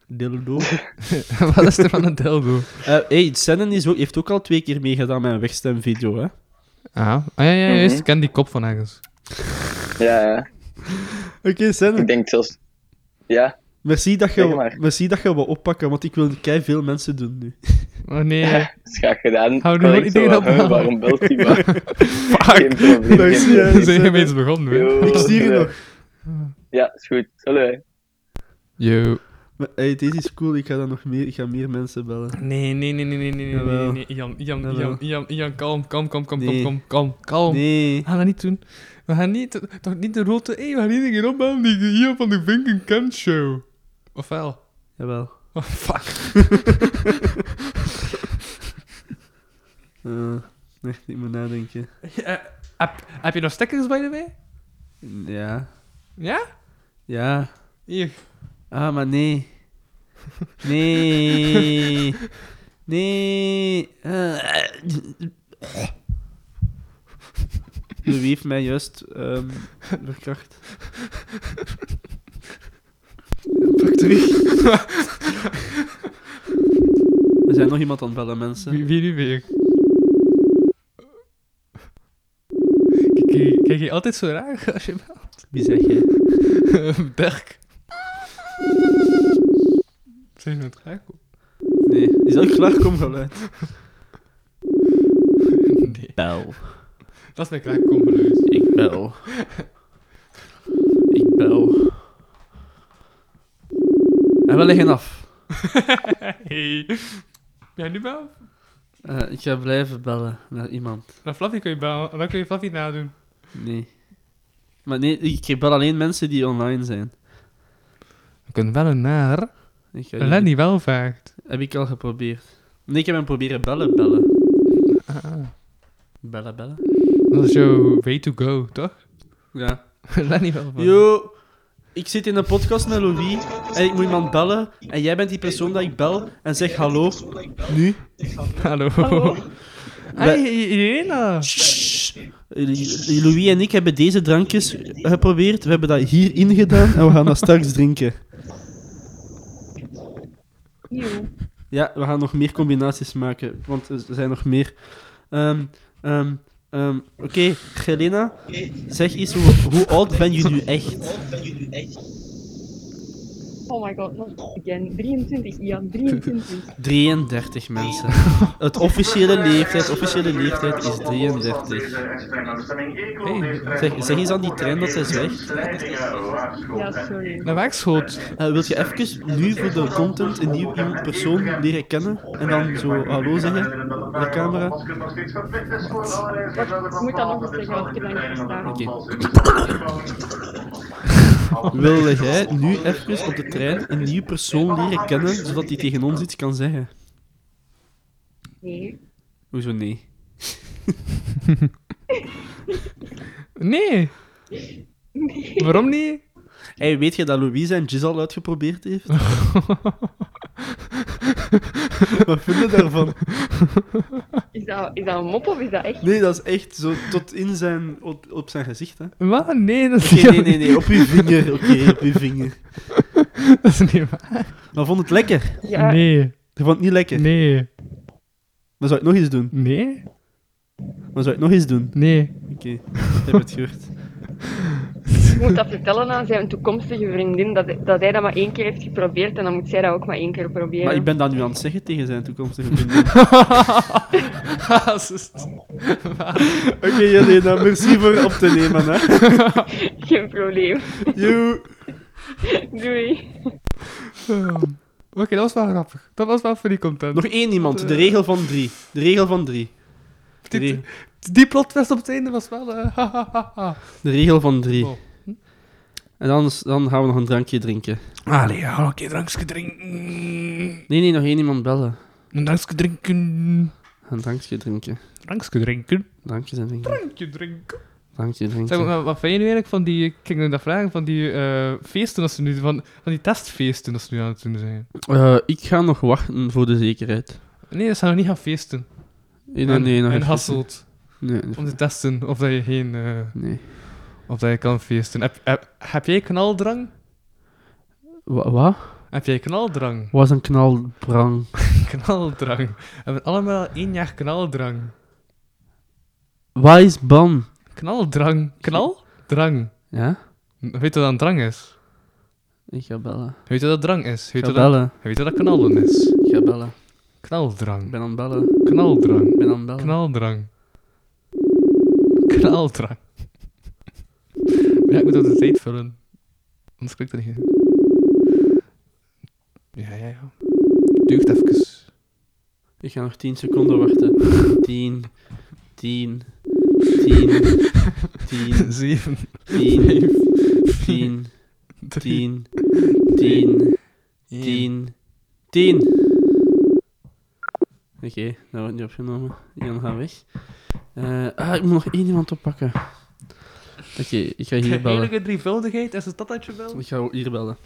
[SPEAKER 4] Dildo.
[SPEAKER 3] Wat is er van een dildo?
[SPEAKER 4] Hé, Eh, hey, Sennen is ook, heeft ook al twee keer meegedaan met een wegstemvideo, hè?
[SPEAKER 3] Ah, ah ja, ja, juist.
[SPEAKER 4] Mhm.
[SPEAKER 3] Ik ken die kop van ergens.
[SPEAKER 9] Ja, ja.
[SPEAKER 4] Oké, Sennen.
[SPEAKER 9] Ik denk zelfs... Ja,
[SPEAKER 4] Merci dat,
[SPEAKER 9] Zeg
[SPEAKER 4] je,
[SPEAKER 9] maar.
[SPEAKER 4] merci dat je wat oppakken, want ik wil kei veel mensen doen nu.
[SPEAKER 3] Oh nee.
[SPEAKER 9] Dat is graag gedaan.
[SPEAKER 3] Hou nu
[SPEAKER 9] Kan
[SPEAKER 3] gewoon
[SPEAKER 9] ik zo,
[SPEAKER 3] iedereen
[SPEAKER 9] hè,
[SPEAKER 3] opbellen.
[SPEAKER 9] Waarom belt hij maar? Geen
[SPEAKER 3] Fuck.
[SPEAKER 9] probleem.
[SPEAKER 4] Daar is
[SPEAKER 9] geen
[SPEAKER 4] hij, hè.
[SPEAKER 9] probleem.
[SPEAKER 3] We zijn ineens begonnen, hè.
[SPEAKER 9] Yo,
[SPEAKER 4] Ik stuur je
[SPEAKER 9] eh,
[SPEAKER 4] nog.
[SPEAKER 9] Ja, is goed. Hallo.
[SPEAKER 3] Yo.
[SPEAKER 4] Maar, hey, deze is cool, ik ga, dan nog meer, ik ga meer mensen bellen.
[SPEAKER 3] Nee, nee, nee, nee, nee, nee, nee, nee,
[SPEAKER 4] Jawel.
[SPEAKER 3] nee, Ian, Ian,
[SPEAKER 4] Jawel.
[SPEAKER 3] Ian, Ian, Ian, kalm, kalm, kalm, kalm,
[SPEAKER 4] Nee.
[SPEAKER 3] kalm, kalm, kalm.
[SPEAKER 4] Nee.
[SPEAKER 3] We gaan dat niet doen. We gaan niet, toch niet de rote, hé, we gaan niet een keer opbellen die je hier van de Vinken Kent Show. Of wel?
[SPEAKER 4] Jawel.
[SPEAKER 3] Oh, fuck.
[SPEAKER 4] Eh, nee, ik moet nadenken.
[SPEAKER 3] heb, heb je nog stekkers bij de mee?
[SPEAKER 4] Ja.
[SPEAKER 3] Ja?
[SPEAKER 4] Ja.
[SPEAKER 3] Hier.
[SPEAKER 4] Ah, maar nee. Nee. Nee. Eh. Louis heeft mij juist ehm verkracht. Pak terug. Er zijn nog iemand aan het bellen, mensen.
[SPEAKER 3] Wie, wie nu weer? Kijk, Kijk, kijk je altijd zo raar als je
[SPEAKER 4] Wie zeg jij?
[SPEAKER 3] belt? Dirk. Zijn we aan het raar?
[SPEAKER 4] Nee. Is dat klaarkomgeluid?
[SPEAKER 3] Nee.
[SPEAKER 4] Bel.
[SPEAKER 3] Dat is mijn klaarkomgeluid.
[SPEAKER 4] Ik bel. Ik bel. En we liggen af.
[SPEAKER 3] Hey. Ben jij nu bel?
[SPEAKER 4] Eh, ik ga blijven bellen naar iemand.
[SPEAKER 3] Dan Fluffy kun je bellen. En dan kun je Fluffy nadoen.
[SPEAKER 4] Nee. Maar nee, ik bel alleen mensen die online zijn.
[SPEAKER 3] We kunnen bellen naar
[SPEAKER 4] Ik ga die-
[SPEAKER 3] Eh, Lenny Welvaart.
[SPEAKER 4] Heb ik al geprobeerd. Nee, ik heb hem proberen bellen, bellen.
[SPEAKER 3] Ah.
[SPEAKER 4] Bellen, bellen.
[SPEAKER 3] Dat is jouw way to go, toch?
[SPEAKER 4] Ja.
[SPEAKER 3] Lenny wel van.
[SPEAKER 4] Yo, ik zit in een podcast met Louis en ik moet iemand bellen. En jij bent die persoon dat ik bel en zeg hallo. Nu.
[SPEAKER 3] Hallo.
[SPEAKER 4] Wij-
[SPEAKER 3] Hey, Irena.
[SPEAKER 4] Eh, Louis en ik hebben deze drankjes geprobeerd. We hebben dat hierin gedaan en we gaan dat straks drinken. Ja, we gaan nog meer combinaties maken, want er zijn nog meer. Ehm, ehm, ehm, Oké, Helena, zeg eens, hoe, hoe oud ben je nu echt?
[SPEAKER 10] Oh my god, not again. 23, Ian, 23.
[SPEAKER 4] 33 mensen. Het officiële leeftijd, officiële leeftijd is 33. Zeg, zeg eens aan die trein dat zij zwijgt.
[SPEAKER 10] Ja, sorry.
[SPEAKER 3] Naar wegschoot.
[SPEAKER 4] Eh, wilt je even nu voor de content een nieuw iemand persoon leren kennen en dan zo hallo zeggen naar de camera?
[SPEAKER 10] Ik moet dat nog eens zeggen, want ik heb dat niet verstaan.
[SPEAKER 4] Wil jij nu even op de trein een nieuw persoon leren kennen zodat die tegen ons iets kan zeggen?
[SPEAKER 10] Nee.
[SPEAKER 4] Hoezo nee?
[SPEAKER 3] Nee. Waarom niet?
[SPEAKER 4] Hey, weet je dat Louise en Giz al uitgeprobeerd heeft? Wat vind je daarvan?
[SPEAKER 10] Is dat, is dat een mop of is dat echt?
[SPEAKER 4] Nee, dat is echt zo tot in zijn, op, op zijn gezicht, hè?
[SPEAKER 3] Wat? Nee, dat is
[SPEAKER 4] Oké,
[SPEAKER 3] niet
[SPEAKER 4] nee, nee, nee, op uw vinger, oké, op uw vinger.
[SPEAKER 3] Dat is niet waar.
[SPEAKER 4] Maar vond het lekker?
[SPEAKER 10] Ja,
[SPEAKER 3] Nee.
[SPEAKER 4] Je vond het niet lekker?
[SPEAKER 3] Nee.
[SPEAKER 4] Dan zou ik nog eens doen.
[SPEAKER 3] Nee?
[SPEAKER 4] Dan zou ik nog eens doen.
[SPEAKER 3] Nee.
[SPEAKER 4] Oké, ik heb het gehoord.
[SPEAKER 10] ik moet dat vertellen aan zijn toekomstige vriendin, dat, dat hij dat maar één keer heeft geprobeerd en dan moet zij dat ook maar één keer proberen.
[SPEAKER 4] Maar ik ben dat nu aan het zeggen tegen zijn toekomstige vriendin. Oké, Jelena, merci voor op te nemen, hè.
[SPEAKER 10] Geen probleem.
[SPEAKER 4] Joe.
[SPEAKER 10] Doei.
[SPEAKER 3] Ehm, Oké, dat was wel grappig. Dat was wel voor die content.
[SPEAKER 4] Nog één iemand, de regel van drie. De regel van drie. De,
[SPEAKER 3] die,
[SPEAKER 4] re-
[SPEAKER 3] die plotwist op het einde was wel... eh, ha, ha, ha, ha.
[SPEAKER 4] de regel van drie.
[SPEAKER 3] Oh.
[SPEAKER 4] En dan, dan gaan we nog een drankje drinken.
[SPEAKER 3] Allee, ga een keer drankje drinken.
[SPEAKER 4] Nee, nee, nog één iemand bellen.
[SPEAKER 3] Een drankje drinken.
[SPEAKER 4] Een drankje drinken.
[SPEAKER 3] Drankje drinken.
[SPEAKER 4] Drankjes en drinken.
[SPEAKER 3] Drankje drinken.
[SPEAKER 4] Drankje
[SPEAKER 3] Zeg,
[SPEAKER 4] drinken.
[SPEAKER 3] maar, wat vind je nu eigenlijk van die... Ik ging nu dat vragen, van die eh, feesten als ze nu... Van, van die testfeesten als ze nu aan het doen zijn.
[SPEAKER 4] Eh, ik ga nog wachten voor de zekerheid.
[SPEAKER 3] Nee, ze gaan nog niet gaan feesten.
[SPEAKER 4] Nee, nee, nee, nog
[SPEAKER 3] en
[SPEAKER 4] even-
[SPEAKER 3] Hasselt.
[SPEAKER 4] Nee,
[SPEAKER 3] Om te testen of dat je geen... eh,
[SPEAKER 4] nee.
[SPEAKER 3] of dat je kan feesten. Heb, heb, heb jij knaldrang?
[SPEAKER 4] Wa- Wat?
[SPEAKER 3] Heb jij knaldrang?
[SPEAKER 4] Was een knalbrang.
[SPEAKER 3] Knaldrang. We hebben allemaal één jaar knaldrang.
[SPEAKER 4] Wat is ban?
[SPEAKER 3] Knaldrang. Knaldrang.
[SPEAKER 4] Ja?
[SPEAKER 3] Weet je wat dat drang is?
[SPEAKER 4] Ik ga bellen.
[SPEAKER 3] Weet je wat dat drang is?
[SPEAKER 4] Ik
[SPEAKER 3] Weet
[SPEAKER 4] ga
[SPEAKER 3] je dat,
[SPEAKER 4] bellen.
[SPEAKER 3] weet je wat dat knallen is?
[SPEAKER 4] Ik ga bellen. Ik
[SPEAKER 3] Knaldrang.
[SPEAKER 4] ben aan het bellen. Ik
[SPEAKER 3] Knaldrang.
[SPEAKER 4] ben aan het bellen.
[SPEAKER 3] Knaldrang. Knaldrang. Ja, ik moet dat de tijd vullen. Anders klinkt dat niet. goed. Ja, ja, ja. Duurt even.
[SPEAKER 4] Ik ga nog 10 seconden wachten. 10, 10, 10, 10,
[SPEAKER 3] 7,
[SPEAKER 4] 10, 10, 10, 10, 10, 10. Oké, dat wordt niet opgenomen. Ian gaat weg. Eh, ah, ik moet nog één iemand oppakken. Oké, ik ga hier bellen.
[SPEAKER 3] drievuldigheid, is het dat dat je wil?
[SPEAKER 4] Ik ga ook hier bellen.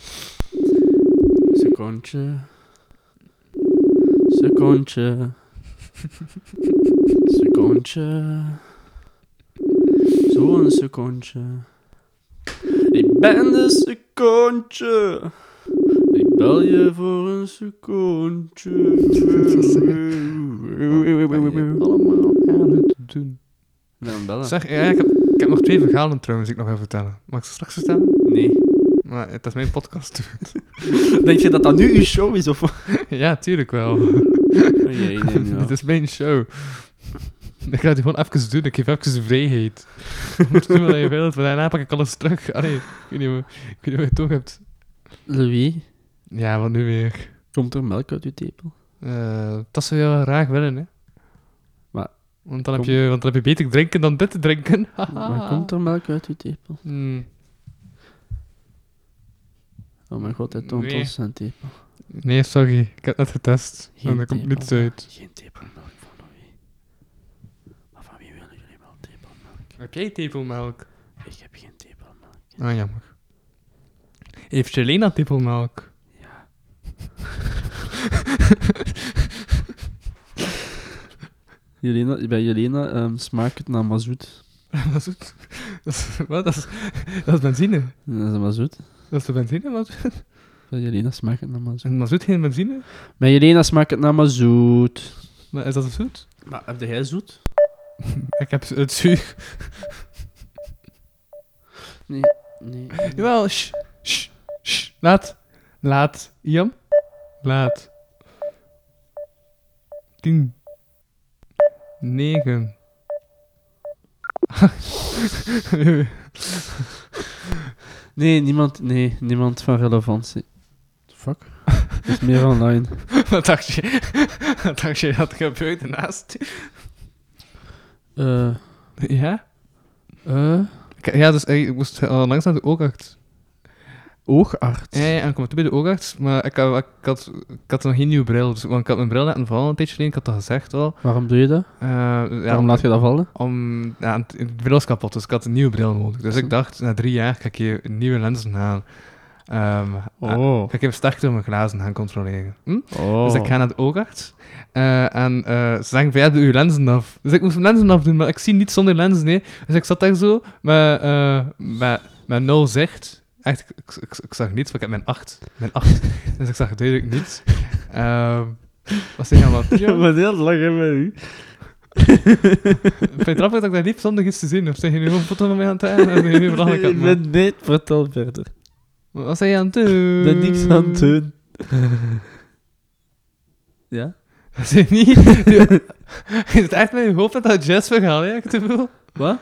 [SPEAKER 4] Secondje. Secondje. Secondje. Zo'n secondje. Ik ben de secondje. Ik bel je voor een secondje.
[SPEAKER 3] allemaal aan het doen.
[SPEAKER 4] Dan bellen.
[SPEAKER 3] Zeg, ja, ik, heb, ik heb nog twee verhalen trouwens die ik nog wil vertellen. Mag ik ze straks vertellen?
[SPEAKER 4] Nee.
[SPEAKER 3] Maar het is mijn podcast.
[SPEAKER 4] Denk je dat dat nu uw show is of wat?
[SPEAKER 3] ja, tuurlijk wel.
[SPEAKER 4] Oh jee, nee,
[SPEAKER 3] Dit is mijn show. Ik ga het gewoon even doen, ik geef even de vrijheid. Je moet doen wat je wilt, want daarna pak ik alles terug. Allee, ik weet niet hoe ik weet niet hoe je het toch hebt.
[SPEAKER 4] Louis,
[SPEAKER 3] Ja, wat nu weer?
[SPEAKER 4] komt er melk uit uw tepel?
[SPEAKER 3] Eh, dat zou je wel graag willen, hè?
[SPEAKER 4] Maar-
[SPEAKER 3] Want dan, heb je, want dan heb je beter drinken dan dit te drinken.
[SPEAKER 4] Maar komt er melk uit uw tepel?
[SPEAKER 3] Hmm,
[SPEAKER 4] Oh mijn god, hij toont
[SPEAKER 3] Nee.
[SPEAKER 4] ons zijn tepel.
[SPEAKER 3] Nee, sorry. Ik heb het net getest.
[SPEAKER 4] Geen
[SPEAKER 3] en dat komt
[SPEAKER 4] tip,
[SPEAKER 3] niets
[SPEAKER 4] Anna.
[SPEAKER 3] uit.
[SPEAKER 4] Geen tepelmelk van Louis. Maar van wie willen jullie wel tepelmelk?
[SPEAKER 3] Oké, tepelmelk.
[SPEAKER 4] Ik heb geen tepelmelk.
[SPEAKER 3] Ah, jammer. Heeft Jelena tepelmelk?
[SPEAKER 4] Ja. Jelena, bij Jelena ehm, smaakt het naar mazoet.
[SPEAKER 3] dat is goed. Dat is, wat? Dat is, dat is benzine.
[SPEAKER 4] Dat is mazoet.
[SPEAKER 3] Dat is de benzine, wat?
[SPEAKER 4] Bij Jelena smaakt het naar mazoet.
[SPEAKER 3] Een mazoet geen benzine?
[SPEAKER 4] Bij Jelena smaakt het naar mazoet.
[SPEAKER 3] Maar is dat zoet?
[SPEAKER 4] Maar heb jij zoet?
[SPEAKER 3] Ik heb het zuur.
[SPEAKER 4] Nee. Nee.
[SPEAKER 3] Jawel, shh, shh, shh. Laat. Laat. Ian? Laat. Tien. Negen.
[SPEAKER 4] Nee, niemand, nee, niemand van relevantie. Fuck. Het is meer online.
[SPEAKER 3] Wat dacht je? Wat dacht je dat er gebeurde naast je?
[SPEAKER 4] Eh,
[SPEAKER 3] Ja?
[SPEAKER 4] eh,
[SPEAKER 3] K- Ja, dus eh, ik moest langs naar de oogarts.
[SPEAKER 4] oogarts.
[SPEAKER 3] Ja, ja, en ik kwam toen bij de oogarts, maar ik, had- ik, had, ik had nog geen nieuwe bril. Dus, want ik had mijn bril laten vallen een tijdje geleden, ik had dat gezegd al.
[SPEAKER 4] Waarom doe je dat?
[SPEAKER 3] Eh, ja,
[SPEAKER 4] Waarom laat je dat vallen?
[SPEAKER 3] Om, ja, het- de bril is kapot, dus ik had een nieuwe bril nodig. Dus ik dacht, na drie jaar ga ik hier nieuwe lenzen halen. Ehm, eh,
[SPEAKER 4] Oh.
[SPEAKER 3] Ga ik even sterker mijn glazen gaan controleren. Hm?
[SPEAKER 4] oh.
[SPEAKER 3] Dus ik ga naar de oogarts. eh, en eh, ze zeggen van, ja, doe je lenzen af. Dus ik moest mijn lenzen afdoen, maar ik zie niet zonder lenzen, nee. Dus ik zat daar zo, met, eh met, met nul zicht. Echt, ik, ik, ik, ik zag niets, want ik heb mijn acht. Mijn acht. dus ik zag duidelijk niets. Ehm was hij helemaal...
[SPEAKER 4] Ja, maar heel lang hè, met u.
[SPEAKER 3] Vind je het grappig dat ik daar liep zonder iets te zien? Of zijn jullie gewoon een foto van mij aan het maken? Of zijn jullie belachelijk aan het
[SPEAKER 4] Ik
[SPEAKER 3] maken?
[SPEAKER 4] ben net vertel verder.
[SPEAKER 3] Wat was hij aan het doen?
[SPEAKER 4] Ik ben niks aan het doen. Ja?
[SPEAKER 3] Was hij niet? Je- Is het echt met je hoofd dat dat jazz verhaal, ja? Ik te veel.
[SPEAKER 4] Wat?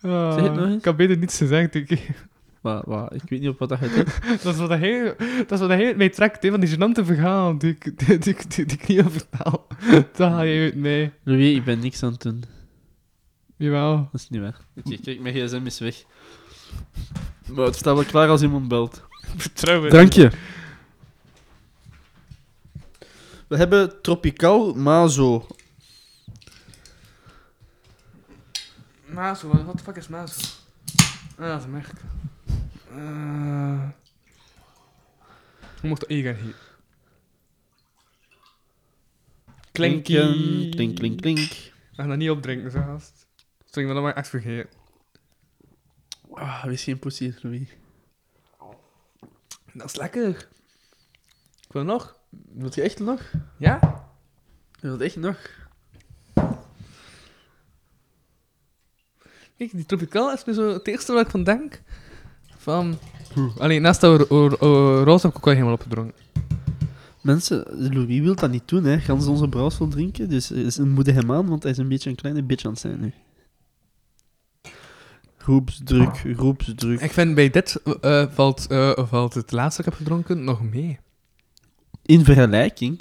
[SPEAKER 3] Ah,
[SPEAKER 4] Zeg het nog eens.
[SPEAKER 3] Ik had beter niets gezegd. Ik,
[SPEAKER 4] Wat, wat? Ik weet niet op wat dat gaat. doen.
[SPEAKER 3] dat is wat hij, dat is wat hij mee trekt, hè, van die gênante verhaal die ik, die, die, die, die ik niet vertaal. Dat haal je uit mee.
[SPEAKER 4] Louis, ik ben niks aan het doen.
[SPEAKER 3] Jawel.
[SPEAKER 4] Dat is niet waar. Oké, kijk, mijn gsm is weg. Maar het staat wel klaar als iemand belt.
[SPEAKER 3] Vertrouwen.
[SPEAKER 4] Drankje. We hebben Tropical Mazo.
[SPEAKER 3] Mazo, wat de fuck is Mazo? Ah, dat is een merk. Uh, je mocht Egan hier. Klinken.
[SPEAKER 4] Klink, klink, klink.
[SPEAKER 3] We gaan dat niet opdrinken, zo gast. Zing me dat maar echt vergeten.
[SPEAKER 4] Ah, wees geen poesie, Louis.
[SPEAKER 3] Dat is lekker. Ik wil nog.
[SPEAKER 4] Wilt je echt nog?
[SPEAKER 3] Ja?
[SPEAKER 4] Je wilt echt nog?
[SPEAKER 3] Kijk, die tropicaal is nu zo het eerste waar ik van denk. Van... Alleen naast dat we ro- ro- roze heb ik ook wel helemaal opgedronken.
[SPEAKER 4] Mensen, Louis wil dat niet doen, hè. Gans onze brouwsel drinken. Dus eh, is een moedig hem aan, want hij is een beetje een kleine bitch aan het zijn nu. Groepsdruk, groepsdruk.
[SPEAKER 3] Ik vind bij dit eh, eh, valt, eh, valt het laatste dat ik heb gedronken nog mee.
[SPEAKER 4] In vergelijking?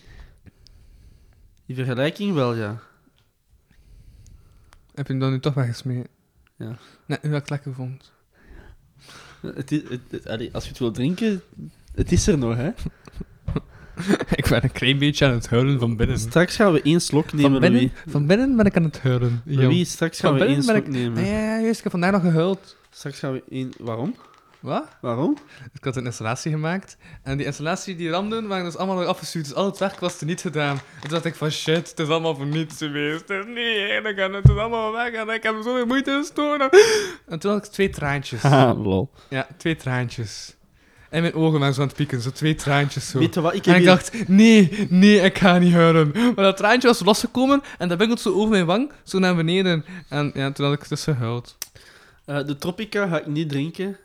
[SPEAKER 4] In vergelijking wel, ja.
[SPEAKER 3] Heb je hem dan nu toch weggesmeed?
[SPEAKER 4] Ja.
[SPEAKER 3] Nee, nu heb ik het lekker vond.
[SPEAKER 4] Het is, het- het- allee, als je het wil drinken, het is er nog, hè.
[SPEAKER 3] ik ben een klein beetje aan het huilen van binnen.
[SPEAKER 4] Straks gaan we één slok
[SPEAKER 3] Van
[SPEAKER 4] nemen,
[SPEAKER 3] binnen,
[SPEAKER 4] Louis.
[SPEAKER 3] van binnen ben ik aan het huilen. Jong.
[SPEAKER 4] Louis, straks
[SPEAKER 3] Van
[SPEAKER 4] gaan we één
[SPEAKER 3] binnen ben
[SPEAKER 4] slok
[SPEAKER 3] ik...
[SPEAKER 4] nemen.
[SPEAKER 3] Nee, ja, ja, juist. Ik heb vandaag nog gehuild.
[SPEAKER 4] Straks gaan we één... Waarom?
[SPEAKER 3] Wat?
[SPEAKER 4] Waarom?
[SPEAKER 3] Ik had een installatie gemaakt. En die installatie die ramden, waren dus allemaal weer afgestuurd. Dus al het werk was er niet gedaan. En toen dacht ik van shit, het is allemaal voor niets geweest. Het is niet eerlijk en het is allemaal weg. En ik heb er zoveel moeite gestoken. En toen had ik twee traantjes.
[SPEAKER 4] Haha, lol.
[SPEAKER 3] Ja, twee traantjes. En mijn ogen waren zo aan het pieken, zo twee traantjes zo.
[SPEAKER 4] Weet je wat, ik heb
[SPEAKER 3] En ik
[SPEAKER 4] hier-
[SPEAKER 3] dacht, nee, nee, ik ga niet huilen. Maar dat traantje was losgekomen en dat bengelt zo over mijn wang, zo naar beneden. En ja, toen had ik dus gehuild.
[SPEAKER 4] Eh, de Tropica ga ik niet drinken.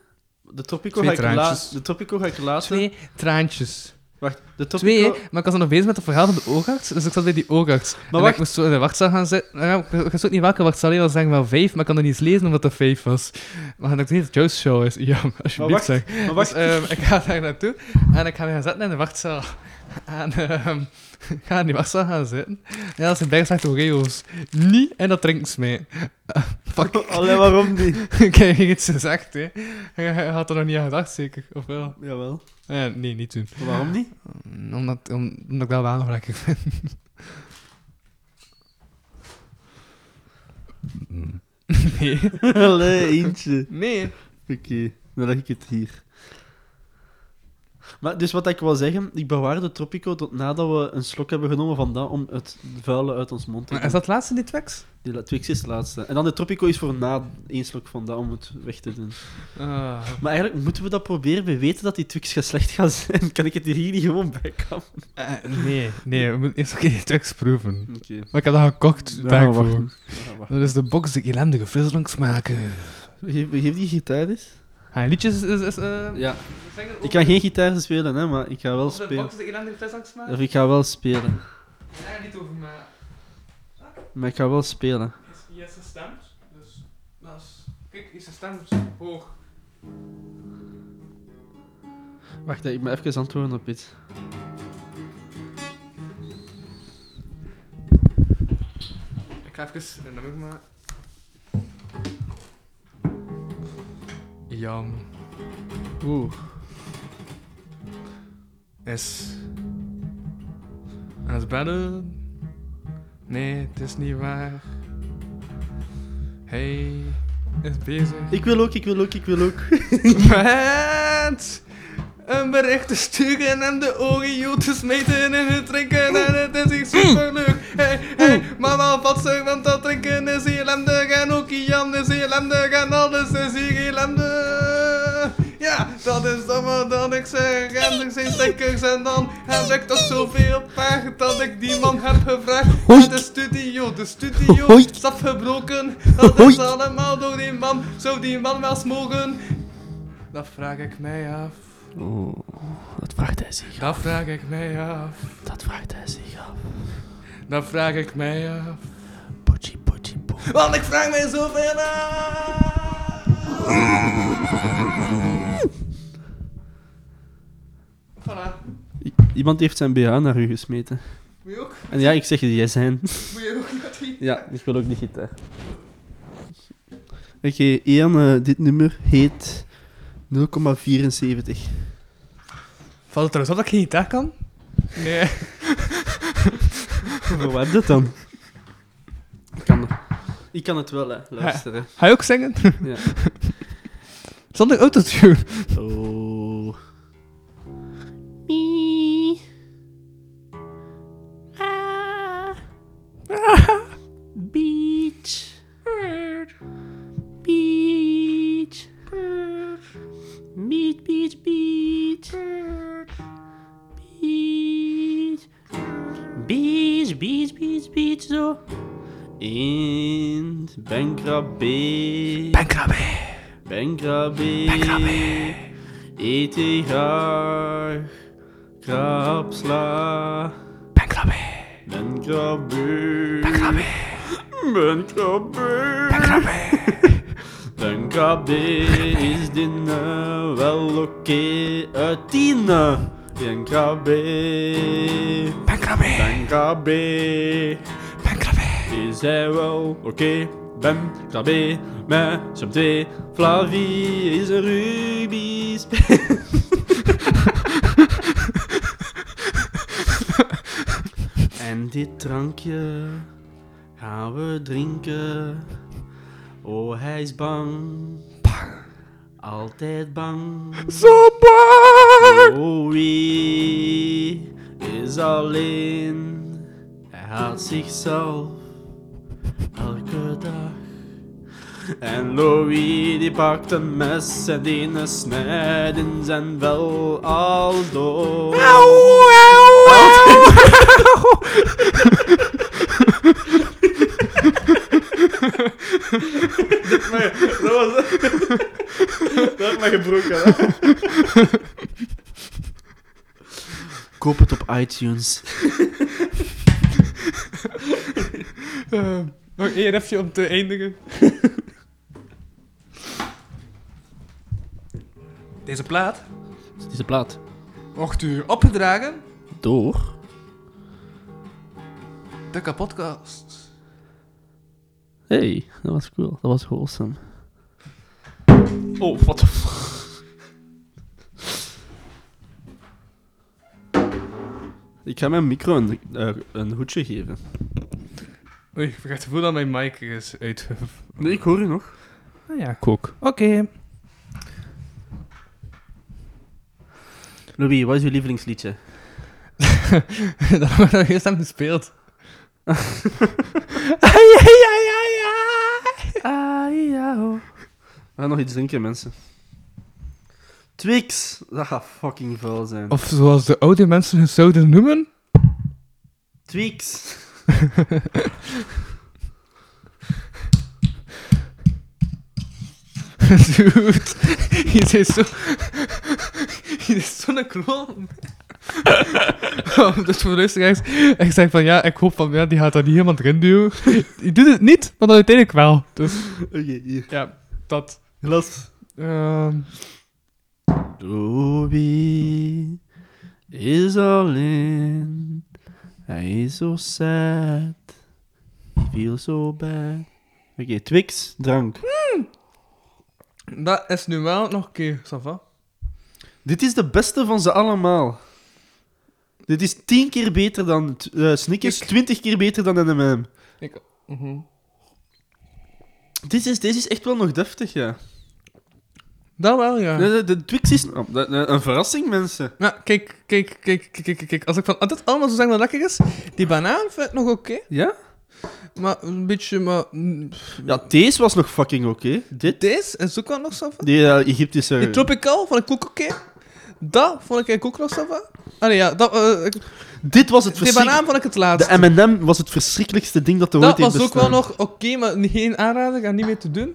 [SPEAKER 4] De Tropico, ga
[SPEAKER 3] Twee
[SPEAKER 4] ik, la
[SPEAKER 3] traantjes.
[SPEAKER 4] de tropico ga ik laten.
[SPEAKER 3] Twee traantjes.
[SPEAKER 4] Wacht, de
[SPEAKER 3] Twee,
[SPEAKER 4] Tropico...
[SPEAKER 3] hè, maar ik was dan nog bezig met het verhaal van de oogarts, dus ik zat bij die oogarts. Maar
[SPEAKER 4] wacht.
[SPEAKER 3] Ik moest zo in de wachtzaal gaan zitten. Nou Ja, ik ik wist ook niet welke wachtzaal, ik was zeggen wel vijf, maar ik kan er niet eens lezen omdat dat vijf was. Maar ik dacht niet dat het jouw show is. Ja, maar alsjeblieft
[SPEAKER 4] wacht,
[SPEAKER 3] zeg.
[SPEAKER 4] maar wacht.
[SPEAKER 3] Dus, ehm, ik ga daar naartoe en ik ga me gaan zetten in de wachtzaal. En ehm, ga in die massa gaan zitten. En als ze bijgezegd Oreo's niet en dat drinken ze mee. Eh, fuck.
[SPEAKER 4] Allee, waarom niet?
[SPEAKER 3] Ik heb je iets gezegd, hè. Je had er nog niet aan gedacht, zeker? Of wel?
[SPEAKER 4] Jawel.
[SPEAKER 3] Eh, nee, niet toen.
[SPEAKER 4] Waarom niet?
[SPEAKER 3] Omdat, om- omdat ik dat wel nog lekker vind. Nee.
[SPEAKER 4] Allee, eentje.
[SPEAKER 3] Nee.
[SPEAKER 4] Oké, dan leg ik het hier. Maar dus wat ik wil zeggen, ik bewaarde Tropico tot nadat we een slok hebben genomen van dat om het vuile uit ons mond te
[SPEAKER 3] Maar is dat het laatste, die Twix?
[SPEAKER 4] Die la- Twix is het laatste. En dan de Tropico is voor na één slok van dat om het weg te doen.
[SPEAKER 3] Ah.
[SPEAKER 4] Maar eigenlijk moeten we dat proberen. We weten dat die Twix gaat slecht gaan zijn. Kan ik het hier niet gewoon bij kappen?
[SPEAKER 3] Eh, nee, nee, we moeten eerst ook die Twix proeven.
[SPEAKER 4] Oké.
[SPEAKER 3] Maar ik heb dat gekocht,
[SPEAKER 4] Dan
[SPEAKER 3] daar
[SPEAKER 4] gaan we
[SPEAKER 3] voor.
[SPEAKER 4] wachten. Dan gaan we wachten.
[SPEAKER 3] Dat is de box die ellendige frisdrank smaken.
[SPEAKER 4] Geef, geef die gitaar eens.
[SPEAKER 3] Ga je Ah, liedjes is, is, eh,
[SPEAKER 4] Ja.
[SPEAKER 3] zingen over
[SPEAKER 4] Ik kan geen gitaar spelen, hè, maar ik ga wel
[SPEAKER 3] de
[SPEAKER 4] spelen.
[SPEAKER 3] box die ellendige frisdrank smaken?
[SPEAKER 4] Of ik ga wel spelen.
[SPEAKER 3] Ja, niet over maar
[SPEAKER 4] Maar ik ga wel spelen.
[SPEAKER 3] Hier is de stem, dus dat is... Kijk, is de stem dus hoog.
[SPEAKER 4] Wacht, hè, ik moet even antwoorden op iets.
[SPEAKER 3] Ik ga even en dan moet ik maar. Jam. Oeh. Is. Aan het bellen? Nee, het is niet waar. Hij is bezig.
[SPEAKER 4] Ik wil ook, ik wil ook, ik wil ook.
[SPEAKER 3] Met een bericht te sturen en de Oreo te smeten en het drinken en het is hier superleuk. Hey, hey, maar wel vatsig, want dat drinken is hier ellendig en ook Jan is hier ellendig en alles is hier ellendig. Ja, dat is dan maar dat ik zeg en er zijn stickers en dan heb ik toch zoveel pech dat ik die man heb gevraagd naar de studio. De studio is afgebroken, dat is allemaal door die man, zou die man wel eens mogen. Dat vraag ik mij af.
[SPEAKER 4] Dat vraagt hij zich.
[SPEAKER 3] Dat vraag ik mij af.
[SPEAKER 4] Dat vraagt hij zich af.
[SPEAKER 3] Dat vraag ik mij af.
[SPEAKER 4] Pochi, pochi, po.
[SPEAKER 3] Want ik vraag mij zoveel af. Voilà.
[SPEAKER 4] I- Iemand heeft zijn BH naar u gesmeten.
[SPEAKER 3] Moet je ook?
[SPEAKER 4] En ja, ik zeg het, jij zijn.
[SPEAKER 3] Moet je ook dat die?
[SPEAKER 4] Ja, ik wil ook die gitaar. Oké, Ian, eh, dit nummer heet 0,74.
[SPEAKER 3] Valt het trouwens op dat ik geen gitaar kan? Nee.
[SPEAKER 4] Hoe heb je dat dan? Ik kan, ik kan het wel, hè, luisteren.
[SPEAKER 3] Ga je ook zingen?
[SPEAKER 4] Ja.
[SPEAKER 3] Zonder autotune.
[SPEAKER 4] Oh. Beach. Beach. Beach, beach, beach. Beach. Beach, beach, beach, beach, zo. In Bankrab Beach. Bankrabbe. Eet ik graag krapsla. Bankrabbe. Bankrabbe. Bankrabbe. Bankrabbe. is dinner wel oké uit tien. Bankrabbe. Bankrabbe. Is hij wel oké? Ben krabbe met z'n twee. Flavie is een Ruby's. en dit drankje gaan we drinken. Oh, hij is bang. Altijd bang.
[SPEAKER 3] Zo bang!
[SPEAKER 4] Oei is alleen. Hij haat zichzelf elke dag. En Louis die pakt een mes en die snijdt in zijn wel alles door. Dat was... Dat had mij gebroken. Koop het op iTunes.
[SPEAKER 3] Eh, Nog één refje om te eindigen. Deze plaat
[SPEAKER 4] Deze plaat.
[SPEAKER 3] wordt u opgedragen
[SPEAKER 4] door.
[SPEAKER 3] De kapotkast.
[SPEAKER 4] Hey, dat was cool. Dat was wholesome.
[SPEAKER 3] Oh, what the fuck.
[SPEAKER 4] Ik ga mijn micro een, eh, een hoedje geven.
[SPEAKER 3] Oei, ik heb het gevoel dat mijn mic is uitgev...
[SPEAKER 4] Nee, ik hoor je nog.
[SPEAKER 3] Ah ja, kook. Oké.
[SPEAKER 4] Louis, wat is uw lievelingsliedje?
[SPEAKER 3] dat hebben we nog eerst aan gespeeld. ai, ai, ai, ai, ai.
[SPEAKER 4] We gaan nog iets drinken, mensen. Twix! Dat gaat fucking vuil zijn.
[SPEAKER 3] Of zoals de oude mensen het zouden noemen...
[SPEAKER 4] Twix!
[SPEAKER 3] Dude, je is zo... Je is zo'n kloon. Oh, dus voor de luisteraars, ik zeg van ja, ik hoop van ja, die gaat dat niet helemaal erin duwen. Die doet het niet, maar dan uiteindelijk wel. Dus
[SPEAKER 4] Oké, hier.
[SPEAKER 3] ja, dat.
[SPEAKER 4] Glas.
[SPEAKER 3] ehm,
[SPEAKER 4] Louis is all in. Hij is zo sad. He feels so bad. Oké, Twix, drank.
[SPEAKER 3] dat is nu wel nog een keer, Sava.
[SPEAKER 4] Dit is de beste van ze allemaal. Dit is 10 keer beter dan t- eh, Snickers, 20 keer beter dan NMM.
[SPEAKER 3] Ik- mhm.
[SPEAKER 4] Dit is, deze is echt wel nog deftig, ja.
[SPEAKER 3] Dat wel, ja.
[SPEAKER 4] De, de, de Twix is oh, dat- dat- een verrassing, mensen.
[SPEAKER 3] Ja, Nou, kijk, kijk, kijk, kijk, kijk, kijk. Als ik van, als dit allemaal zo zeggen dat lekker is, die banaan vind ik nog oké,
[SPEAKER 4] Ja?
[SPEAKER 3] maar een beetje, maar... mm, pff.
[SPEAKER 4] Ja, deze was nog fucking oké. Dit?
[SPEAKER 3] Deze is ook wel nog Sava.
[SPEAKER 4] Die eh, Egyptische...
[SPEAKER 3] Die tropical vond ik ook oké. Dat vond ik eigenlijk ook nog Sava. Allee, ja, dat, eh, ik-
[SPEAKER 4] Dit was het
[SPEAKER 3] die
[SPEAKER 4] verschrikkelijkste.
[SPEAKER 3] banaan vond ik het laatst.
[SPEAKER 4] De M&M was het verschrikkelijkste ding dat er ooit
[SPEAKER 3] Dat
[SPEAKER 4] heeft
[SPEAKER 3] was ook wel
[SPEAKER 4] bestaan.
[SPEAKER 3] nog oké, maar geen aanrader, ga niet meer te doen.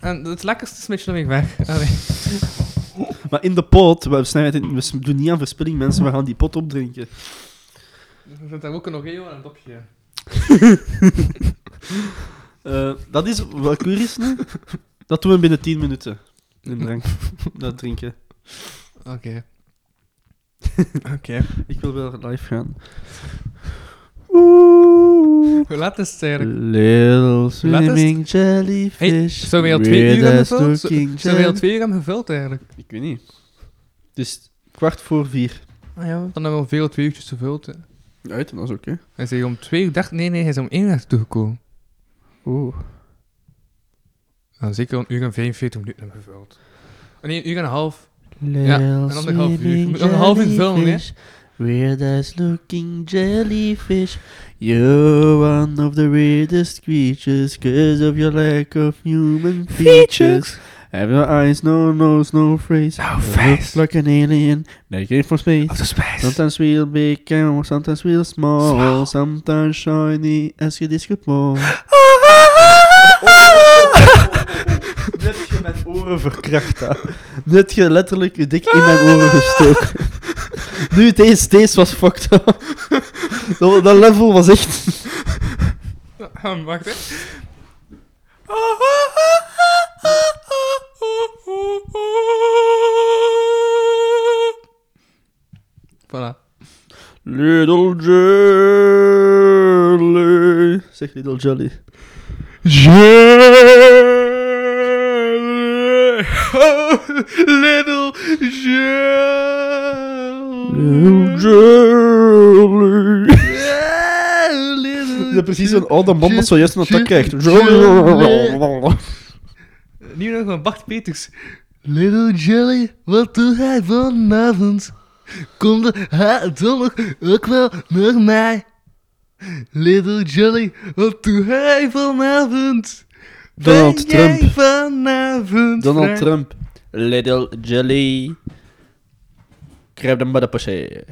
[SPEAKER 3] En het lekkerste is met je nog weg. Allee.
[SPEAKER 4] Maar in de pot, we, snijden het in- we s- doen niet aan verspilling, mensen. We gaan die pot opdrinken.
[SPEAKER 3] Er zit daar ook een oreo en een dopje.
[SPEAKER 4] Eh, dat is... Welk uur is het nu? Dat doen we binnen 10 minuten. Een drank. Dat drinken.
[SPEAKER 3] Oké. Oké.
[SPEAKER 4] Ik wil wel live gaan.
[SPEAKER 3] Hoe laat is het eigenlijk?
[SPEAKER 4] Little
[SPEAKER 3] Laat eens-
[SPEAKER 4] swimming jellyfish.
[SPEAKER 3] Hey, zou je al twee uur
[SPEAKER 4] weird
[SPEAKER 3] hebben
[SPEAKER 4] as
[SPEAKER 3] gevuld?
[SPEAKER 4] looking
[SPEAKER 3] Zijn we al
[SPEAKER 4] jelly-
[SPEAKER 3] twee uur hebben gevuld eigenlijk?
[SPEAKER 4] Ik weet niet. Het is kwart voor vier.
[SPEAKER 3] Ah ja. Dan hebben we al veel twee uurtjes gevuld. hè.
[SPEAKER 4] Uit, dat is oké.
[SPEAKER 3] Hij zei om twee uur, dacht nee, nee, hij is om één uur toegekomen.
[SPEAKER 4] Oeh.
[SPEAKER 3] Dan zeker een uur en 45 minuten hebben gevuld. Oh, nee, een uur en een half.
[SPEAKER 4] Ja,
[SPEAKER 3] en anderhalf uur. Je moet nog een half uur filmen, hè.
[SPEAKER 4] Weird as looking jellyfish. You're one of the weirdest creatures. Cause of your lack of human features. Have no eyes, no nose, no face. No face. like an alien. They came from space. Sometimes real big and sometimes real small. Sometimes shiny as your disco ball. Net je mijn oren verkracht had. Net je letterlijk je dik in mijn oren gestoken. Nu, deze, deze was fucked up. Dat, dat level was echt...
[SPEAKER 3] Ah, wacht hè. Voilà.
[SPEAKER 4] Little Jelly. Zeg Little Jelly.
[SPEAKER 3] Jelly, little jelly.
[SPEAKER 4] Little Jelly. Ja, precies een oude man dat zojuist naar dat kijkt. Jelly.
[SPEAKER 3] Nu nog van Bart Peters. Little Jelly, wat doe jij vanavond? Kom er dan nog ook wel naar mij? Little Jelly, wat doe jij vanavond?
[SPEAKER 4] Donald
[SPEAKER 3] Ben jij
[SPEAKER 4] Trump.
[SPEAKER 3] vanavond
[SPEAKER 4] Donald
[SPEAKER 3] vrij?
[SPEAKER 4] Trump. Little Jelly. Grab hem bij de passé.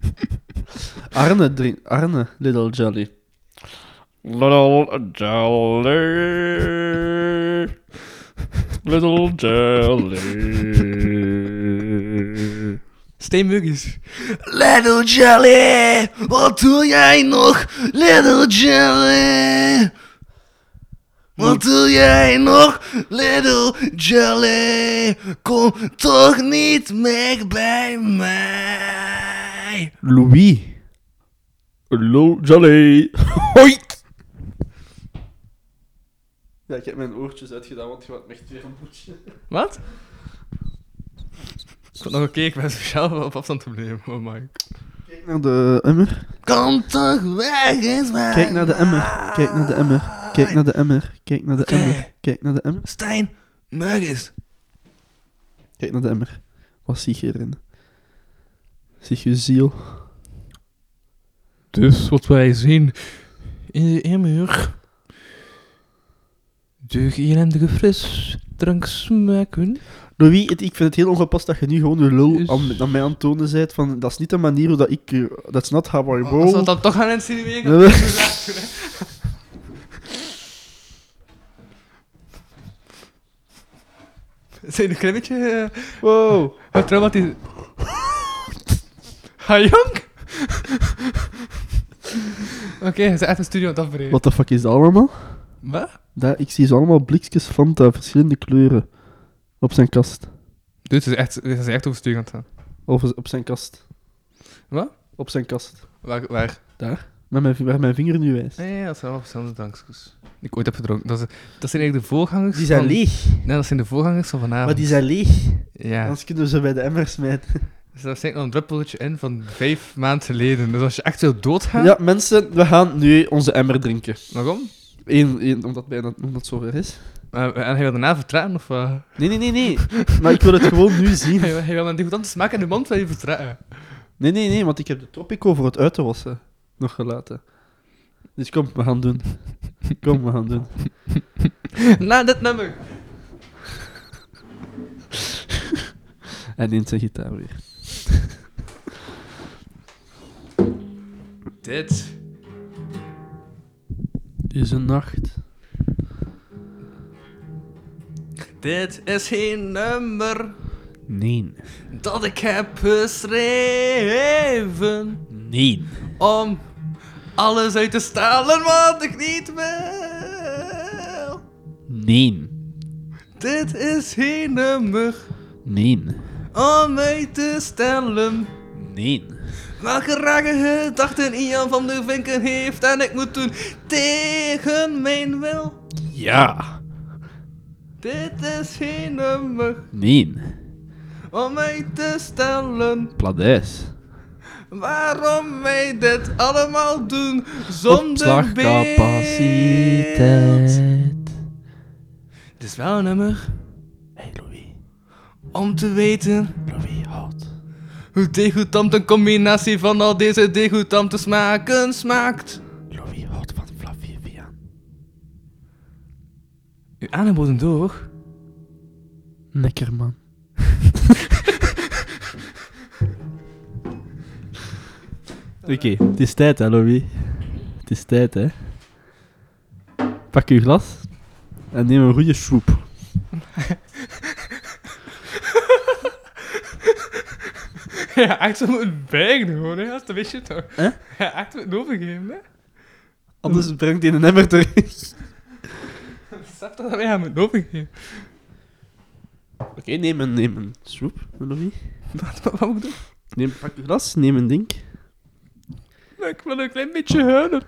[SPEAKER 4] Arne, drink- Arne, Little Jelly.
[SPEAKER 7] Little jelly. Little jelly.
[SPEAKER 3] Steen Muggies. Little Jelly, wat doe jij nog? Little Jelly. Wat doe jij nog? Little Jelly, kom toch niet meer bij mij. Hey.
[SPEAKER 4] Louis. Hallo, Jolly. Hoi. Ja, ik heb mijn oortjes uitgedaan, want je had me echt weer een boetje.
[SPEAKER 3] Wat? Ik vond nog oké, ik ben sociaal op afstand gebleven. Oh my.
[SPEAKER 4] Kijk naar de emmer.
[SPEAKER 2] Kom toch weg, eens maar.
[SPEAKER 4] Kijk naar de emmer. Kijk naar de emmer. Kijk naar de emmer. Kijk naar de
[SPEAKER 2] Oké.
[SPEAKER 4] emmer. Kijk naar de emmer.
[SPEAKER 2] Stijn, merk eens.
[SPEAKER 4] Kijk naar de emmer. Wat zie je erin? Zie je ziel?
[SPEAKER 3] Dus wat wij zien in de emmer. De elendige fris drank smaken.
[SPEAKER 4] Louis, het, ik vind het heel ongepast dat je nu gewoon de lul
[SPEAKER 3] Is-
[SPEAKER 4] aan, aan mij aan het tonen bent. Van, dat is niet de manier hoe dat ik... eh, That's not how I roll.
[SPEAKER 3] Als we dat dan toch gaan insinueren.
[SPEAKER 4] Nee, nee.
[SPEAKER 3] Zijn de krimmetje eh,
[SPEAKER 4] Wow.
[SPEAKER 3] getraumatiseerd? Ha, jong? Oké, ze is echt een studio aan het afbreken.
[SPEAKER 4] What the fuck is dat allemaal?
[SPEAKER 3] Wat?
[SPEAKER 4] Daar, ik zie zo allemaal blikjes Fanta, verschillende kleuren. Op zijn kast.
[SPEAKER 3] Dude, ze is echt, ze is echt overstuur aan het gaan.
[SPEAKER 4] Of op zijn kast.
[SPEAKER 3] Wat?
[SPEAKER 4] Op zijn kast.
[SPEAKER 3] Waar? waar?
[SPEAKER 4] Met mijn, waar mijn vinger nu wijst.
[SPEAKER 3] Nee, dat zijn allemaal verschillende drankjes. Die ik ooit heb gedronken. Dat, is- dat zijn eigenlijk de voorgangers
[SPEAKER 4] Die zijn
[SPEAKER 3] van...
[SPEAKER 4] leeg.
[SPEAKER 3] Nee, dat zijn de voorgangers van vanavond.
[SPEAKER 4] Maar die zijn leeg.
[SPEAKER 3] Ja.
[SPEAKER 4] Anders kunnen we ze bij de emmer smijten.
[SPEAKER 3] Dus daar zit nog een druppeltje in van vijf maanden geleden. Dus als je echt wil doodgaan...
[SPEAKER 4] Ja, mensen, we gaan nu onze emmer drinken.
[SPEAKER 3] Waarom?
[SPEAKER 4] Eén, één, omdat, bijna, omdat het zover is.
[SPEAKER 3] Eh, en hij wil daarna vertragen, of wat?
[SPEAKER 4] Nee, nee, nee, nee. Maar ik wil het gewoon nu zien.
[SPEAKER 3] Hij, wil- hij wil een degoutant smaak in de mond wil je vertragen.
[SPEAKER 4] Nee, nee, nee, want ik heb de Tropico voor het uit te wassen nog gelaten. Dus kom, we gaan doen. Kom, we gaan doen.
[SPEAKER 3] Na dit nummer!
[SPEAKER 4] En neemt zijn gitaar weer.
[SPEAKER 3] Dit
[SPEAKER 4] Is een nacht.
[SPEAKER 3] Dit is geen nummer
[SPEAKER 4] Nee.
[SPEAKER 3] dat ik heb geschreven
[SPEAKER 4] Nee.
[SPEAKER 3] om alles uit te stalen wat ik niet wil.
[SPEAKER 4] Nee.
[SPEAKER 3] Dit is geen nummer
[SPEAKER 4] Nee.
[SPEAKER 3] om mij te stellen
[SPEAKER 4] Nee.
[SPEAKER 3] welke rare gedachten Ian van der Vinken heeft en ik moet doen tegen mijn wil.
[SPEAKER 4] Ja.
[SPEAKER 3] Dit is geen nummer
[SPEAKER 4] Nee.
[SPEAKER 3] om mij te stellen
[SPEAKER 4] Pladijs.
[SPEAKER 3] Waarom wij dit allemaal doen zonder beeld? Het is wel een nummer
[SPEAKER 4] Hey Louis.
[SPEAKER 3] om te weten
[SPEAKER 4] Louis, houd.
[SPEAKER 3] hoe degoutant een combinatie van al deze degoutante smaken smaakt.
[SPEAKER 4] Louis, houd van Flavie Vian.
[SPEAKER 3] Uw aangeboden door.
[SPEAKER 4] Lekker man. Oké, het is tijd hè Louis. Het is tijd hè. Pak uw glas en neem een goede swoep.
[SPEAKER 3] Ja, echt zo moet bijgen gewoon, hè. Dat wist je toch?
[SPEAKER 4] Hè?
[SPEAKER 3] Ja, echt moet het overgeven, hè.
[SPEAKER 4] Anders brengt hij een emmer terug.
[SPEAKER 3] Besef dat wij hem moet overgeven.
[SPEAKER 4] Oké, neem een, neem een swoep, Louis.
[SPEAKER 3] Wat, wat, wat moet ik doen?
[SPEAKER 4] Neem, pak uw glas, neem een ding.
[SPEAKER 3] Ik wil een klein beetje huilen.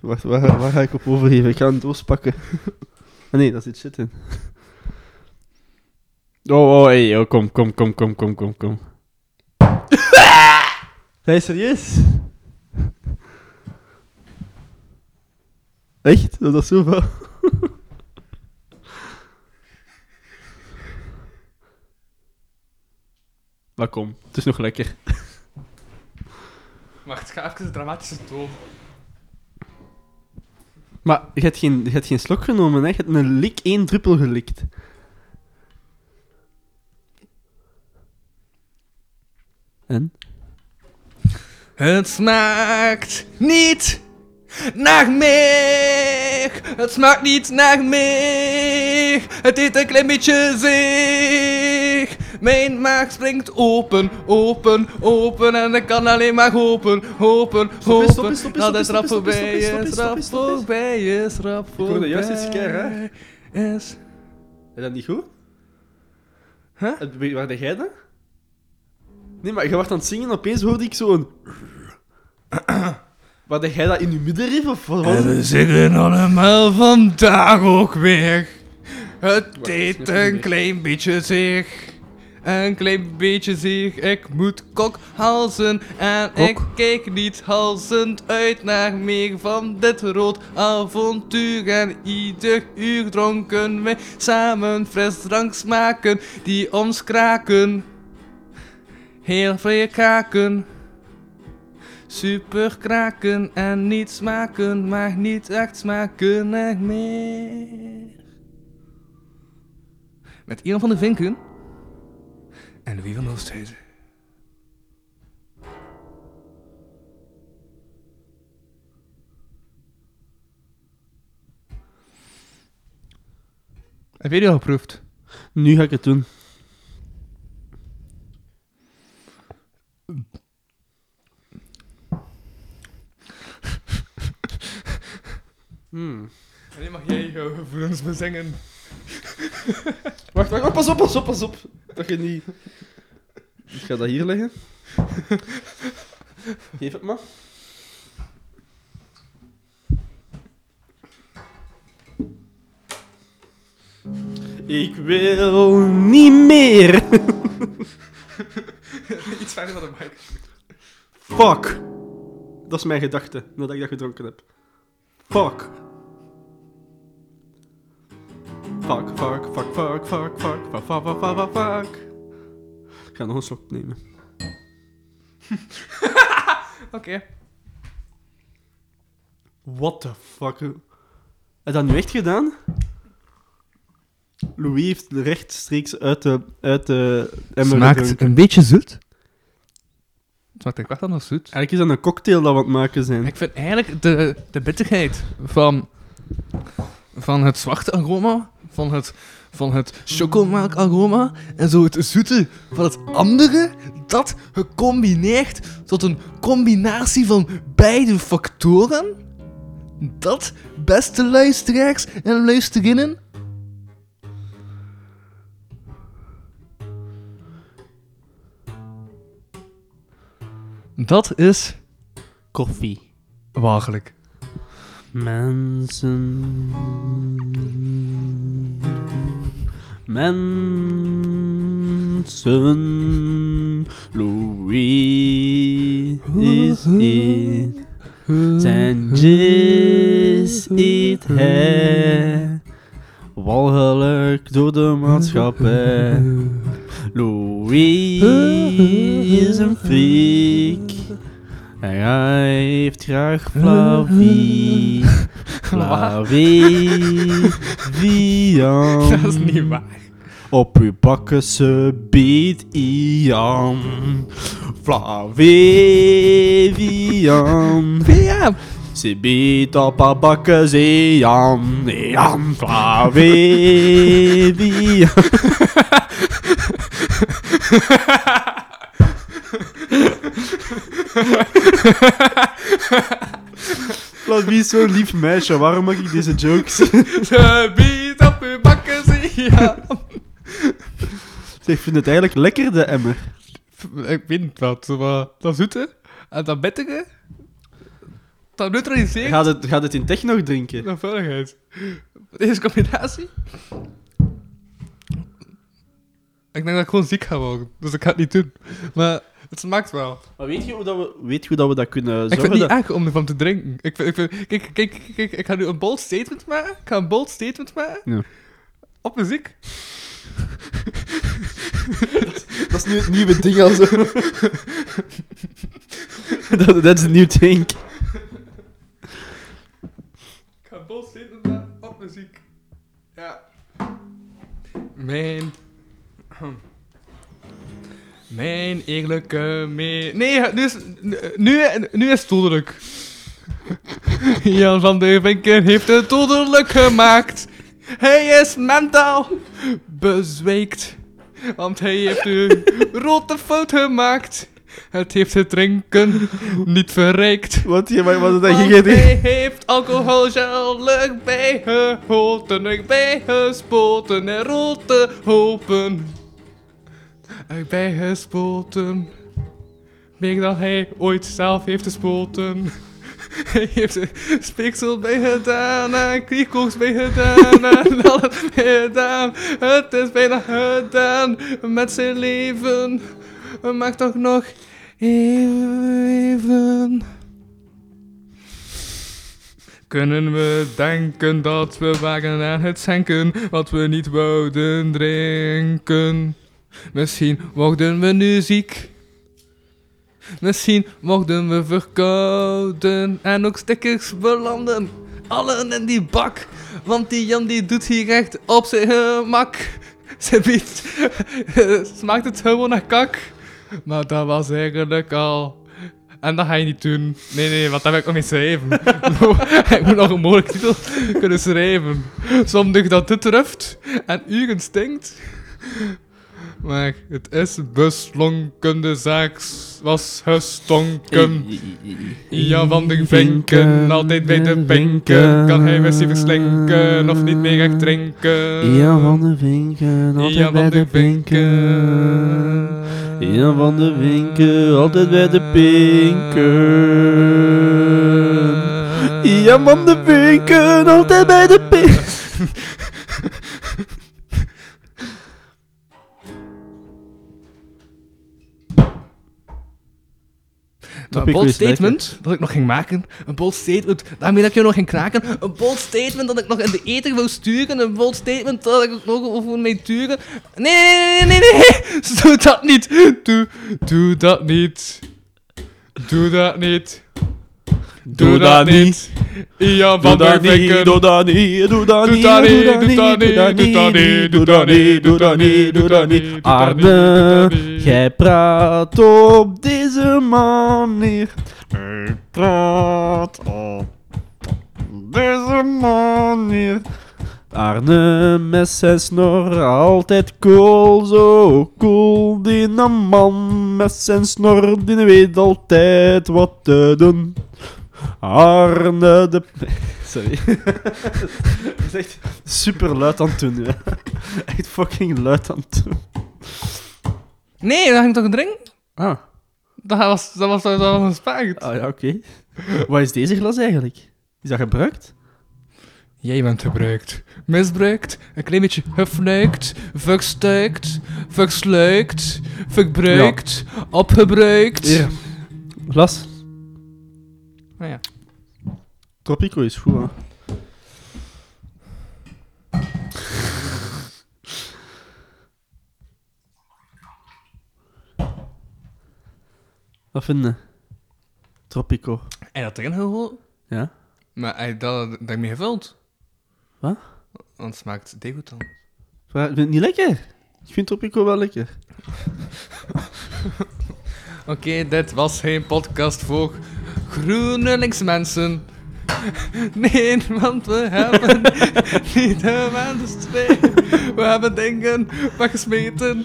[SPEAKER 4] Wacht, waar, ga- waar ga ik op overgeven? Ik ga een doos pakken. Ah, nee, daar zit shit in. Oh, oh, hey, oh, kom, kom, kom, kom, kom, kom, kom. Zijn je serieus? Echt? Dat is zoveel. Maar kom, het is nog lekker.
[SPEAKER 3] Wacht, ik ga even een dramatische toon.
[SPEAKER 4] Maar je hebt geen, je hebt geen slok genomen, hè? Je hebt een lik, één druppel gelikt. En?
[SPEAKER 3] Het smaakt niet naar meer. Het smaakt niet naar meer. Het eet een klein beetje zich. Mijn maag springt open, open, open. En ik kan alleen maar hopen, hopen,
[SPEAKER 4] Stop
[SPEAKER 3] hopen.
[SPEAKER 4] eens, stop eens, stop eens,
[SPEAKER 3] Dat is
[SPEAKER 4] stop eens,
[SPEAKER 3] rap
[SPEAKER 4] stop eens,
[SPEAKER 3] voorbij,
[SPEAKER 4] stop eens,
[SPEAKER 3] is
[SPEAKER 4] stop
[SPEAKER 3] rap
[SPEAKER 4] eens, stop eens.
[SPEAKER 3] voorbij, is rap voorbij.
[SPEAKER 4] hoorde juist iets keer,
[SPEAKER 3] Is...
[SPEAKER 4] Is dat niet goed?
[SPEAKER 3] Huh?
[SPEAKER 4] Het- Waar de jij dan? Nee, maar je wordt aan het zingen en opeens hoorde ik zo'n... Wat, had jij dat in je middenrif of wat was
[SPEAKER 3] En we
[SPEAKER 4] het?
[SPEAKER 3] zingen allemaal vandaag ook weer. Het
[SPEAKER 4] is
[SPEAKER 3] deed
[SPEAKER 4] nog niet
[SPEAKER 3] een
[SPEAKER 4] weg.
[SPEAKER 3] klein beetje zeer. Een klein beetje zeer. Ik moet kokhalzen. En
[SPEAKER 4] Kok?
[SPEAKER 3] ik kijk niet halzend uit naar meer van dit rood avontuur. En ieder uur dronken wij samen frisdrank smaken die ons kraken. Heel veel kraken. Super kraken en niet smaken, maar niet echt smaken echt meer. Met Ian van de Vinken en Louis van Oosthuizen. Heb je die al geproefd?
[SPEAKER 4] Nu ga ik het doen. Hmm.
[SPEAKER 3] En nu mag jij jouw gevoelens bezingen.
[SPEAKER 4] Wacht, wacht, wacht, pas op, pas op, pas op. Dat je niet... Ik ga dat hier leggen. Geef het maar. Ik wil niet meer.
[SPEAKER 3] Iets verder van de mic.
[SPEAKER 4] Fuck. Dat is mijn gedachte, nadat ik dat gedronken heb. Fuck. Fuck, fuck, fuck, fuck, fuck, fuck, fuck, fuck, fuck, fuck, fuck, fuck. Ik ga nog een slok nemen.
[SPEAKER 3] Oké.
[SPEAKER 4] What the fuck? Heb je dat nu echt gedaan? Louis heeft rechtstreeks uit de, uit de emmer gedronken.
[SPEAKER 3] een beetje zoet. Smaakt ik echt nog zoet.
[SPEAKER 4] Eigenlijk is dat een cocktail dat we aan het maken zijn.
[SPEAKER 3] Ik vind eigenlijk de, de bitterheid van, van het zwarte aroma, van het, van het chocomelk aroma en zo het zoete van het andere, dat gecombineerd tot een combinatie van beide factoren, dat, beste luisteraars en luisterinnen, dat is
[SPEAKER 4] Koffie.
[SPEAKER 3] walgelijk.
[SPEAKER 4] Mensen. Mensen. Louis is in. Zijn jizz eet hij. Walgelijk door de maatschappij. Louis is een freak. En hij heeft graag Flavie. Flavie. Vian.
[SPEAKER 3] Dat is niet waar.
[SPEAKER 4] Op uw bakken ze biedt Ian. Flavie. Vian.
[SPEAKER 3] Ja,
[SPEAKER 4] Ze biedt op haar bakken ze Ian. Ian. Flavie. Vian. Flavie is zo'n lief meisje. Waarom maak ik deze jokes?
[SPEAKER 3] ze biedt op uw bakken, zie je.
[SPEAKER 4] Zeg, ik vind het eigenlijk lekker, de emmer.
[SPEAKER 3] Ik vind wat, maar dat zoete en dat bittere, dat neutraliseert
[SPEAKER 4] Gaat het, gaat het in tech nog drinken?
[SPEAKER 3] de vuiligheid. Deze combinatie... Ik denk dat ik gewoon ziek ga worden, dus ik ga het niet doen. Maar het smaakt wel.
[SPEAKER 4] Maar weet je hoe dat we, weet je hoe dat, we dat kunnen zorgen?
[SPEAKER 3] ik vind het niet
[SPEAKER 4] dat-
[SPEAKER 3] erg om ervan te drinken. Ik vind, ik vind, kijk, kijk, kijk, kijk, ik ga nu een bold statement maken. Ik ga een bold statement maken.
[SPEAKER 4] Ja.
[SPEAKER 3] Op muziek.
[SPEAKER 4] dat is nu het nieuwe ding al zo. Dat dat is een nieuw ding.
[SPEAKER 3] Ik ga een bold statement maken op muziek. Ja. Mijn... Mijn eerlijke mee... Nee, nu is, nu, nu is het dodelijk. Jan van de Vinken heeft het dodelijk gemaakt. Hij is mentaal bezweekt. Want hij heeft een rote fout gemaakt. Het heeft het drinken niet verrijkt.
[SPEAKER 4] Wat? Je, maar, wat dat
[SPEAKER 3] Want
[SPEAKER 4] ging
[SPEAKER 3] hij heeft alcoholgel bijgeholten, ik bijgespoten en rote hopen. Ik bijgespoten meer dan hij ooit zelf heeft gespoten. Hij heeft er speeksel bij gedaan en kriekels bij gedaan en alles bij gedaan. Het is bijna gedaan met zijn leven. Maak toch nog even. Kunnen we denken dat we waren aan het zenken wat we niet wouden drinken? Misschien worden we nu ziek. Misschien mochten we verkouden en ook stickers belanden. Allen in die bak, want die Jan die doet hier echt op zijn gemak. Ze biedt, smaakt het gewoon naar kak. Maar dat was eigenlijk al. En dat ga je niet doen. Nee, nee, want dat heb ik nog niet schrijven. ik moet nog een mogelijke titel kunnen schrijven. Zondig dat dit ruft en uren stinkt. Maar het is beslonken, de zaak was gestonken. Ja, van de vinken, altijd bij de pinken. Kan hij misschien verslinken of niet meer echt drinken?
[SPEAKER 4] Ian van de Vinken, altijd
[SPEAKER 3] Ian
[SPEAKER 4] bij
[SPEAKER 3] van
[SPEAKER 4] de
[SPEAKER 3] de eh,
[SPEAKER 4] pinken. Ian van de Vinken, altijd bij de pinken. Ian van de Vinken, altijd bij de pinken.
[SPEAKER 3] Een
[SPEAKER 4] Topic
[SPEAKER 3] bold
[SPEAKER 4] quiz, lekker.
[SPEAKER 3] statement dat ik nog ging maken. Een bold statement daarmee dat ik je nog ging kraken. Een bold statement dat ik nog in de ether wil sturen. Een bold statement dat ik ook nog over mijn turen. Nee, nee, nee, nee, nee. Doe dat niet. Doe, doe dat niet. Doe dat niet. Doe, dat, niet. Ian van
[SPEAKER 4] Doe
[SPEAKER 3] der
[SPEAKER 4] dat niet,
[SPEAKER 3] Vinken.
[SPEAKER 4] doe dat niet, doe dat niet,
[SPEAKER 3] Doe dat
[SPEAKER 4] doe dat
[SPEAKER 3] niet,
[SPEAKER 4] niet, doe dat niet, doe dat niet, doe dat niet, doe dat niet. Arne, jij praat op deze manier. Ik praat op deze manier. Arne met zijn snor, altijd cool, zo cool. Die een man met zijn snor, die weet altijd wat te doen. Arne de... Sorry. Het is echt super luid aan het doen, ja. Echt fucking luid aan het doen.
[SPEAKER 3] Nee, dat ging toch een drink?
[SPEAKER 4] Ah.
[SPEAKER 3] Dat was, dat was, dat was een spaagd.
[SPEAKER 4] Ah ja, oké. Wat is deze glas eigenlijk? Is dat gebruikt?
[SPEAKER 3] Jij bent gebruikt. Misbruikt, een klein beetje gefnuikt, verstuikt, versluikt, verbruikt, opgebruikt.
[SPEAKER 4] Ja. Glas.
[SPEAKER 3] Nou ja.
[SPEAKER 4] Tropico is goed, hè. Wat vinden? Tropico.
[SPEAKER 3] En dat erin gegooid?
[SPEAKER 4] Ja.
[SPEAKER 3] Maar hij dat, dat mee gevuld.
[SPEAKER 4] Wat?
[SPEAKER 3] Want het smaakt degoutant.
[SPEAKER 4] Maar Vind je het niet lekker? Ik vind Tropico wel lekker.
[SPEAKER 3] Oké, dit was geen podcast voor GroenLinksmensen. Nee, want we hebben niet de twee. We hebben dingen weggesmeten.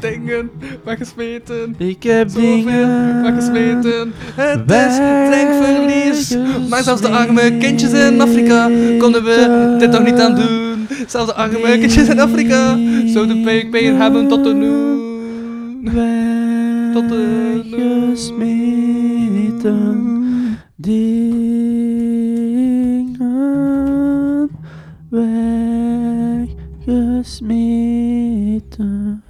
[SPEAKER 3] Dingen weggesmeten.
[SPEAKER 4] Ik heb dingen
[SPEAKER 3] weggesmeten. Het is drinkverlies. Maar zelfs de arme kindjes in Afrika konden we dit toch niet aan doen. Zelfs de arme kindjes in Afrika zouden pijnpijn hebben tot de noen. Tot eh, de
[SPEAKER 4] Weggesmeten dingen weggesmeten.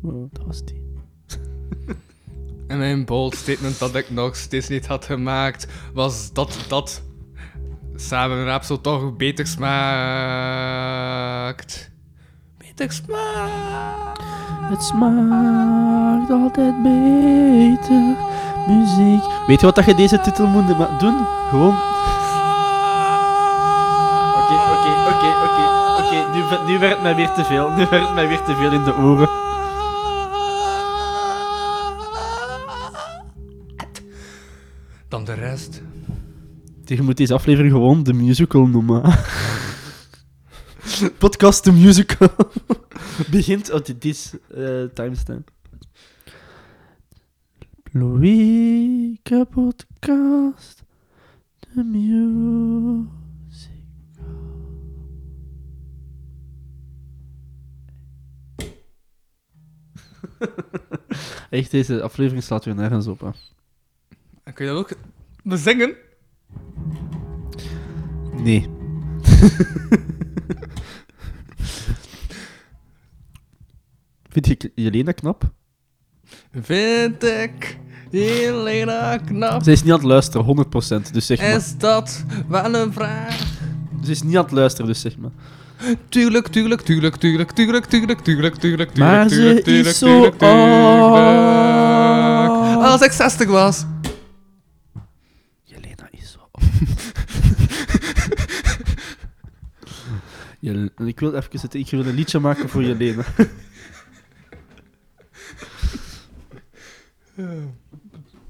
[SPEAKER 4] Wow, dat was die.
[SPEAKER 3] En mijn bold statement dat ik nog steeds niet had gemaakt was dat dat samenraapsel toch beter smaakt. Beter smaakt.
[SPEAKER 4] Het smaakt altijd beter. Muziek. Weet je wat dat je deze titel moet ma- doen? Gewoon. Oké, oké, oké, oké. Oké, nu, ver- nu werd het mij weer te veel. Nu werd het mij weer te veel in de oren.
[SPEAKER 3] Dan de rest.
[SPEAKER 4] Je moet deze aflevering gewoon de musical noemen. Podcast de musical. Begint op dit is eh, timestamp. Louis podcast de music. Echt, deze aflevering slaat weer nergens op. Hè.
[SPEAKER 3] En kun je dat ook bezingen?
[SPEAKER 4] Nee. Vind je Jelena knap?
[SPEAKER 3] Vind ik Helena knap.
[SPEAKER 4] Ze is niet aan het luisteren, 100%. Dus zeg maar.
[SPEAKER 3] Is dat wel een vraag?
[SPEAKER 4] Ze is niet aan het luisteren, dus zeg maar.
[SPEAKER 3] Tuurlijk, tuurlijk, tuurlijk, tuurlijk, tuurlijk, tuurlijk, tuurlijk, tuurlijk,
[SPEAKER 4] Maar
[SPEAKER 3] tuurlijk,
[SPEAKER 4] ze
[SPEAKER 3] tuurlijk,
[SPEAKER 4] is
[SPEAKER 3] tuurlijk,
[SPEAKER 4] zo
[SPEAKER 3] tuurlijk,
[SPEAKER 4] oud.
[SPEAKER 3] tuurlijk. Als ik 60 was.
[SPEAKER 4] Jelena is zo. Jel- ik wil even het, ik wil een liedje maken voor Jelena.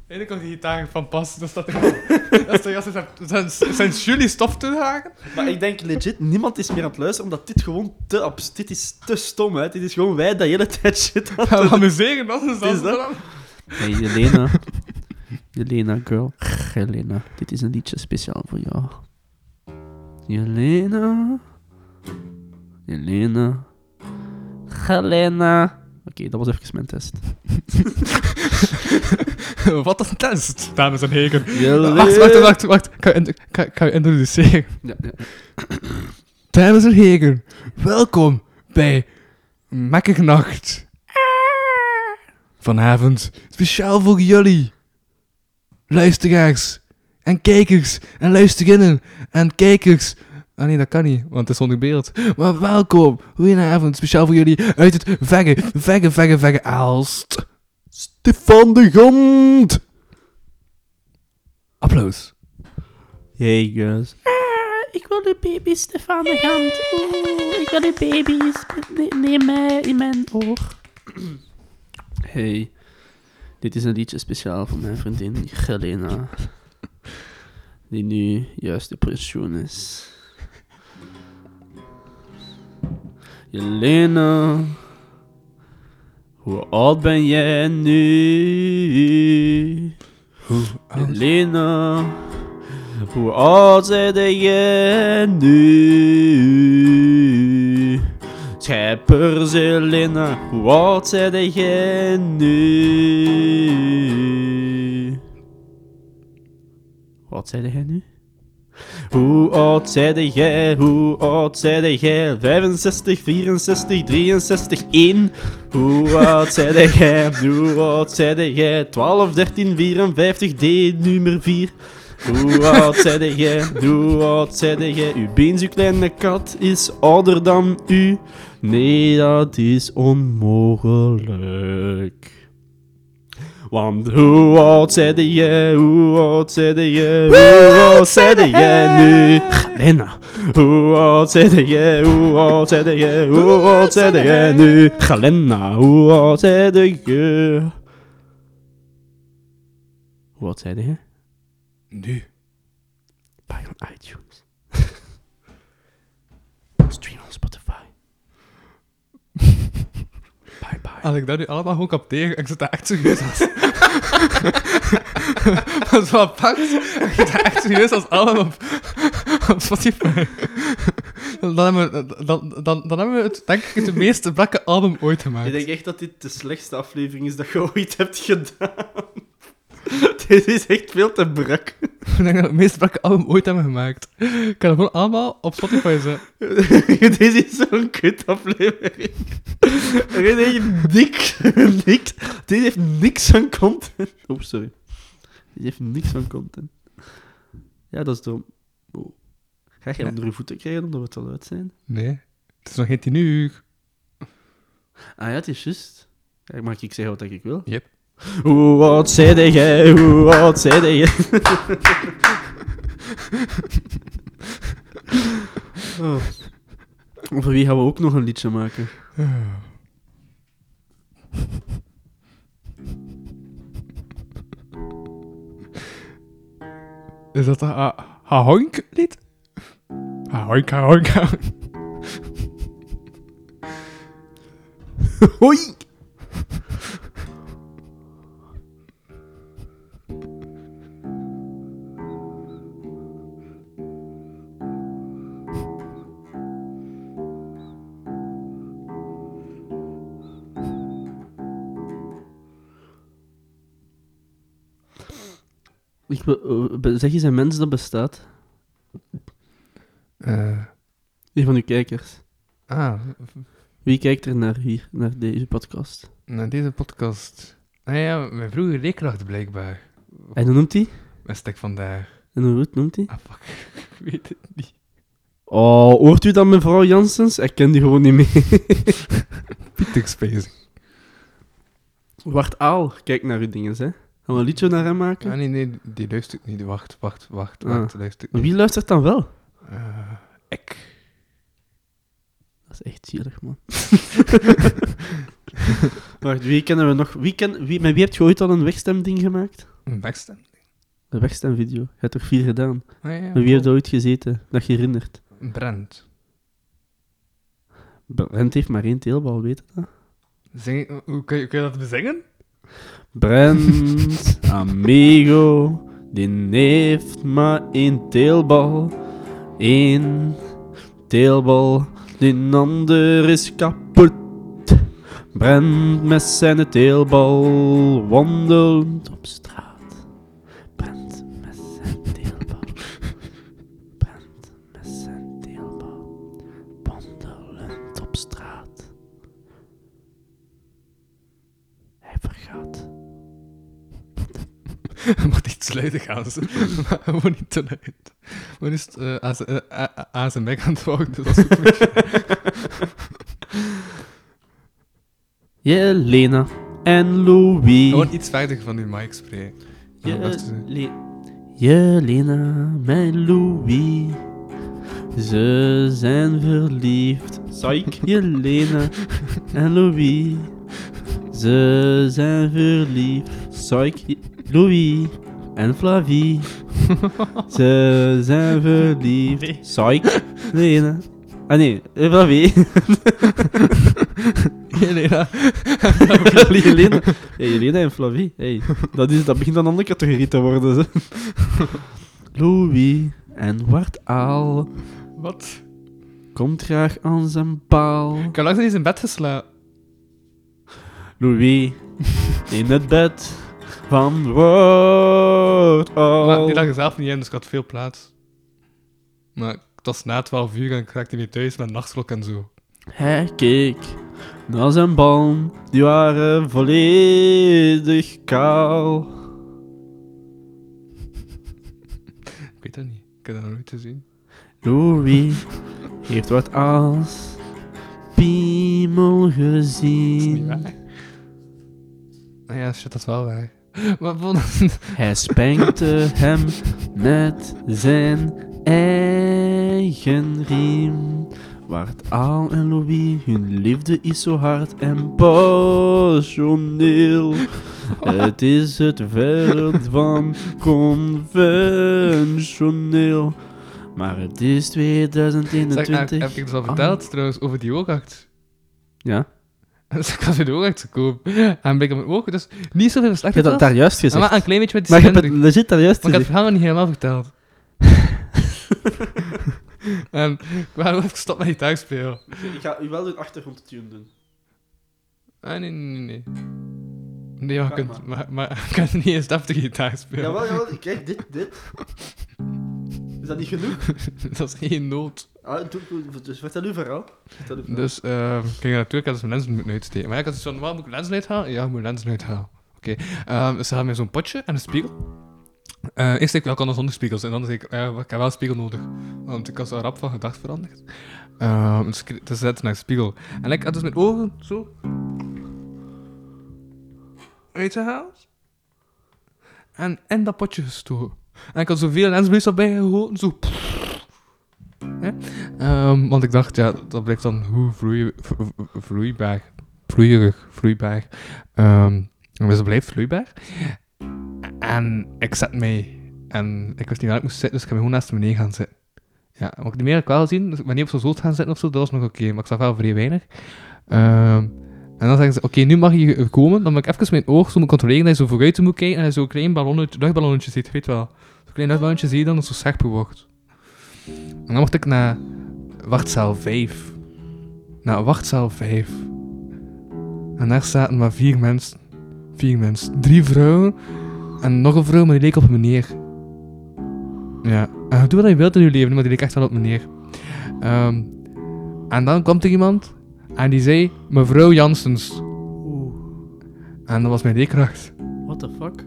[SPEAKER 3] Eindelijk kan die gitaar van pas. Dat staat er Dat is de gast zijn- zijn- zijn jullie stof te haken.
[SPEAKER 4] Maar ik denk legit, niemand is meer aan het luisteren, omdat dit gewoon te abs... Dit is te stom, hè. Dit is gewoon wij dat de hele tijd shit
[SPEAKER 3] Gaan
[SPEAKER 4] aan
[SPEAKER 3] we
[SPEAKER 4] het doen.
[SPEAKER 3] amuseren, dat is
[SPEAKER 4] Is dat?
[SPEAKER 3] dat.
[SPEAKER 4] Hey, Jelena. Jelena, girl. Jelena, dit is een liedje speciaal voor jou. Jelena. Jelena. Jelena. Oké, dat was even mijn test.
[SPEAKER 3] Wat een test, dames en heren.
[SPEAKER 4] Jelena.
[SPEAKER 3] Wacht, wacht, wacht, wacht. Ik ga je in- ik ga- ik ga je introduceren.
[SPEAKER 4] Ja, ja.
[SPEAKER 3] Dames en heren, welkom bij Mekkernacht. Vanavond speciaal voor jullie, luisteraars en kijkers en luisterinnen en kijkers. Ah nee, dat kan niet, want het is zonder beeld. Maar welkom, goedenavond, speciaal voor jullie uit het verre, verre, verre, verre Aalst. Stefan de Gond. Applaus.
[SPEAKER 4] Hey, guys.
[SPEAKER 6] Ik wil de baby Stefan de Gant. Oeh, ik wil de baby's. Ne- Neem mij in mijn oor.
[SPEAKER 4] Hey, dit is een liedje speciaal voor mijn vriendin Helena, die nu juist de pensioen is. Jelena, hoe oud ben jij nu? Jelena, hoe oud zijn jij nu? Scheppers Jelena, hoe oud zijn jij nu? Wat zei jij nu? Hoe oud zei jij? Hoe oud zei jij? 65, 64, 63, 1. Hoe oud zei jij? Hoe oud zei jij? 12, 13, 54, D, nummer 4. Hoe oud zei jij? Hoe oud zei jij? Uw been, zo kleine kat, is ouder dan u. Nee, dat is onmogelijk. Want hoe oud zijn je, hoe oud zijn je, hoe oud zijn je nu? Helena. Hoe oud zijn je, hoe oud zijn je, hoe oud zijn je nu? Helena, hoe oud zijn je? Hoe oud zijn je?
[SPEAKER 3] Nu.
[SPEAKER 4] Buy on iTunes. Stream on Spotify. Bye bye.
[SPEAKER 3] Als ik dat nu allemaal gewoon capteer, ik zit daar echt serieus als... dat is wel pakt. Ik zit daar echt serieus als allemaal op, op Spotify. Dan hebben, we, dan, dan, dan hebben we het, denk ik, het meest blakke album ooit
[SPEAKER 4] Ik
[SPEAKER 3] gemaakt.
[SPEAKER 4] denk echt dat dit de slechtste aflevering is dat je ooit hebt gedaan. dit is echt veel te brak.
[SPEAKER 3] Ik denk dat we het meest blakke album ooit hebben gemaakt. Ik kan het gewoon allemaal op Spotify zetten.
[SPEAKER 4] dit is zo'n kut aflevering. Dit heeft niks, niks. Dit heeft niks aan content. Oh, sorry. Dit heeft niks aan content. Ja, dat is dom. Oh. Ga je onder je voeten krijgen omdat we het al uit zijn?
[SPEAKER 3] Nee, het is nog geen tien uur.
[SPEAKER 4] Ah ja, het is juist. Ja, mag ik zeggen wat ik wil?
[SPEAKER 3] Yep.
[SPEAKER 4] Hoe oud zijn jij? Hoe oud zijn jij? oh. Over wie gaan we ook nog een liedje maken?
[SPEAKER 3] Is dat een ha- hahoink lied? Hahoink, hahoink, hahoink.
[SPEAKER 4] Hoi! Ik be- eh, be- zeg eens een mens dat bestaat. Eh, Een van uw kijkers.
[SPEAKER 3] Ah.
[SPEAKER 4] Wie kijkt er naar hier, naar deze podcast?
[SPEAKER 3] Naar deze podcast. Nou ja, mijn vroege leerkracht blijkbaar.
[SPEAKER 4] En hoe noemt hij?
[SPEAKER 3] Mijn stek vandaag. Ah,
[SPEAKER 4] En hoe noemt hij?
[SPEAKER 3] Ik weet het niet.
[SPEAKER 4] Oh, hoort u dat mevrouw Janssens? Ik ken die gewoon niet meer.
[SPEAKER 3] Pietikspacing.
[SPEAKER 4] Wart Aal, kijk naar uw dingen, hè. Gaan we een liedje naar hem maken?
[SPEAKER 3] Ah, nee, nee, die luistert niet. Wacht, wacht, wacht,
[SPEAKER 4] Ah.
[SPEAKER 3] wacht, luistert
[SPEAKER 4] Maar
[SPEAKER 3] niet.
[SPEAKER 4] Wie luistert dan wel?
[SPEAKER 3] Eh, ik.
[SPEAKER 4] Dat is echt zielig, man. Wacht, wie kennen we nog? Wie ken, wie, met wie hebt je ooit al een wegstemding gemaakt?
[SPEAKER 3] Een backstem?
[SPEAKER 4] Een wegstemvideo. Je hebt er vier gedaan.
[SPEAKER 3] Ah, ja,
[SPEAKER 4] met wie heeft je ooit gezeten? Dat je herinnert.
[SPEAKER 3] Brand.
[SPEAKER 4] Brent heeft maar één teelbal, weet je dat?
[SPEAKER 3] Zing, hoe, kun, je, kun je dat bezingen?
[SPEAKER 4] Brent, amigo, die heeft maar één teelbal. Eén teelbal, die ander is kapot. Brent met zijn teelbal wandelt op straat. Brent met zijn teelbal. Brent met zijn teelbal wandelend op straat. Hij vergaat.
[SPEAKER 3] Je moet iets luider gaan, ze. Maar gewoon niet te luid. Maar nu is het eh, aan zijn- eh, aan- aan- aan zijn bek aan het houden, dus dat is goed.
[SPEAKER 4] Jelena en Louis.
[SPEAKER 3] Gewoon iets verder van die mic spray.
[SPEAKER 4] Je- eh, Le- Jelena, mijn Louis. Ze zijn verliefd. Psych. Jelena en Louis. Ze zijn verliefd. Psych. Je- Louis en Flavie. Ze zijn verliefd. Psych. Jelena. Ah nee, eh, Flavie.
[SPEAKER 3] Jelena.
[SPEAKER 4] Jelena. Hey, Jelena en Flavie. Hey, dat, is, dat begint dan een andere categorie te worden. Ze. Louis en Wart Aal
[SPEAKER 3] Wat?
[SPEAKER 4] komt graag aan zijn paal.
[SPEAKER 3] Ik heb langs niet in bed geslapen.
[SPEAKER 4] Louis in het bed van Wart
[SPEAKER 3] Maar
[SPEAKER 4] Aal.
[SPEAKER 3] die lag er zelf niet in, dus ik had veel plaats. Maar het was na 12 uur en ik raakte weer thuis met nachtslok en zo.
[SPEAKER 4] Hij keek naar zijn ballen, die waren volledig kaal.
[SPEAKER 3] Ik weet dat niet. Ik heb dat nog nooit gezien.
[SPEAKER 4] Louis heeft wat als piemel gezien. Mm.
[SPEAKER 3] Nou ja, shit, dat is wel waar. Maar bon-
[SPEAKER 4] Hij spenkte hem met zijn eigen riem. Waart Aal en Louis, hun liefde is zo hard en passioneel. Het is het verre van conventioneel. Maar het is
[SPEAKER 3] Zeg, heb,
[SPEAKER 4] 2021.
[SPEAKER 3] heb ik dus al verteld trouwens over die oogacht?
[SPEAKER 4] Ja.
[SPEAKER 3] Dus ik had weer de oogacht gekomen. En ben ik op mijn oog, dus niet zoveel
[SPEAKER 4] Je
[SPEAKER 3] slecht.
[SPEAKER 4] hebt dat daar juist gezegd.
[SPEAKER 3] Maar een klein beetje met die
[SPEAKER 4] Maar je hebt het
[SPEAKER 3] slender.
[SPEAKER 4] legit daar juist
[SPEAKER 3] Maar ik heb het verhaal nog
[SPEAKER 4] gezegd.
[SPEAKER 3] niet helemaal verteld. en ik wou even stop met gitaar spelen.
[SPEAKER 4] Ik ga u wel de achtergrondtune doen.
[SPEAKER 3] Ah, nee, nee, nee. nee. Nee, maar ik kan, maar, maar, ik kan niet eens deftige gitaar spelen.
[SPEAKER 4] Jawel, jawel, kijk, dit, dit. Is dat niet genoeg?
[SPEAKER 3] dat is één noot.
[SPEAKER 4] Ah, doe- doe- dus vertel uw verhaal. Vertel uw verhaal.
[SPEAKER 3] Dus eh, ik ging naartoe, ik had dus mijn lenzen moeten uitsteken. Maar ja, ik had zoiets van, waar moet ik lenzen uithalen? Ja, ik moet lenzen uithalen. Oké. Ehm, dus ze hadden mij zo'n potje en een spiegel. Eh, ik steek wel anders zonder spiegels. En dan zeg ik, eh, ik heb wel een spiegel nodig. Want ik was daar rap van gedacht veranderd. Ehm, dus ik dus zet naar de spiegel. En ik had dus mijn ogen zo... Uitgehaald. En in dat potje gestoken. En ik had zoveel lensbloes erbij gehouden, zo... Ja. Ehm, want ik dacht, ja, dat blijft dan hoe vloei, v- v- vloeibaar. Vloeierig, vloeibaar. Ehm dus het blijft vloeibaar. En ik zet mij. En ik wist niet waar ik moest zitten, dus ik heb me gewoon naast meneer gaan zitten. Ja, wat ik niet meer heb ik wel zien, dus ik ben niet op zo'n zoot gaan zitten of zo, dat was nog oké, maar ik zag wel vrij weinig. Ehm, en dan zeggen ze, oké, nu mag je komen, dan moet ik even mijn oog zo moet controleren dat je zo vooruit moet kijken en dat je zo'n klein ballonnetje, luchtballonnetje ziet, weet je wel. Zo'n klein luchtballonnetje zie je dan, dat zo scherper wordt. En dan mocht ik naar wachtzaal 5. Naar wachtzaal 5. En daar zaten maar vier mensen. Vier mensen. Drie vrouwen En nog een vrouw, maar die leek op een meneer. Ja. En doe wat je wilt in je leven, maar die leek echt wel op een meneer. Ehm, en dan kwam er iemand en die zei, mevrouw Janssens. En dat was mijn leerkracht.
[SPEAKER 4] What the fuck?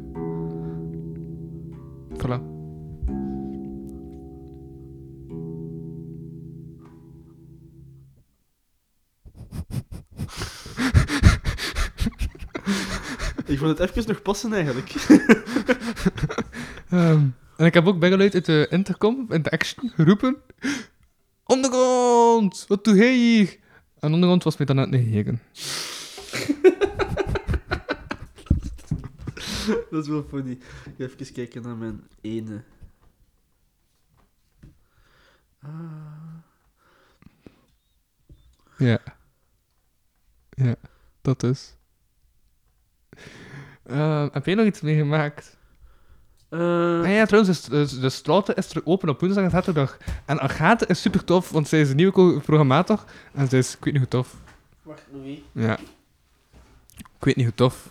[SPEAKER 3] Voilà.
[SPEAKER 4] Ik vond het even nog passen eigenlijk.
[SPEAKER 3] Ehm, en ik heb ook Bangalore uit de intercom, in de action, geroepen. Ondergrond, wat doe jij hier? En ondergrond was mij dan net negeren.
[SPEAKER 4] dat is wel funny. Ik ga even kijken naar mijn ene. Ah.
[SPEAKER 3] Ja. Ja, dat is. Ehm, heb jij nog iets meegemaakt?
[SPEAKER 4] Eh,
[SPEAKER 3] Ah ja, trouwens, de, de, de Strauten is er open op woensdag en zaterdag. En Agathe is super tof, want zij is een nieuwe co- programmator. En zij is, ik weet niet hoe tof.
[SPEAKER 4] Wacht, Louis.
[SPEAKER 3] Ja. Ik weet niet hoe tof.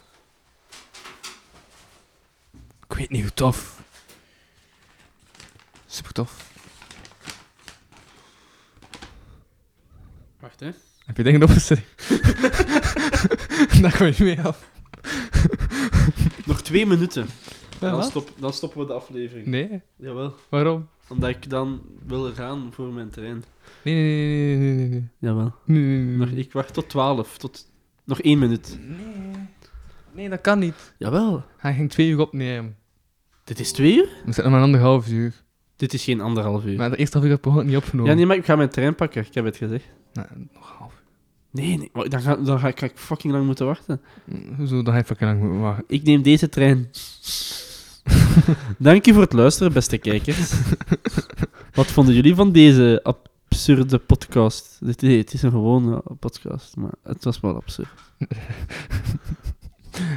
[SPEAKER 3] Ik weet niet hoe tof. Super tof.
[SPEAKER 4] Wacht, hè.
[SPEAKER 3] Heb je dingen opgeschreven? Daar kom je mee af.
[SPEAKER 4] Nog twee minuten.
[SPEAKER 3] Ja,
[SPEAKER 4] dan,
[SPEAKER 3] wat?
[SPEAKER 4] stop, dan stoppen we de aflevering.
[SPEAKER 3] Nee,
[SPEAKER 4] Jawel.
[SPEAKER 3] waarom?
[SPEAKER 4] Omdat ik dan wil gaan voor mijn trein.
[SPEAKER 3] Nee, nee, nee, nee, nee, nee.
[SPEAKER 4] Jawel.
[SPEAKER 3] Nee, nee, nee,
[SPEAKER 4] Nog,
[SPEAKER 3] nee.
[SPEAKER 4] ik wacht tot 12. Tot... Nog één minuut.
[SPEAKER 3] Nee. Nee, dat kan niet.
[SPEAKER 4] Jawel.
[SPEAKER 3] Hij ging twee uur opnemen.
[SPEAKER 4] Dit is twee uur?
[SPEAKER 3] We zitten nog maar anderhalf uur.
[SPEAKER 4] Dit is geen anderhalf uur.
[SPEAKER 3] Maar de eerste half uur heb ik gewoon niet opgenomen.
[SPEAKER 4] Ja, nee, maar ik ga mijn trein pakken. Ik heb het gezegd.
[SPEAKER 3] Nou, nog half uur.
[SPEAKER 4] Nee, nee. maar Dan ga, dan ga ik ga ik fucking lang moeten wachten.
[SPEAKER 3] Mm, Hoezo, dan heb ik lang moeten wachten.
[SPEAKER 4] Ik neem deze trein. Dank u voor het luisteren, beste kijkers. Wat vonden jullie van deze absurde podcast? Dit- Nee, het is een gewone podcast, maar het was wel absurd.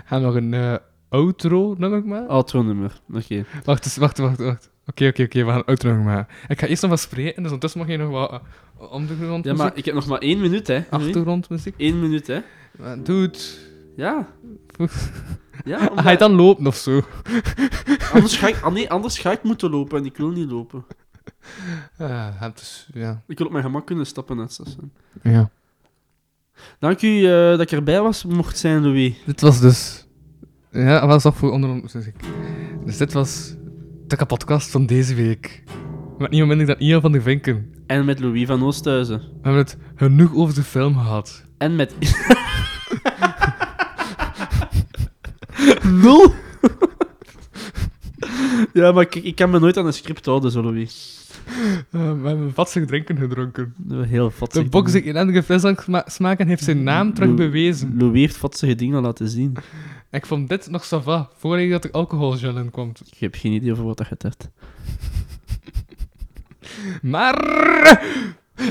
[SPEAKER 3] Gaan we nog een eh, outro nummer maken?
[SPEAKER 4] Outro-nummer. Oké.
[SPEAKER 3] Wacht, eens, wacht, wacht, wacht. Oké, oké, oké, we gaan een outro nummer maken. Ik ga eerst nog wat spreken, dus ondertussen mag je nog wat eh,
[SPEAKER 4] Ja,
[SPEAKER 3] ondergrondmuziek,
[SPEAKER 4] maar ik heb nog maar één minuut, hè. Louis.
[SPEAKER 3] achtergrondmuziek. Eh,
[SPEAKER 4] Eén minuut, hè.
[SPEAKER 3] Maar Doe het.
[SPEAKER 4] Ja. ja
[SPEAKER 3] Ga je
[SPEAKER 4] omdat-
[SPEAKER 3] dan lopen of zo?
[SPEAKER 4] anders, ga ik, ah, nee, anders ga ik moeten lopen en ik wil niet lopen.
[SPEAKER 3] Ah, het
[SPEAKER 4] dus,
[SPEAKER 3] is, ja.
[SPEAKER 4] Ik wil op mijn gemak kunnen stappen uit station.
[SPEAKER 3] ja.
[SPEAKER 4] Dank u eh, dat ik erbij was, mocht zijn, Louis.
[SPEAKER 3] Dit was dus... Ja, was dat voor ondergrondmuziek? Dus dit was de podcast van deze week. Met niemand minder dan Ian van der Vinken.
[SPEAKER 4] En met Louis van Oosthuizen.
[SPEAKER 3] We hebben het genoeg over de film gehad.
[SPEAKER 4] En met... Nul! ja, maar kijk, ik kan me nooit aan een script houden, zo, Louis.
[SPEAKER 3] Eh, we hebben vatsig drinken gedronken.
[SPEAKER 4] Dat is Heel vatsig.
[SPEAKER 3] De box die in andere frisdrank sma- smaken heeft zijn naam terug bewezen.
[SPEAKER 4] Louis heeft vatsige dingen laten zien.
[SPEAKER 3] Ik vond dit nog sava, voordat dat er alcoholgel in kwam.
[SPEAKER 4] Ik heb geen idee over wat dat gaat hebt.
[SPEAKER 3] Maar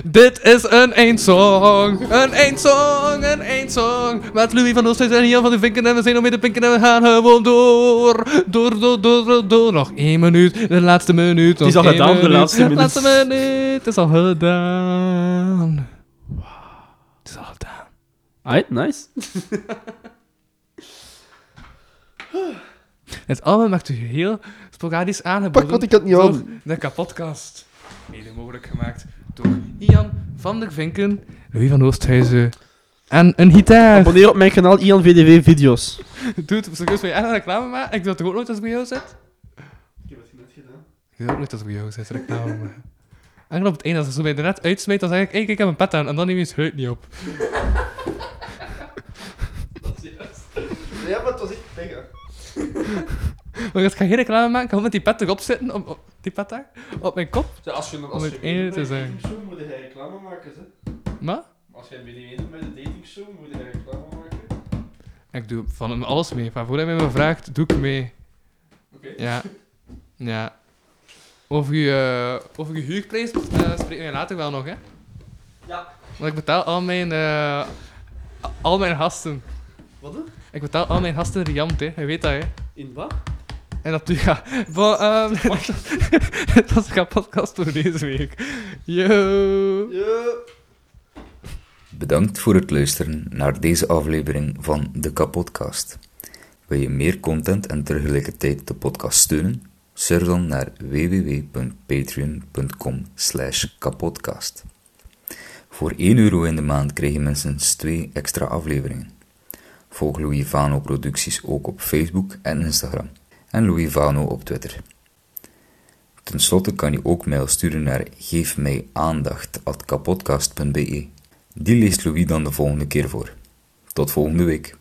[SPEAKER 3] dit is een eindsong. Een eindsong, een eindsong. Met Louis van Oosthuizen en Jan van de Vinken en we zijn nog mee te pinken en we gaan gewoon door. Door, door, door, door, door. Nog één minuut, de laatste minuut. nog
[SPEAKER 4] is al
[SPEAKER 3] één
[SPEAKER 4] gedaan, de laatste minuut.
[SPEAKER 3] laatste minuut, het is al gedaan. Het is al gedaan.
[SPEAKER 4] Alright, nice.
[SPEAKER 3] Het album werd u heel sporadisch aangeboden.
[SPEAKER 7] Pak wat ik had niet
[SPEAKER 3] door
[SPEAKER 7] aan.
[SPEAKER 3] De kapotkast. Mede mogelijk gemaakt door Ian van der Vinken, Louis van Oosthuizen en een gitaar.
[SPEAKER 4] Abonneer op mijn kanaal Ian VDV Video's.
[SPEAKER 3] Doet, serieus, wil je echt een reclame maken? Ik doe het ook nooit als ik bij jou zit. Ik heb het net gedaan. Ik doe het ook nooit als ik bij jou zit, reclame maken. En dan op het einde, als ik zo bij de net uitsmijt, dan zeg ik, hey, kijk, ik heb een pet aan. En dan neem je het huid niet op.
[SPEAKER 4] Ja, maar het was echt lekker.
[SPEAKER 3] Maar ik ga geen reclame maken, ik ga gewoon met die pet erop zitten, op, op- die pet daar, op mijn kop.
[SPEAKER 4] als je,
[SPEAKER 3] Om het ene te zeggen.
[SPEAKER 4] datingshow moet je reclame maken, hè.
[SPEAKER 3] Maar,
[SPEAKER 4] Als je een BDW doet met een datingshow, moet je reclame maken.
[SPEAKER 3] ik doe van hem alles mee. Van voordat hij me vraagt, doe ik mee.
[SPEAKER 4] Oké.
[SPEAKER 3] Ja. Ja. Over je, eh, over je huurprijs eh, spreken we later wel nog, hè?
[SPEAKER 4] Ja.
[SPEAKER 3] Want ik betaal al mijn, eh, al mijn gasten.
[SPEAKER 4] Wat dan?
[SPEAKER 3] Ik betaal al mijn gasten riant, hè. Je weet dat, hè.
[SPEAKER 4] In wat?
[SPEAKER 3] En natuurlijk, ja. Bon, ehm, dat was de podcast voor deze week. Yo!
[SPEAKER 11] Bedankt voor het luisteren naar deze aflevering van de Kapodcast.
[SPEAKER 2] Wil je meer content en tegelijkertijd de podcast steunen? Surf dan naar www.patreon.com kapodcast. Voor 1 euro in de maand krijg je minstens 2 extra afleveringen. Volg Louis Vano producties ook op Facebook en Instagram. En Louis Vano op Twitter. Ten slotte kan je ook mail sturen naar geefmijaandacht.kapodcast.be. Die leest Louis dan de volgende keer voor. Tot volgende week.